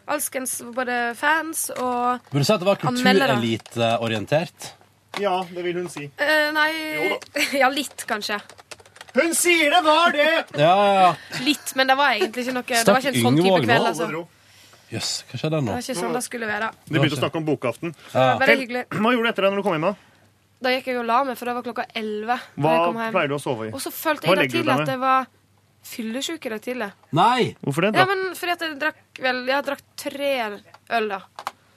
B: alskens både fans og
A: Burde du si at det var
B: Anmeldere.
A: kultureliteorientert?
I: Ja, det vil hun si.
B: eh, Nei Ja, litt, kanskje.
I: Hun sier det var det!
A: Ja, ja, ja.
B: Litt, men det var egentlig ikke noe Det
A: Stakk
B: var ikke en sånn type
A: Yngvåg nå?
B: kveld, altså.
A: Jøss, hva skjedde
B: Det
A: nå?
B: var ikke sånn det skulle være.
I: De begynte å snakke om bokaften.
A: Ja.
B: Bare hyggelig.
I: Hva gjorde du etter det når du kom hjem? da?
B: Da gikk jeg og la meg, for det var klokka 11 da jeg
I: Hva
B: kom hjem.
I: pleier du å sove i?
B: Og så følte
I: Hva
B: jeg da
I: legger du
B: tidlig
I: deg
B: at jeg var fyllesyk i dag tidlig.
A: Nei!
I: Hvorfor det?
B: Ja,
I: da?
B: men fordi at jeg drakk vel Jeg drakk tre øl, da.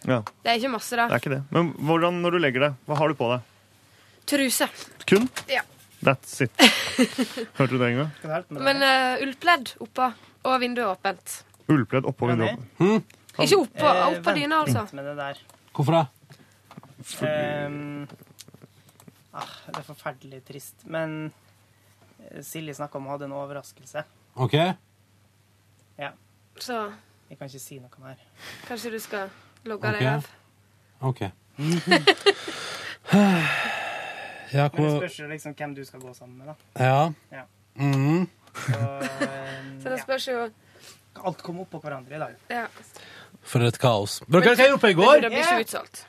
I: Ja,
B: Det er ikke masse,
I: det
B: da.
I: er ikke det. Men hvordan, når du legger deg, hva har du på deg?
B: Truse.
I: Kun?
B: Ja.
I: That's it. Hørte du det en gang?
B: Men uh, ullpledd oppå, og vinduet åpent.
I: Ullpledd oppå vinduet.
B: Ikke oppå,
D: Eh,
B: oppå dyna, altså.
D: Vent med det der.
A: Hvorfor det?
D: Ehm, ah, det er forferdelig trist. Men eh, Silje snakka om hun hadde en overraskelse.
A: OK?
D: Ja.
B: Så
D: Jeg kan ikke si noe mer.
B: kanskje du skal logge
A: Ok.
B: deg av.
A: OK. Ja,
D: Men det
A: hvor
D: spørs jo liksom hvem du skal gå sammen med, da.
A: Ja.
D: Ja.
A: Mhm.
B: Så det spørs jo
D: Alt kommer oppå hverandre i dag.
B: ja.
A: For et kaos. Dere, hva jeg gjorde på i går?
B: Det blir ikke utsolgt.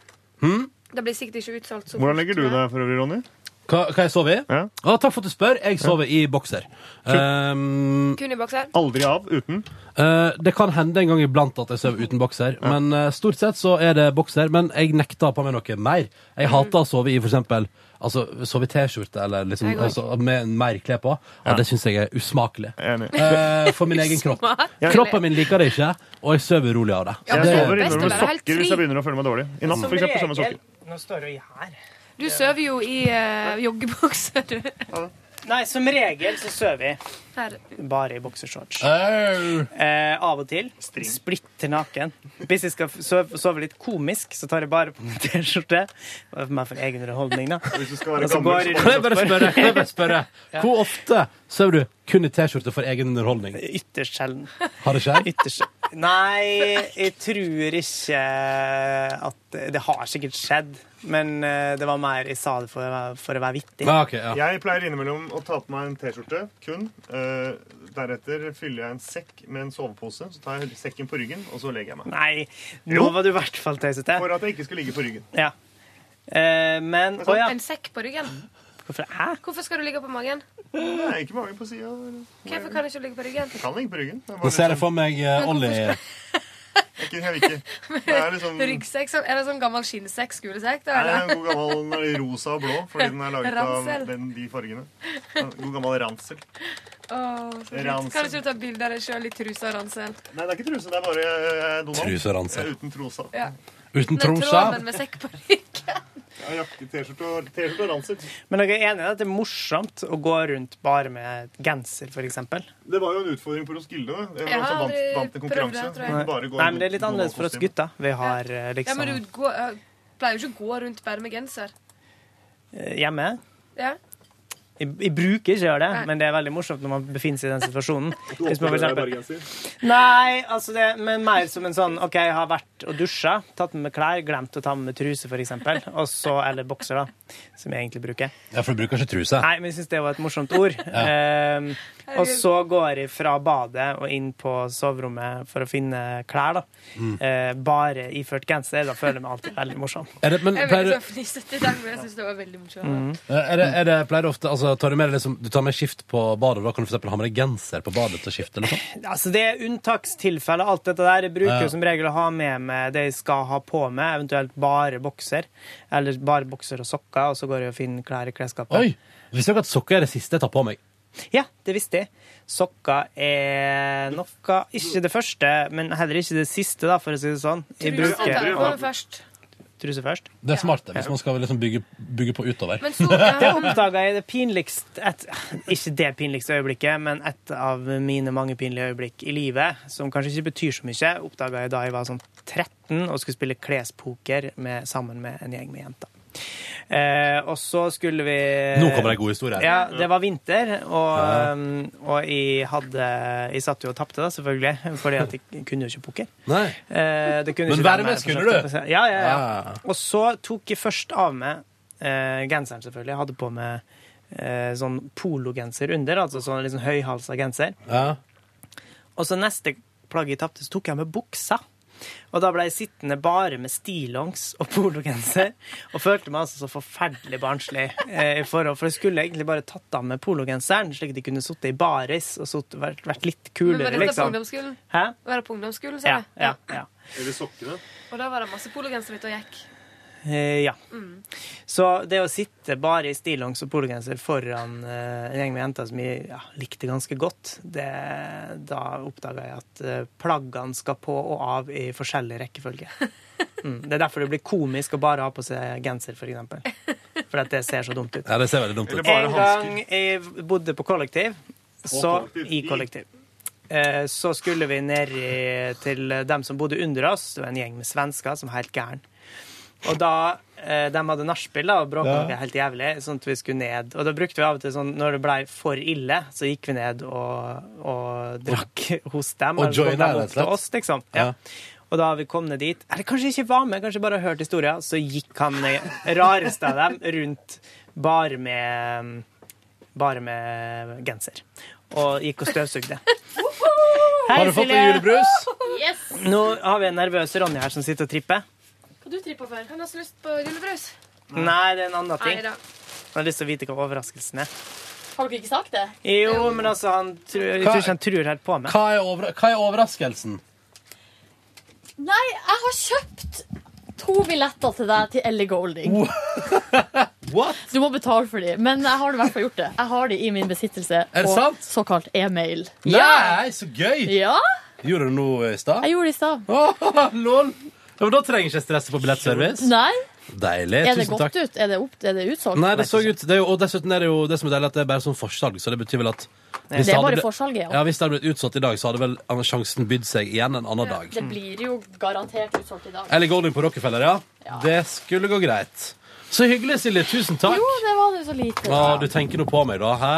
A: Hm?
B: Det blir sikkert ikke utsolgt. så
I: Hvordan
B: fort.
I: legger du deg for øvrig, Ronny?
A: Hva, hva jeg sover i? Ah, takk for at du spør. Jeg sover i bokser. Um,
B: Kun i bokser?
I: Aldri av uten?
A: eh, det kan hende en gang iblant at jeg sover uten bokser, men eh, stort sett så er det bokser. Men jeg nekter å ha på meg noe mer. Jeg hater å sove i for eksempel altså, sove i T-skjorte eller liksom,
I: Jeg går.
A: altså, med mer klær på. Ja, Det syns jeg er usmakelig.
I: Enig.
A: Eh, for min egen kropp.
I: Ja.
A: Kroppen min liker det ikke, og jeg sover urolig av det.
B: Ja,
I: Jeg
A: det
I: sover innimellom med
B: være helt
I: sokker hvis
B: fri.
I: jeg begynner å føle meg dårlig. I natt,
D: Som
I: for eksempel, så med
D: regel-
I: sokker.
D: Nå står jeg her.
B: Du sover jo i eh, joggebukser, du.
D: Nei, som regel så sover jeg.
B: Her.
D: Bare i boksershorts. Eh, av og til. Splitter naken. Hvis jeg skal f- sove, sove litt komisk, så tar jeg bare på meg T-skjorte. Det var for meg for egen underholdning, da. Og så går jeg rundt
A: Kan jeg bare
D: og-
A: spørre, kan jeg bare spørre
D: Ja.
A: Hvor ofte sover du kun i T-skjorte for egen underholdning?
D: Ytterst sjelden.
A: Har det skjedd?
D: Nei, jeg tror ikke at Det har sikkert skjedd, men eh, det var mer jeg sa det for, å være- for å være vittig.
I: Jeg pleier innimellom å ta på meg en T-skjorte kun. Eh, deretter fyller jeg en sekk med en sovepose. Så tar jeg sekken på ryggen, og så legger jeg meg.
D: Nei,
I: Jo.
D: nå var du i hvert fall tøysete.
I: For at jeg ikke skal ligge på ryggen.
D: Ja. Eh, men Å ja.
B: En sekk på ryggen.
D: Hvorfor, hæ?
B: Hvorfor skal du ligge på magen?
I: Nei, ikke magen på sida.
B: Hvorfor kan du ikke ligge på ryggen?
I: Jeg kan ligge på ryggen. Det er
A: Nå
I: bare
A: ser jeg for meg eh, Ollie
I: ikke, jeg vil ikke. Det er liksom det
B: Ryggsekk? sånn- Er det sånn gammel skinnsekk? Skolesekk? Da,
I: er en
B: eller?
I: god gammel den er rosa og blå, fordi den er laget
B: Ransel.
I: av den, de fargene. En God gammel ransel.
B: Åh, så fint.
I: Ransel.
B: Kan du ikke ta bilde av deg sjøl i truse og ransel?
I: Nei, det er ikke truse, det er bare eh, Donald.
A: Truse og ransel.
I: Jeg er Uten trosa.
B: Ja.
A: uten
B: Med
A: tromsa.
B: tråden med sekk på ryggen.
I: Jeg har jakke, T-skjorte og, t-skjorte og ransel.
D: Men dere er enige i at det er morsomt å gå rundt bare med genser, f.eks.?
I: Det var jo en utfordring for Roskilde. da. Det var
B: Jeg
I: noen
B: har
I: som vant,
B: aldri
I: vant en
B: prøvd det,
I: konkurranse.
B: tror jeg.
I: Hvor
D: Nei,
I: de bare går
D: men det er
I: i
D: litt annerledes for oss
I: Donald-kostyme.
D: gutter. Vi har eh,
B: Ja,
D: liksom
B: men du går, jeg pleier jo ikke å gå rundt bare med genser.
D: eh, Hjemme
B: Ja.
D: jeg, jeg bruker ikke å gjøre det,
B: Nei.
D: men det er veldig morsomt når man befinner seg i den situasjonen. Hvis man for eksempel,
I: Bergenser.
D: nei, altså det, men mer som en sånn OK, jeg har vært og dusja, tatt med meg klær, glemt å ta med meg truse, f.eks., og så Eller bokser, da, som jeg egentlig bruker.
A: Ja, for du bruker ikke truse.
D: Nei, men jeg syns det var et morsomt ord.
A: Ja.
D: Ehm, og så går jeg fra badet og inn på soverommet for å finne klær, da.
A: Mm.
D: Eh, bare iført genser. Da føler jeg meg alltid veldig morsom.
A: Er det, men,
B: Jeg er
A: pleier,
B: veldig sånn fnisete i dag, men jeg syns det var veldig
D: Mm.
B: morsomt.
A: du- er det, er det, pleier du ofte altså, tar du, med deg liksom, du tar med skift på badet, og da kan du for eksempel ha med deg genser på badet til skift? Eller sånn?
D: Altså, det er unntakstilfeller, alt dette der. Jeg bruker
A: Ja.
D: jo som regel å ha med meg det jeg skal ha på meg, eventuelt bare bokser. Eller bare bokser og sokker, og så går jeg og finner klær i klesskapet.
A: Oi! Visste dere at sokker er det siste jeg tar på meg?
D: Ja, det visste jeg. Sokker er noe Ikke det første, men heller ikke det siste, da, for å si det sånn. Jeg
B: Truse tar jeg på meg
D: bruker
B: først.
D: truse først.
A: Det er smart det, hvis man skal liksom bygge, bygge på utover.
B: Men så- ja.
D: Det oppdaga jeg det pinligst et, Ikke det pinligste øyeblikket, men et av mine mange pinlige øyeblikk i livet, som kanskje ikke betyr så mye, oppdaga jeg da jeg var sånn 13 og skulle spille klespoker med, sammen med en gjeng med jenter. Eh, og så skulle vi
A: Nå kommer det en god historie her.
D: Ja, det var vinter, og,
A: Ja.
D: um, og jeg hadde Jeg satt jo og tapte, da, selvfølgelig, fordi at jeg kunne jo ikke poker.
A: Nei.
D: Eh, det kunne
A: Men være
D: ikke være
A: med
D: med,
A: skulle du?
D: Ja, ja, ja.
A: Ah.
D: Og så tok jeg først av meg eh, genseren, selvfølgelig. Jeg hadde på meg eh, sånn pologenser under, altså sånn liksom høyhalsa genser. Og så neste plagg jeg tapte, så tok jeg med buksa. Og da ble jeg sittende bare med stillongs og pologenser, og følte meg altså så forferdelig barnslig. eh, i forhold. For jeg skulle egentlig bare tatt av meg pologenseren, slik at jeg kunne sittet i baris og sittet- vært, vært litt
B: Men
D: kulere,
B: var dette på
D: liksom.
B: ungdomsskolen?
D: Hæ?
B: Var det på ungdomsskolen, sa
D: Ja,
B: du?
D: ja, ja.
I: Eller sokkene.
B: Og da var det masse pologensere ute og gikk.
D: Eh, ja.
B: Mm.
D: Så det å sitte bare i stillongs og pologenser foran eh, en gjeng med jenter som jeg ja, likte ganske godt, det, da oppdaga jeg at eh, plaggene skal på og av i forskjellig rekkefølge. Mm. Det er derfor det blir komisk å bare ha på seg genser, for eksempel. For at det ser så dumt ut.
A: Ja, det ser veldig dumt ut. Eller bare
D: En gang jeg bodde på kollektiv, så
A: kollektiv.
D: i kollektiv. Eh, Så skulle vi ned i, til dem som bodde under oss. Det var en gjeng med svensker som var helt gæren. Og da eh, de hadde nachspiel da, og bråka
U: Ja.
D: noe helt jævlig, sånn at vi skulle ned. Og da brukte vi av og til sånn når det blei for ille, så gikk vi ned og, og drakk hos dem.
U: Og
D: eller så kom
U: joina, rett
D: de opp
U: og
D: til
U: slett.
D: Oss, liksom. ja. Og da vi kom ned dit, eller kanskje ikke var med, kanskje bare hørt historien, så gikk han eh, rareste av dem rundt bare med, bare med genser. Og gikk og støvsugde. Hei,
A: Har du fått
D: Silje.
A: deg julebrus?
B: Yes!
D: Nå har vi en nervøs Ronny her som sitter og tripper.
B: Hva du tripper for? Kan du ha så lyst på julebrus?
A: Mm.
D: Nei, det er en annen ting.
B: Neida.
D: Han har lyst til å vite hva overraskelsen er.
F: Har dere ikke sagt det?
D: Jo, men altså, han tror, jeg tror ikke han tror helt på meg.
A: Hva er, over, hva er overraskelsen?
E: Nei, jeg har kjøpt to billetter til deg til Ellie Golding.
F: Du
E: må betale for dem, men jeg har i hvert fall gjort det. Jeg har de i min besittelse
A: Er det
E: på
A: sant?
E: såkalt e-mail.
A: Nei, så gøy!
E: Ja,
A: Gjorde du noe i stad?
E: jeg gjorde det i stad.
A: Lol. Ja, men da trenger jeg ikke stresse på billettservice.
E: Nei.
A: Deilig.
E: Er det
A: Tusen
E: godt
A: takk.
E: ut? Er det, opp, er det utsolgt?
A: Nei, det så ut det er jo, Og dessuten er det jo det som er deilig, at det er bare sånn forsalg, så det betyr vel at hvis
E: Det er
A: hadde
E: bare
A: blitt-
E: forsalget, ja.
A: ja. Hvis det hadde blitt utsolgt i dag, så hadde vel sjansen bydd seg igjen en annen dag.
E: Det blir jo garantert utsolgt i dag.
A: Eller Golding på Rockefeller, ja. Det skulle gå greit. Så hyggelig, Silje. Tusen takk.
E: Jo, det var det så lite.
A: Å, du tenker nå på meg, da. Hæ?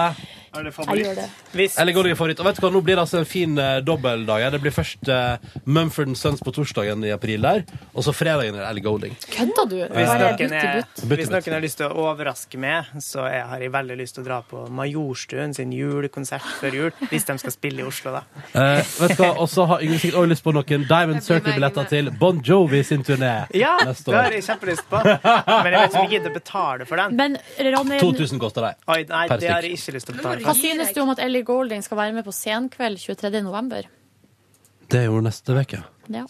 I: Er det
E: favoritt? Jeg gjør det.
A: Eller Golding er favoritt. Og vet du hva, nå blir det altså en fin eh, dobbeltdag. her. Det blir først eh, Mumford Sons på torsdagen i april der, og så fredagen er det Ellie Golding.
E: Kødda du?
D: Hvis
A: Ja.
D: noen,
A: Butt
D: er,
A: i butt.
D: hvis noen har lyst til å overraske meg, så jeg har jeg veldig lyst til å dra på Majorstuen sin julekonsert før jul. Hvis de skal spille i Oslo, da.
A: Eh, vet du hva, Og så har Yngve sikkert også lyst på noen Diamond Circle-billetter til Bon Jovi sin turné
D: Ja, det
A: neste
D: har
A: år.
D: jeg kjempelyst på. Men jeg vet ikke om jeg gidder å betale for den.
E: Men Ronny,
A: 2000 koster de.
D: Oi, nei,
A: Per
D: det har
A: stykk.
D: jeg ikke lyst til å betale
E: hva
D: for.
E: synes du om at Ellie Golding skal være med på Senkveld 23. november?
A: Det er jo neste uke.
E: Ja.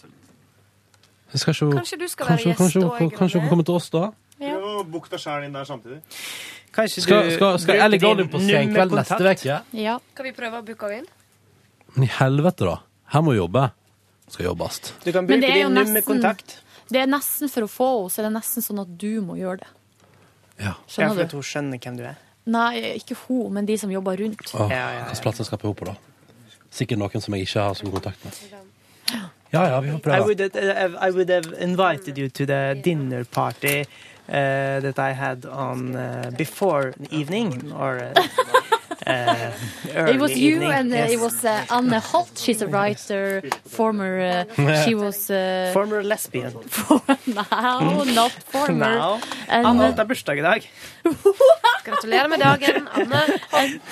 A: Skal ikke hun-
E: Kanskje du skal
A: kanskje,
E: være
A: hun- kanskje,
E: gjest
A: hun-
E: og
A: kanskje hun
E: grønne?
A: kommer til oss da?
I: Prøv å booke deg sjæl inn der samtidig.
D: Kanskje
A: Skal, skal, skal Ellie Golding på Senkveld neste
I: nummerkontakt?
A: uke?
E: Ja.
B: Kan vi prøve å booke henne inn?
A: Men i helvete, da. Her må jobbe. Skal jobbes.
D: Du kan
E: Men det
D: bruke
E: er jo
D: din
E: nesten,
D: nummerkontakt.
E: det er nesten for å få henne, så er det nesten sånn at du må gjøre det.
D: Ja, for
E: Skjønner
D: at
E: du?
D: hun skjønner hvem du er.
E: Nei, ikke hun, men de som jobber rundt.
A: Åh, Hvilken plateselskap Altså, er hun på, da? Sikkert noen som jeg ikke har så god kontakt med. Ja, ja, vi får
D: I
A: prøve.
D: would, have, I would have invited you to the dinner party uh, that I had on uh, before evening or uh, uh, early
E: It was you
D: evening.
E: and uh,
D: yes.
E: it was uh, Anne Holt. She's a writer, former uh, She was uh,
D: Former lesbian.
E: No, not former.
D: Now.
E: And,
D: Anne
E: uh,
D: Holt har bursdag i dag.
B: Gratulerer med dagen, Anne.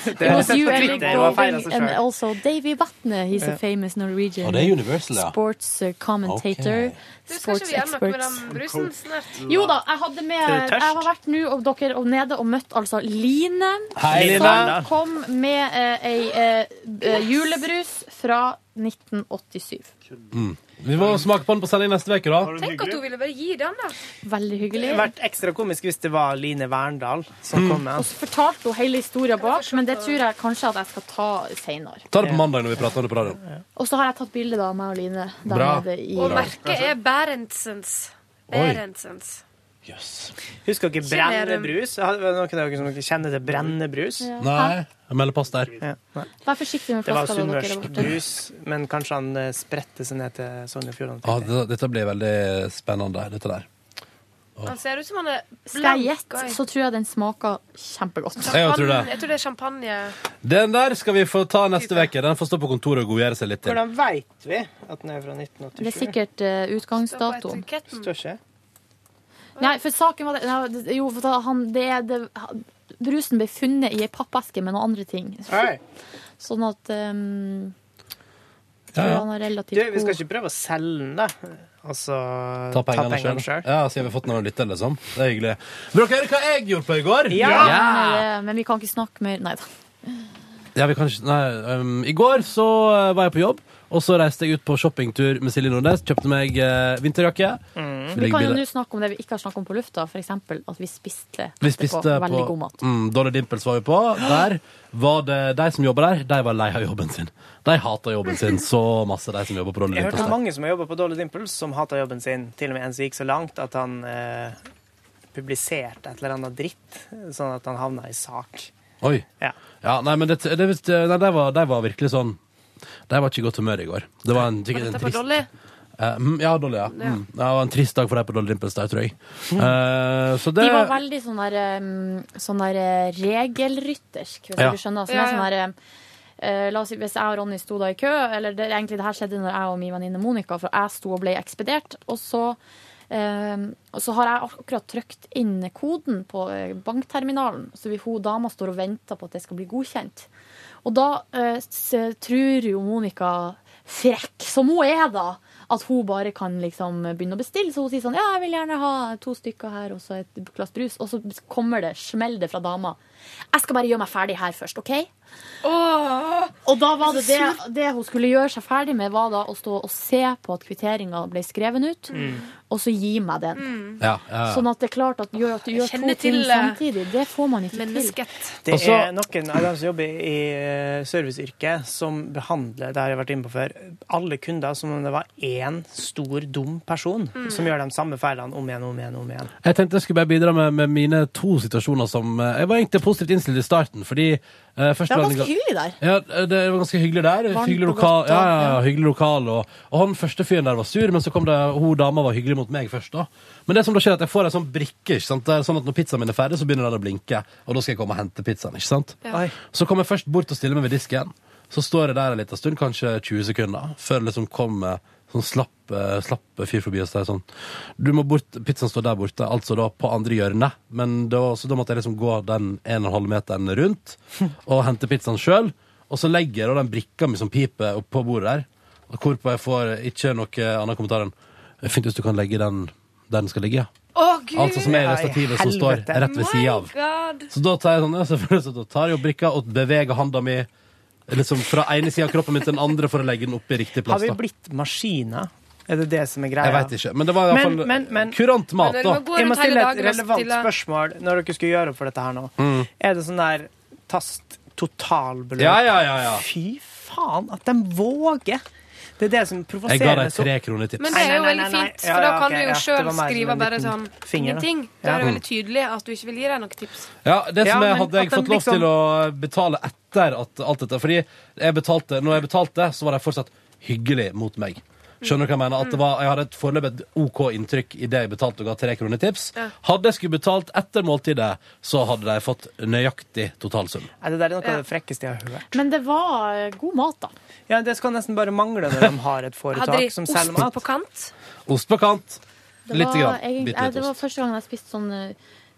D: Det
E: It was
D: er
E: you,
D: sett på
E: Ellie
D: Twitter, og har feiret
E: Golding,
D: seg
E: and
D: selv.
E: also Davy Vatne. He's
D: Ja.
E: a famous Norwegian
A: Og det er Universal, ja.
E: sports uh, commentator.
B: Du skal ikke
E: Sports
B: vi gjøre noe
E: expert.
B: med den brusen snart?
E: Jo da, jeg hadde med
B: Er du tørst?
E: Jeg har vært nå og dere og nede og møtt altså Line.
B: Hei, Line.
E: Som kom med eh, ei eh, b- julebrus fra 1987.
A: Mm. Vi må smake på den på sending neste uke, da.
B: Tenk at hun ville bare gi den, da.
E: Veldig
D: Det
E: hyggelig.
D: hadde vært ekstra komisk hvis det var Line Verndal som kom med.
E: Og så fortalte hun hele historien bak, men det tror jeg kanskje at jeg skal ta seinere.
A: Ta det på mandag når vi prater om det på radioen.
E: Og så har jeg tatt bilde av meg og Line der
A: Bra.
E: nede i
B: Og merket er Berentsens.
D: Oi.
B: Berentsens.
D: Husker dere
B: Generum.
D: Brennebrus? Hadde- var det Noen av dere som kjenner til Brennebrus?
A: Nei, jeg melder pass der.
E: Vær forsiktig med
D: Det var
E: flaska da dere er
D: sunnmørsk
E: borte.
D: brus, men kanskje han eh, spredte seg ned til Sogn og Fjordane.
A: Ja, Ah, det, dette blir veldig spennende, dette der.
B: Han ser ut som han er
E: Skal jeg
B: blank,
E: gjette,
B: oi.
E: så tror jeg den smaker kjempegodt.
A: Jeg tror det.
B: Jeg tror det er champagne.
A: Den der skal vi få ta neste uke. Den får stå på kontoret og godgjøre seg litt til.
D: Hvordan veit vi at den er fra 1987?
E: Det er sikkert eh, utgangsdatoen.
D: Står ikke.
E: Nei, for saken var det, nei, det- Jo, for da han, det er det, han- brusen ble funnet i ei pappeske med noen andre ting.
D: Oi.
E: Sånn at um, jeg
D: Ja,
E: tror
D: ja.
E: han har
D: Du,
E: relativt
D: vi skal
E: god
D: ikke prøve å selge den, da. Altså
A: Ta pengene sjøl.
D: selv.
A: Ja, så har vi fått noen lytter, liksom. Det er hyggelig. Vil dere høre hva jeg gjorde på i går?
E: Eh, Men vi kan ikke snakke mer Nei da.
A: Ja, vi kan ikke Nei. ehm, I går så eh, var jeg på jobb, og så reiste jeg ut på shoppingtur med Silje Nordnes. Kjøpte meg eh, vinterjakke. Så
E: Vi
A: ligger
E: kan jo
A: bildet-
E: nå snakke om det vi ikke har snakket om på lufta, f.eks. at vi spiste,
A: Vi spiste
E: etterpå
A: på
E: veldig god mat.
A: mm, Dolly Dimples var vi på. Der var det De som jobber der, de var lei av jobben sin. De hata jobben sin så masse, de som jobber på Dolly
D: Jeg
A: Dimples.
D: hørte
A: der.
D: mange som har jobba på Dolly Dimples, som hata jobben sin. Til og med en som gikk så langt at han eh, publiserte et eller annet dritt, sånn at han havna i sak.
A: Oi.
D: Ja.
A: nei, men det, det, nei, de, var, de var virkelig sånn De var ikke i godt humør i går. Det var en, sikkert en
B: Dette var
A: trist
B: dårlig.
A: Eh, mm, Ja, Dolly, ja.
E: Ja.
A: Mm. Det var en trist dag for deg på Dolly Dimples der, tror jeg. Eh, så det
E: De var veldig sånn der, um, sånn der eh, regelryttersk, hvis
A: Ja.
E: du skjønner. Sånn
B: Ja,
E: der,
B: ja.
E: sånn der, um, eh, la oss si Hvis jeg og Ronny sto da i kø, eller det, egentlig det her skjedde når jeg og min venninne Monica, for jeg sto og ble ekspedert, og så um, og så har jeg akkurat trykt inn koden på eh, bankterminalen, så vi, hun dama står og venter på at det skal bli godkjent. Og da eh, s- tror jo Monica, frekk som hun er da, at hun bare kan liksom begynne å bestille. Så hun sier sånn, ja, jeg vil gjerne ha to stykker her og så et glass brus. Og så kommer det, smell det fra dama. Jeg skal bare gjøre meg ferdig her først, OK? og da var det, det det hun skulle gjøre seg ferdig med, var da å stå og se på at kvitteringa ble skreven ut,
A: Mm.
E: og så gi meg den.
A: Ja, ja, ja.
E: Sånn at det er klart at, gjør at du
B: Mm. Jeg
E: gjør to
B: kjenner
E: ting
B: til, eh,
E: samtidig. Det får man ikke
B: mennesket.
D: Det
A: Og så-
D: er noen av dem som jobber i eh, serviceyrket, som behandler det har jeg vært inne på før, alle kunder som om det var én stor, dum person
A: Mm.
D: som gjør de samme feilene om igjen, om igjen, om igjen.
A: Jeg tenkte jeg skulle bare bidra med, med mine to situasjoner som eh, Jeg var egentlig positivt innstilt i starten, fordi eh,
E: til.
A: første
E: Det var
A: gangen-
E: ganske hyggelig der.
A: Ja, eh, det var ganske hyggelig der.
E: Varmt
A: Hyggelig
E: og
A: lokal,
E: godt,
A: ja,
E: og-
A: ja, ja,
E: ja.
A: hyggelig lokal og, og han første fyren der var sur, men så kom det hun dama var hyggelig mot meg først. da Men det som da skjer, er at jeg får ei sånn brikke. Ikke sant? Det er sånn at Når pizzaen min er ferdig, så begynner den å blinke, og da skal jeg komme og hente pizzaen. ikke sant?
D: Ja. Oi.
A: Så kommer jeg først bort og stiller meg ved disken. Så står jeg der en liten stund, kanskje 20 sekunder, før det liksom kommer sånn slapp, eh, slapp fyr forbi og sier sånn Du må bort, pizzaen står der borte, altså da på andre hjørnet. Men da, så da måtte jeg liksom gå den 1,5 meteren rundt og hente pizzaen sjøl. Og så legger jeg da den brikka mi som piper oppå bordet der, og hvorpå jeg får ikke noe annet kommentar enn Fint hvis du kan legge den der den skal ligge, ja.
B: Å, gud!
A: Altså som er i det stativet som står rett ved siden av.
B: My God.
A: Så da tar jeg sånn, ja, selvfølgelig, så da tar jeg jo brikka og beveger handa mi liksom fra ene sida av kroppen min til den andre for å legge den opp i riktig
D: Har
A: plass.
D: vi
A: da.
D: blitt maskiner? Er det det som er greia?
A: Jeg veit ikke. Men det var
D: Men-
A: iallfall
D: men- men-
A: kurant mat, da.
D: Jeg må stille et relevant
B: stille-
D: spørsmål når dere skulle gjøre opp for dette her nå.
A: Mm.
D: Er det sånn der tast totalbeløp?
A: Ja, ja, ja, ja.
D: Fy faen, at de våger! Det er det som
A: Jeg ga
D: provoserer
A: deg tre kroner i tips.
B: Men det er jo
D: Nei, nei,
B: veldig
D: nei, nei.
B: fint,
D: Ja,
B: for da
D: ja,
B: kan
D: ok,
B: du jo
D: ja. Det
B: sjøl
D: var mer som en
B: skrive bare
D: liten
B: sånn
D: finger, da.
B: ingenting. Da er det
A: Ja.
B: veldig tydelig at du ikke vil gi deg noen tips.
A: Ja, det
B: Ja,
A: som jeg
B: men
A: hadde jeg
B: at den
A: fått lov
B: liksom-
A: til å betale etter at alt dette. Fordi jeg betalte, når jeg betalte, så var de fortsatt hyggelig mot meg. Skjønner du hva jeg mener? At det var, jeg hadde et foreløpig et OK inntrykk i det jeg betalte og ga tre kroner i tips.
D: Ja.
A: Hadde jeg skulle betalt etter måltidet, så hadde de fått nøyaktig totalsum.
D: Nei, det der er noe
E: Ja.
D: av det frekkeste jeg har hørt.
E: Men det var eh, god mat, da.
D: Ja, Det skal nesten bare mangle når de har et
E: Hadde de
D: foretak som
E: ost
D: selger mat.
E: på
B: kant?
A: Ost på kant.
E: Det
A: Litt
E: var,
A: grann.
E: egentlig-
A: Bitte
E: eh,
A: litt
E: det var
A: ost.
E: første gang jeg spiste sånn eh,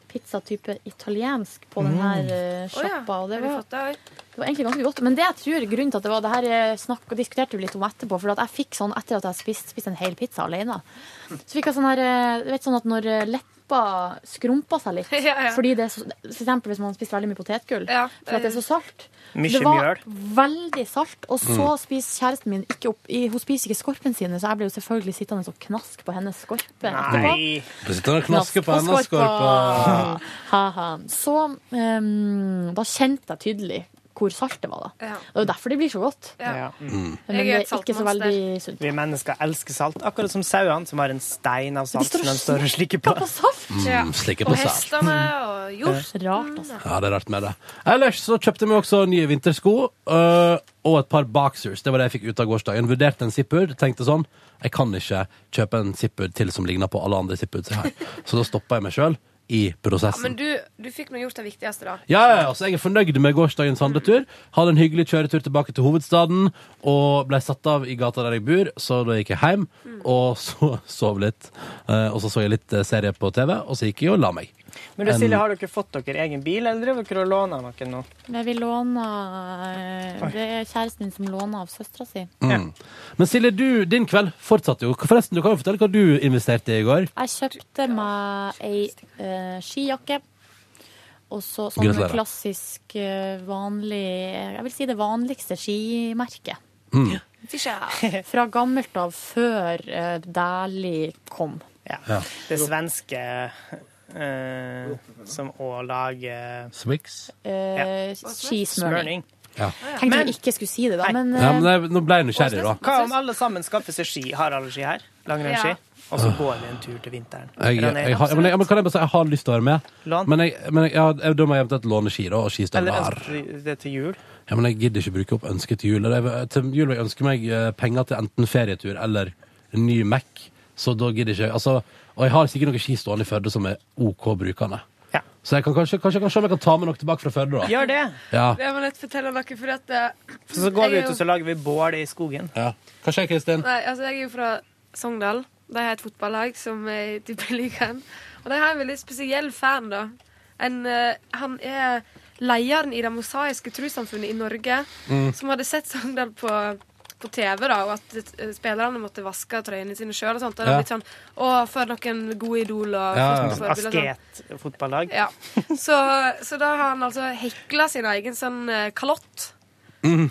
E: pizza type italiensk på
A: Mm.
E: den her eh,
B: Å ja,
E: sjappa. og det,
B: har vi
E: var-
B: fått det, oi?
E: det var egentlig ganske godt. Men det jeg tror grunnen til at det var det her eh, snakk, og diskuterte vi litt om etterpå. For at jeg fikk sånn etter at jeg spiste spist en hel pizza alene. Så fikk jeg sånn her eh, du vet sånn at når eh, leppa skrumpa seg litt.
B: Ja, ja.
E: Fordi det er så, For eksempel hvis man spiser veldig mye potetgull.
B: Ja, eh,
E: for at det er så salt.
D: Mykje
E: det var
D: mjøl.
E: veldig salt. Og så
D: Mm.
E: spiser kjæresten min ikke opp i, Hun spiser ikke skorpen sine, så jeg ble jo selvfølgelig sittende og knask på hennes skorpe. etterpå.
A: Du sitter og knasker på
E: Knask på
A: hennes
E: skorpa.
A: skorpe.
E: Ha-ha. Så ehm, da kjente jeg tydelig hvor salt det var, da.
B: Ja.
E: Det er jo derfor det blir så godt.
D: Ja. Mm.
E: Men det er ikke så veldig sunt.
D: Vi mennesker elsker salt, akkurat som sauene som har en stein av salt
E: står
D: som
E: og
D: de står og slikker på.
A: Mm,
B: Ja.
A: slikker på
B: Og
A: salt.
B: hestene
D: Mm.
B: og hjorten. Rart, altså.
A: Ja, det er rart med det. Ellers så kjøpte vi også nye vintersko øh, og et par boxers. Det var det jeg fikk ut av gårsdagen. Vurderte en Zippur, tenkte sånn Jeg kan ikke kjøpe en Zippur til som ligner på alle andre Zippuds jeg har. Så da stoppa jeg meg sjøl i
B: Ja, men
A: prosessen.
B: du, du fikk nå gjort det viktigste, da.
A: Ja, ja, ja, så Jeg er fornøyd med gårsdagens handletur. Hadde en hyggelig kjøretur tilbake til hovedstaden. Og ble satt av i gata der jeg bor, så da gikk jeg hjem. Og så sov litt. Eh, Og så så jeg litt eh, serie på TV, og så gikk jeg og la meg.
D: Men du, Silje,
E: En-
D: har dere fått dere egen bil, eller driver dere og låner noen nå?
E: Men vi låner eh, Det er kjæresten min som låner av søstera si.
A: Mm. Men Silje, du, din kveld fortsatte jo. Forresten, du kan jo fortelle hva du investerte i i går.
E: Jeg kjøpte meg ei eh, skijakke. Og så sånn
A: Gratulerer.
E: klassisk eh, vanlig Jeg vil si det vanligste skimerket.
A: Mm.
E: Fra gammelt av, før uh, Dæhlie kom.
A: Ja.
D: Det svenske eh, som òg lager
A: Swix?
E: Eh, skismøring.
A: Ja.
E: Tenkte jeg ikke skulle si det, da, men,
A: Nei, men
E: eh,
A: jeg, nå ble jeg nysgjerrig, da.
D: Hva om alle sammen skaffer seg ski? Har alle ski her? Langrennsski? Og så går vi en tur til vinteren.
A: Jeg, jeg,
D: Ranera.
A: har- ja, men jeg, men kan jeg bare si jeg har lyst til å være med,
D: Lån.
A: men, jeg, men jeg, ja, jeg, da må jeg eventuelt låne ski da, og skistøvler.
D: Eller ønsker det til jul?
A: Ja, men jeg gidder ikke bruke opp ønsket til jul. Eller jeg- Til jul vil jeg ønske meg eh, penger til enten ferietur eller en ny Mac, så da gidder ikke jeg. Altså, og jeg har sikkert noen ski stående i Førde som er OK brukende. Så jeg kan kanskje, kanskje jeg kan se om jeg kan ta med noe tilbake fra Førde, da.
D: Gjør det!
A: Ja.
B: Det må jeg nødt til å fortelle dere, for at eh,
D: Så, så går
B: jeg
D: vi
B: er
D: ut,
B: jo-
D: og så lager vi bål i skogen.
A: Ja. Hva skjer, Kristin?
B: Nei, altså jeg er jo fra Sogndal. De har et fotballag som er i Tippeligaen. Og de har en veldig spesiell fan, da. En, eh, han er lederen i Det mosaiske trossamfunnet i Norge,
V: Mm.
B: som hadde sett Sogndal på på TV, da, og at eh, spillerne måtte vaske trøyene sine sjøl. Og sånt, og det
D: Ja.
B: var litt sånn Å, for noen gode idol og fotoforbilder og sånn.
D: Asket-fotballag.
B: Ja. Så, så da har han altså hekla sin egen sånn eh, kalott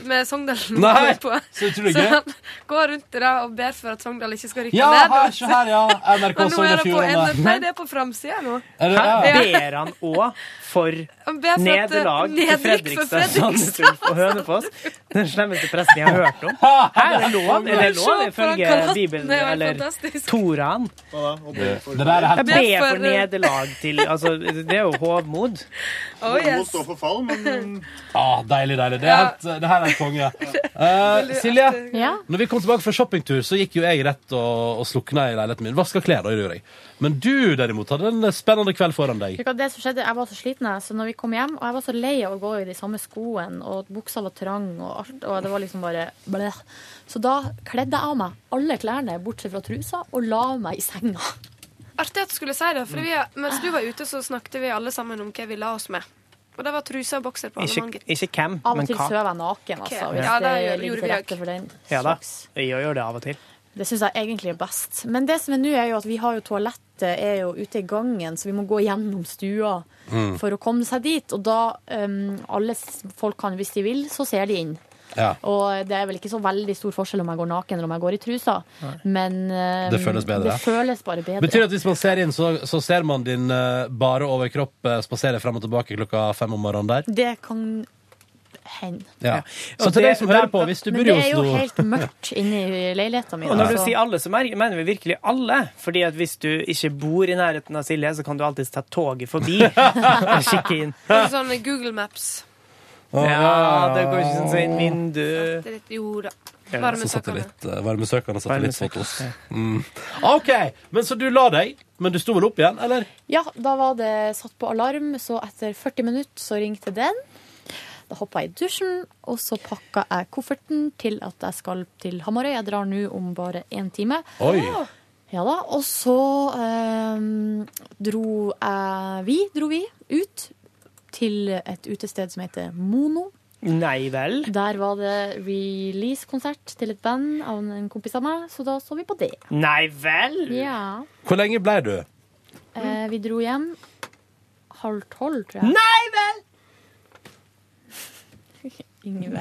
B: med Sogndalen
A: Nei,
B: på.
A: så utrolig gøy.
B: han går rundt i det og ber for at Sogndal ikke skal rykke
A: Ja,
B: ned.
A: her, se her, ja. NRK
B: Men nå
A: Sogn og
B: er det på
A: Fjordane.
B: NF Nei, det er på framsida nå.
A: Er det-
D: Hæ?
B: Ja.
D: Ber han òg for
B: Han ber for at, eh,
D: nederlag til
B: nedrykk for
D: Fredrikstad, sånn
B: Fredrikstad.
D: Sandnes og Hønefoss? Den slemmeste presten jeg har hørt om. Hæ, er det lov? Er det lov
B: Se på
D: ifølge
B: han kalaten,
D: Bibelen
B: det er
D: eller
B: fantastisk.
D: Toraen?
A: Det- det der er helt-
D: Jeg ber
A: Ber
D: for
A: for-
D: nederlag til Altså, det er jo hovmod.
B: Oh,
I: Må
B: yes.
I: stå for fall, men
A: Ah, deilig, deilig. Det, er
I: Ja.
A: helt, det her er en konge. Eh, Silje, når vi kom tilbake fra shoppingtur, så gikk jo jeg rett og, og slukna i leiligheten min. Vaska klær, da, det gjorde jeg. Men du derimot hadde en spennende kveld foran deg.
E: Vet du hva, Det som skjedde, Jeg var så sliten, jeg, så når vi kom hjem Og jeg var så lei av å gå i de samme skoene, og buksa var trang, og alt. Og det var liksom bare bleh. Så da kledde jeg av meg alle klærne bortsett fra trusa, og la meg i senga.
B: Artig at du skulle si det, for vi, mens du var ute, så snakket vi alle sammen om hva vi la oss med. Og det var truser og bokser på alle
D: Ikke,
B: mann, gitt.
D: ikke hvem,
E: Av
D: men
E: og til
D: hva.
E: sover jeg naken, altså.
B: Ok.
E: Hvis
B: Ja,
E: det
B: det gjør-
E: ligger
B: gjorde vi
E: til
B: òg.
E: rette for den.
D: Ja da. Jeg gjør det av og til.
E: Det syns jeg egentlig er best. Men det som er nå, er jo at vi har jo toalettet er jo ute i gangen, så vi må gå gjennom stua
A: Mm.
E: for å komme seg dit. Og da um, alle s- folk kan, hvis de vil, så ser de inn.
A: Ja.
E: Og det er vel ikke så veldig stor forskjell om jeg går naken eller om jeg går i trusa, men um,
A: Det føles bedre.
E: Det føles bare bedre.
A: Betyr det at hvis man ser inn, så, så ser man din eh, bare overkropp uh, spasere frem og tilbake klokka fem om morgenen der?
E: Det kan hende.
A: Ja. Så
D: Og
A: til deg
D: det-
A: som hører på, hvis du
E: Men
A: bor i
E: det er jo
A: Oslo
E: helt mørkt inne i leiligheten min.
D: Og når du
E: altså.
D: sier alle, så mer- mener vi virkelig alle. Fordi at hvis du ikke bor i nærheten av Silje, så kan du alltids ta toget forbi og kikke inn.
B: Det er Sånn Google Maps.
D: Ja, det går ikke sånn som et vindu.
B: Det er litt, jo da.
A: Ja,
B: Bare
A: så
B: med søkerne.
A: satellitt, eh, varmesøkende satellittfotos. Mm. OK, men så du la deg, men du sto vel opp igjen, eller?
E: Ja, da var det satt på alarm, så etter 40 minutter så ringte den. Da hoppa jeg i dusjen, og så pakka jeg kofferten til at jeg skal til Hamarøy. Jeg drar nå om bare én time.
A: Oi.
E: Ja da, Og så eh, dro jeg Vi dro vi ut til et utested som heter Mono.
D: Nei vel.
E: Der var det release-konsert til et band av en kompis av meg, så da så vi på det.
D: Nei vel?
E: Ja.
A: Hvor lenge ble du?
W: Mm.
E: Eh, vi dro hjem halv tolv, tror jeg.
D: Nei vel!
E: Yngve.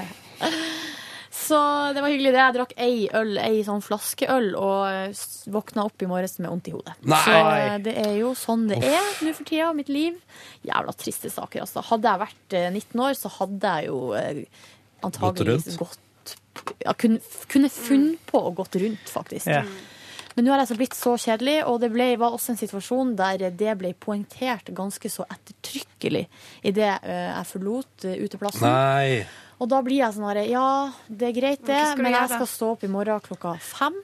E: Så det var hyggelig det. Jeg drakk ei øl, ei sånn flaskeøl, og s- våkna opp i morges med vondt i hodet.
W: Nei.
E: Så eh, det er jo sånn det
W: Uff.
E: er nå for tida, mitt liv. Jævla triste saker, altså. Hadde jeg vært eh, 19 år, så hadde jeg jo eh, antageligvis
W: rundt?
E: gått ja, kunne, kunne funnet på å gått rundt, faktisk.
W: Ja.
E: Men nå har jeg altså blitt så kjedelig, og det ble, var også en situasjon der det ble poengtert ganske så ettertrykkelig idet uh, jeg forlot eh, uteplassen.
A: Nei.
E: Og da blir jeg sånn her Ja, det er greit,
W: Men
E: det,
W: hva skal du
E: men jeg
W: gjøre?
E: skal stå opp i morgen klokka fem.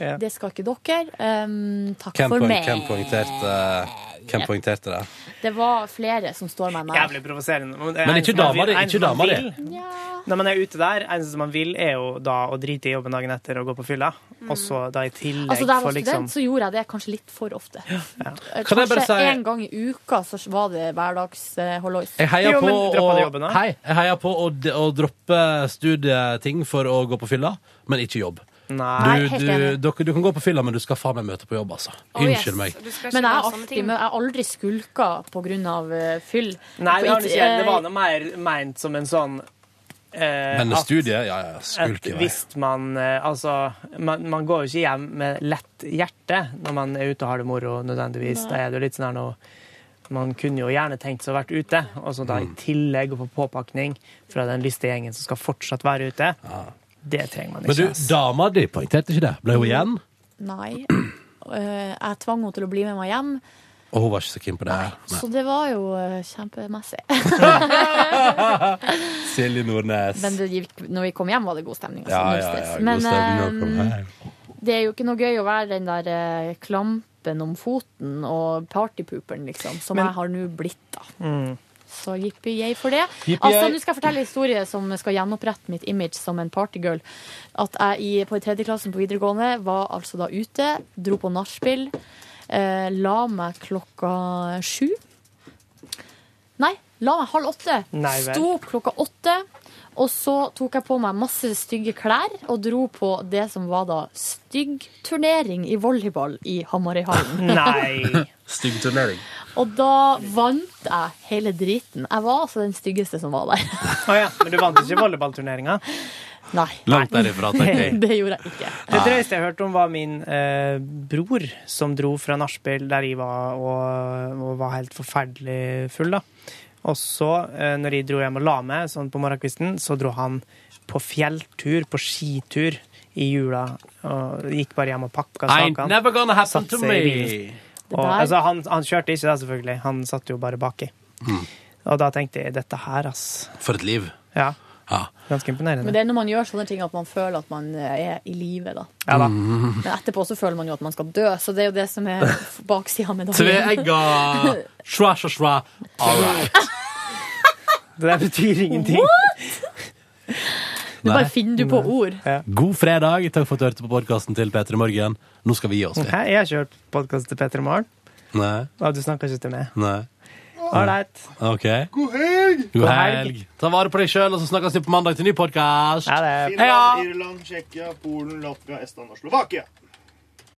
D: Ja.
E: Det skal ikke dere. Um, takk
A: Hvem
E: for
A: poeng-
E: meg.
A: hvem poengterte hvem poengterte det?
E: Det var flere som står meg nær.
D: Jævlig provoserende. det er
A: Men
D: en
A: ikke
D: som man
A: dama
D: vil-
A: di,
D: en
A: ikke
D: som man
A: dama di.
D: vil. Når man er ute der, eneste man vil, er jo da å drite i jobben dagen etter og gå på fylla. Og så da i tillegg
E: Altså, da jeg
D: for
E: var
D: liksom
E: student, så gjorde jeg det kanskje litt for ofte. Eh,
A: Kan jeg bare
E: Kanskje
A: si-
E: en gang i uka så var det eh, hverdagshollois.
A: Jeg heier på, å, hei, jeg heier på å, d- å droppe studieting for å gå på fylla, men ikke jobb.
E: Nei,
A: du,
E: helt
A: du,
E: enig.
A: dere, du kan gå på fylla, men du skal faen meg møte på jobb, altså. Unnskyld meg.
E: Men jeg har alltid, men jeg har aldri skulka på grunn av eh, fyll.
D: Nei,
E: På
D: det, har du
E: it-
D: ikke gjort. det var
E: eh,
D: noe mer meint som en sånn eh,
A: Men
D: at-
A: studiet, ja, ja, skulk i
D: at
A: vei.
D: Hvis man eh, Altså, man, man går jo ikke hjem med lett hjerte når man er ute og har det moro, nødvendigvis.
A: Nei.
D: Da er det jo litt sånn her nå Man kunne jo gjerne tenkt seg å vært ute, og så
A: Mm.
D: da i tillegg å få påpakning fra den lyste gjengen som skal fortsatt være ute. Det trenger man
A: Men du,
D: ikke. ass.
A: dama di poengterte ikke det. Ble hun igjen?
E: Nei. Eh, jeg tvang henne til å bli med meg hjem,
A: Og hun var ikke så keen på det.
E: så det var jo eh, kjempemessig.
A: Silje Nordnes.
E: Men det gikk, når vi kom hjem, var det god stemning. altså,
A: Ja, ja,
E: null
A: ja,
E: stress.
A: god
E: Men
A: stemning å komme
E: eh,
A: hjem.
E: det er jo ikke noe gøy å være den der eh, klampen om foten og partypooperen, liksom, som
D: Men- Mm.
E: jeg har nå blitt. Så jippi jeg for det.
D: Jippi
E: Altså,
D: jeg.
E: Nå skal jeg fortelle en historie som skal gjenopprette mitt image som en partygirl. At jeg i, på i tredjeklassen på videregående var altså da ute, dro på nachspiel, eh, la meg klokka sju. Nei, la meg halv åtte.
X: Nei vel.
E: Sto opp klokka åtte. Og så tok jeg på meg masse stygge klær og dro på det som var da stygg turnering i volleyball i Hamarøyhallen.
A: Stygg turnering.
E: Og da vant jeg hele driten. Jeg var altså den styggeste som var der.
D: Å ja, men du vant ikke volleyballturneringa?
E: Nei.
A: Langt derifra, tenker jeg.
E: Det gjorde jeg ikke.
D: Det drøyeste jeg hørte om, var min eh, bror som dro fra nachspiel der jeg var og, og var helt forferdelig full. da. Og så, eh, når jeg dro hjem og la meg sånn på morgenkvisten, så dro han på fjelltur, på skitur, i jula. Og gikk bare hjem og pakka
A: I
D: sakene.
A: never gonna happen
D: Satt
A: to
D: seg i bilen.
A: me.
D: Og, altså, han, han kjørte ikke det, selvfølgelig. Han satt jo bare baki. Og da tenkte jeg dette her, ass.
A: For et liv.
D: Ja.
A: Ja.
D: Ganske imponerende.
E: Men det er når man gjør sånne ting at man føler at man eh, er i live, da.
D: Ja da.
E: Men etterpå så føler man jo at man skal dø, så det er jo det som er baksida av
A: Tre egg
E: medaljen.
A: og Shwa, shwa, shwa. All right.
D: Det der betyr ingenting.
E: Nå bare finner du på ord.
A: God fredag. Takk for at du hørte på podkasten til P3 Morgen. Nå skal vi gi oss. vi.
D: Hæ? Jeg har ikke hørt podkast til Petter i morgen.
A: Nei.
D: Og du snakker ikke til meg.
A: Nei.
D: Ålreit.
A: OK.
D: God helg!
A: God helg. Ta vare på deg sjøl, og så snakkes vi på mandag til ny podkast.
I: Finland, Irland, Tsjekkia, Polen, Latvia, Estland og Slovakia.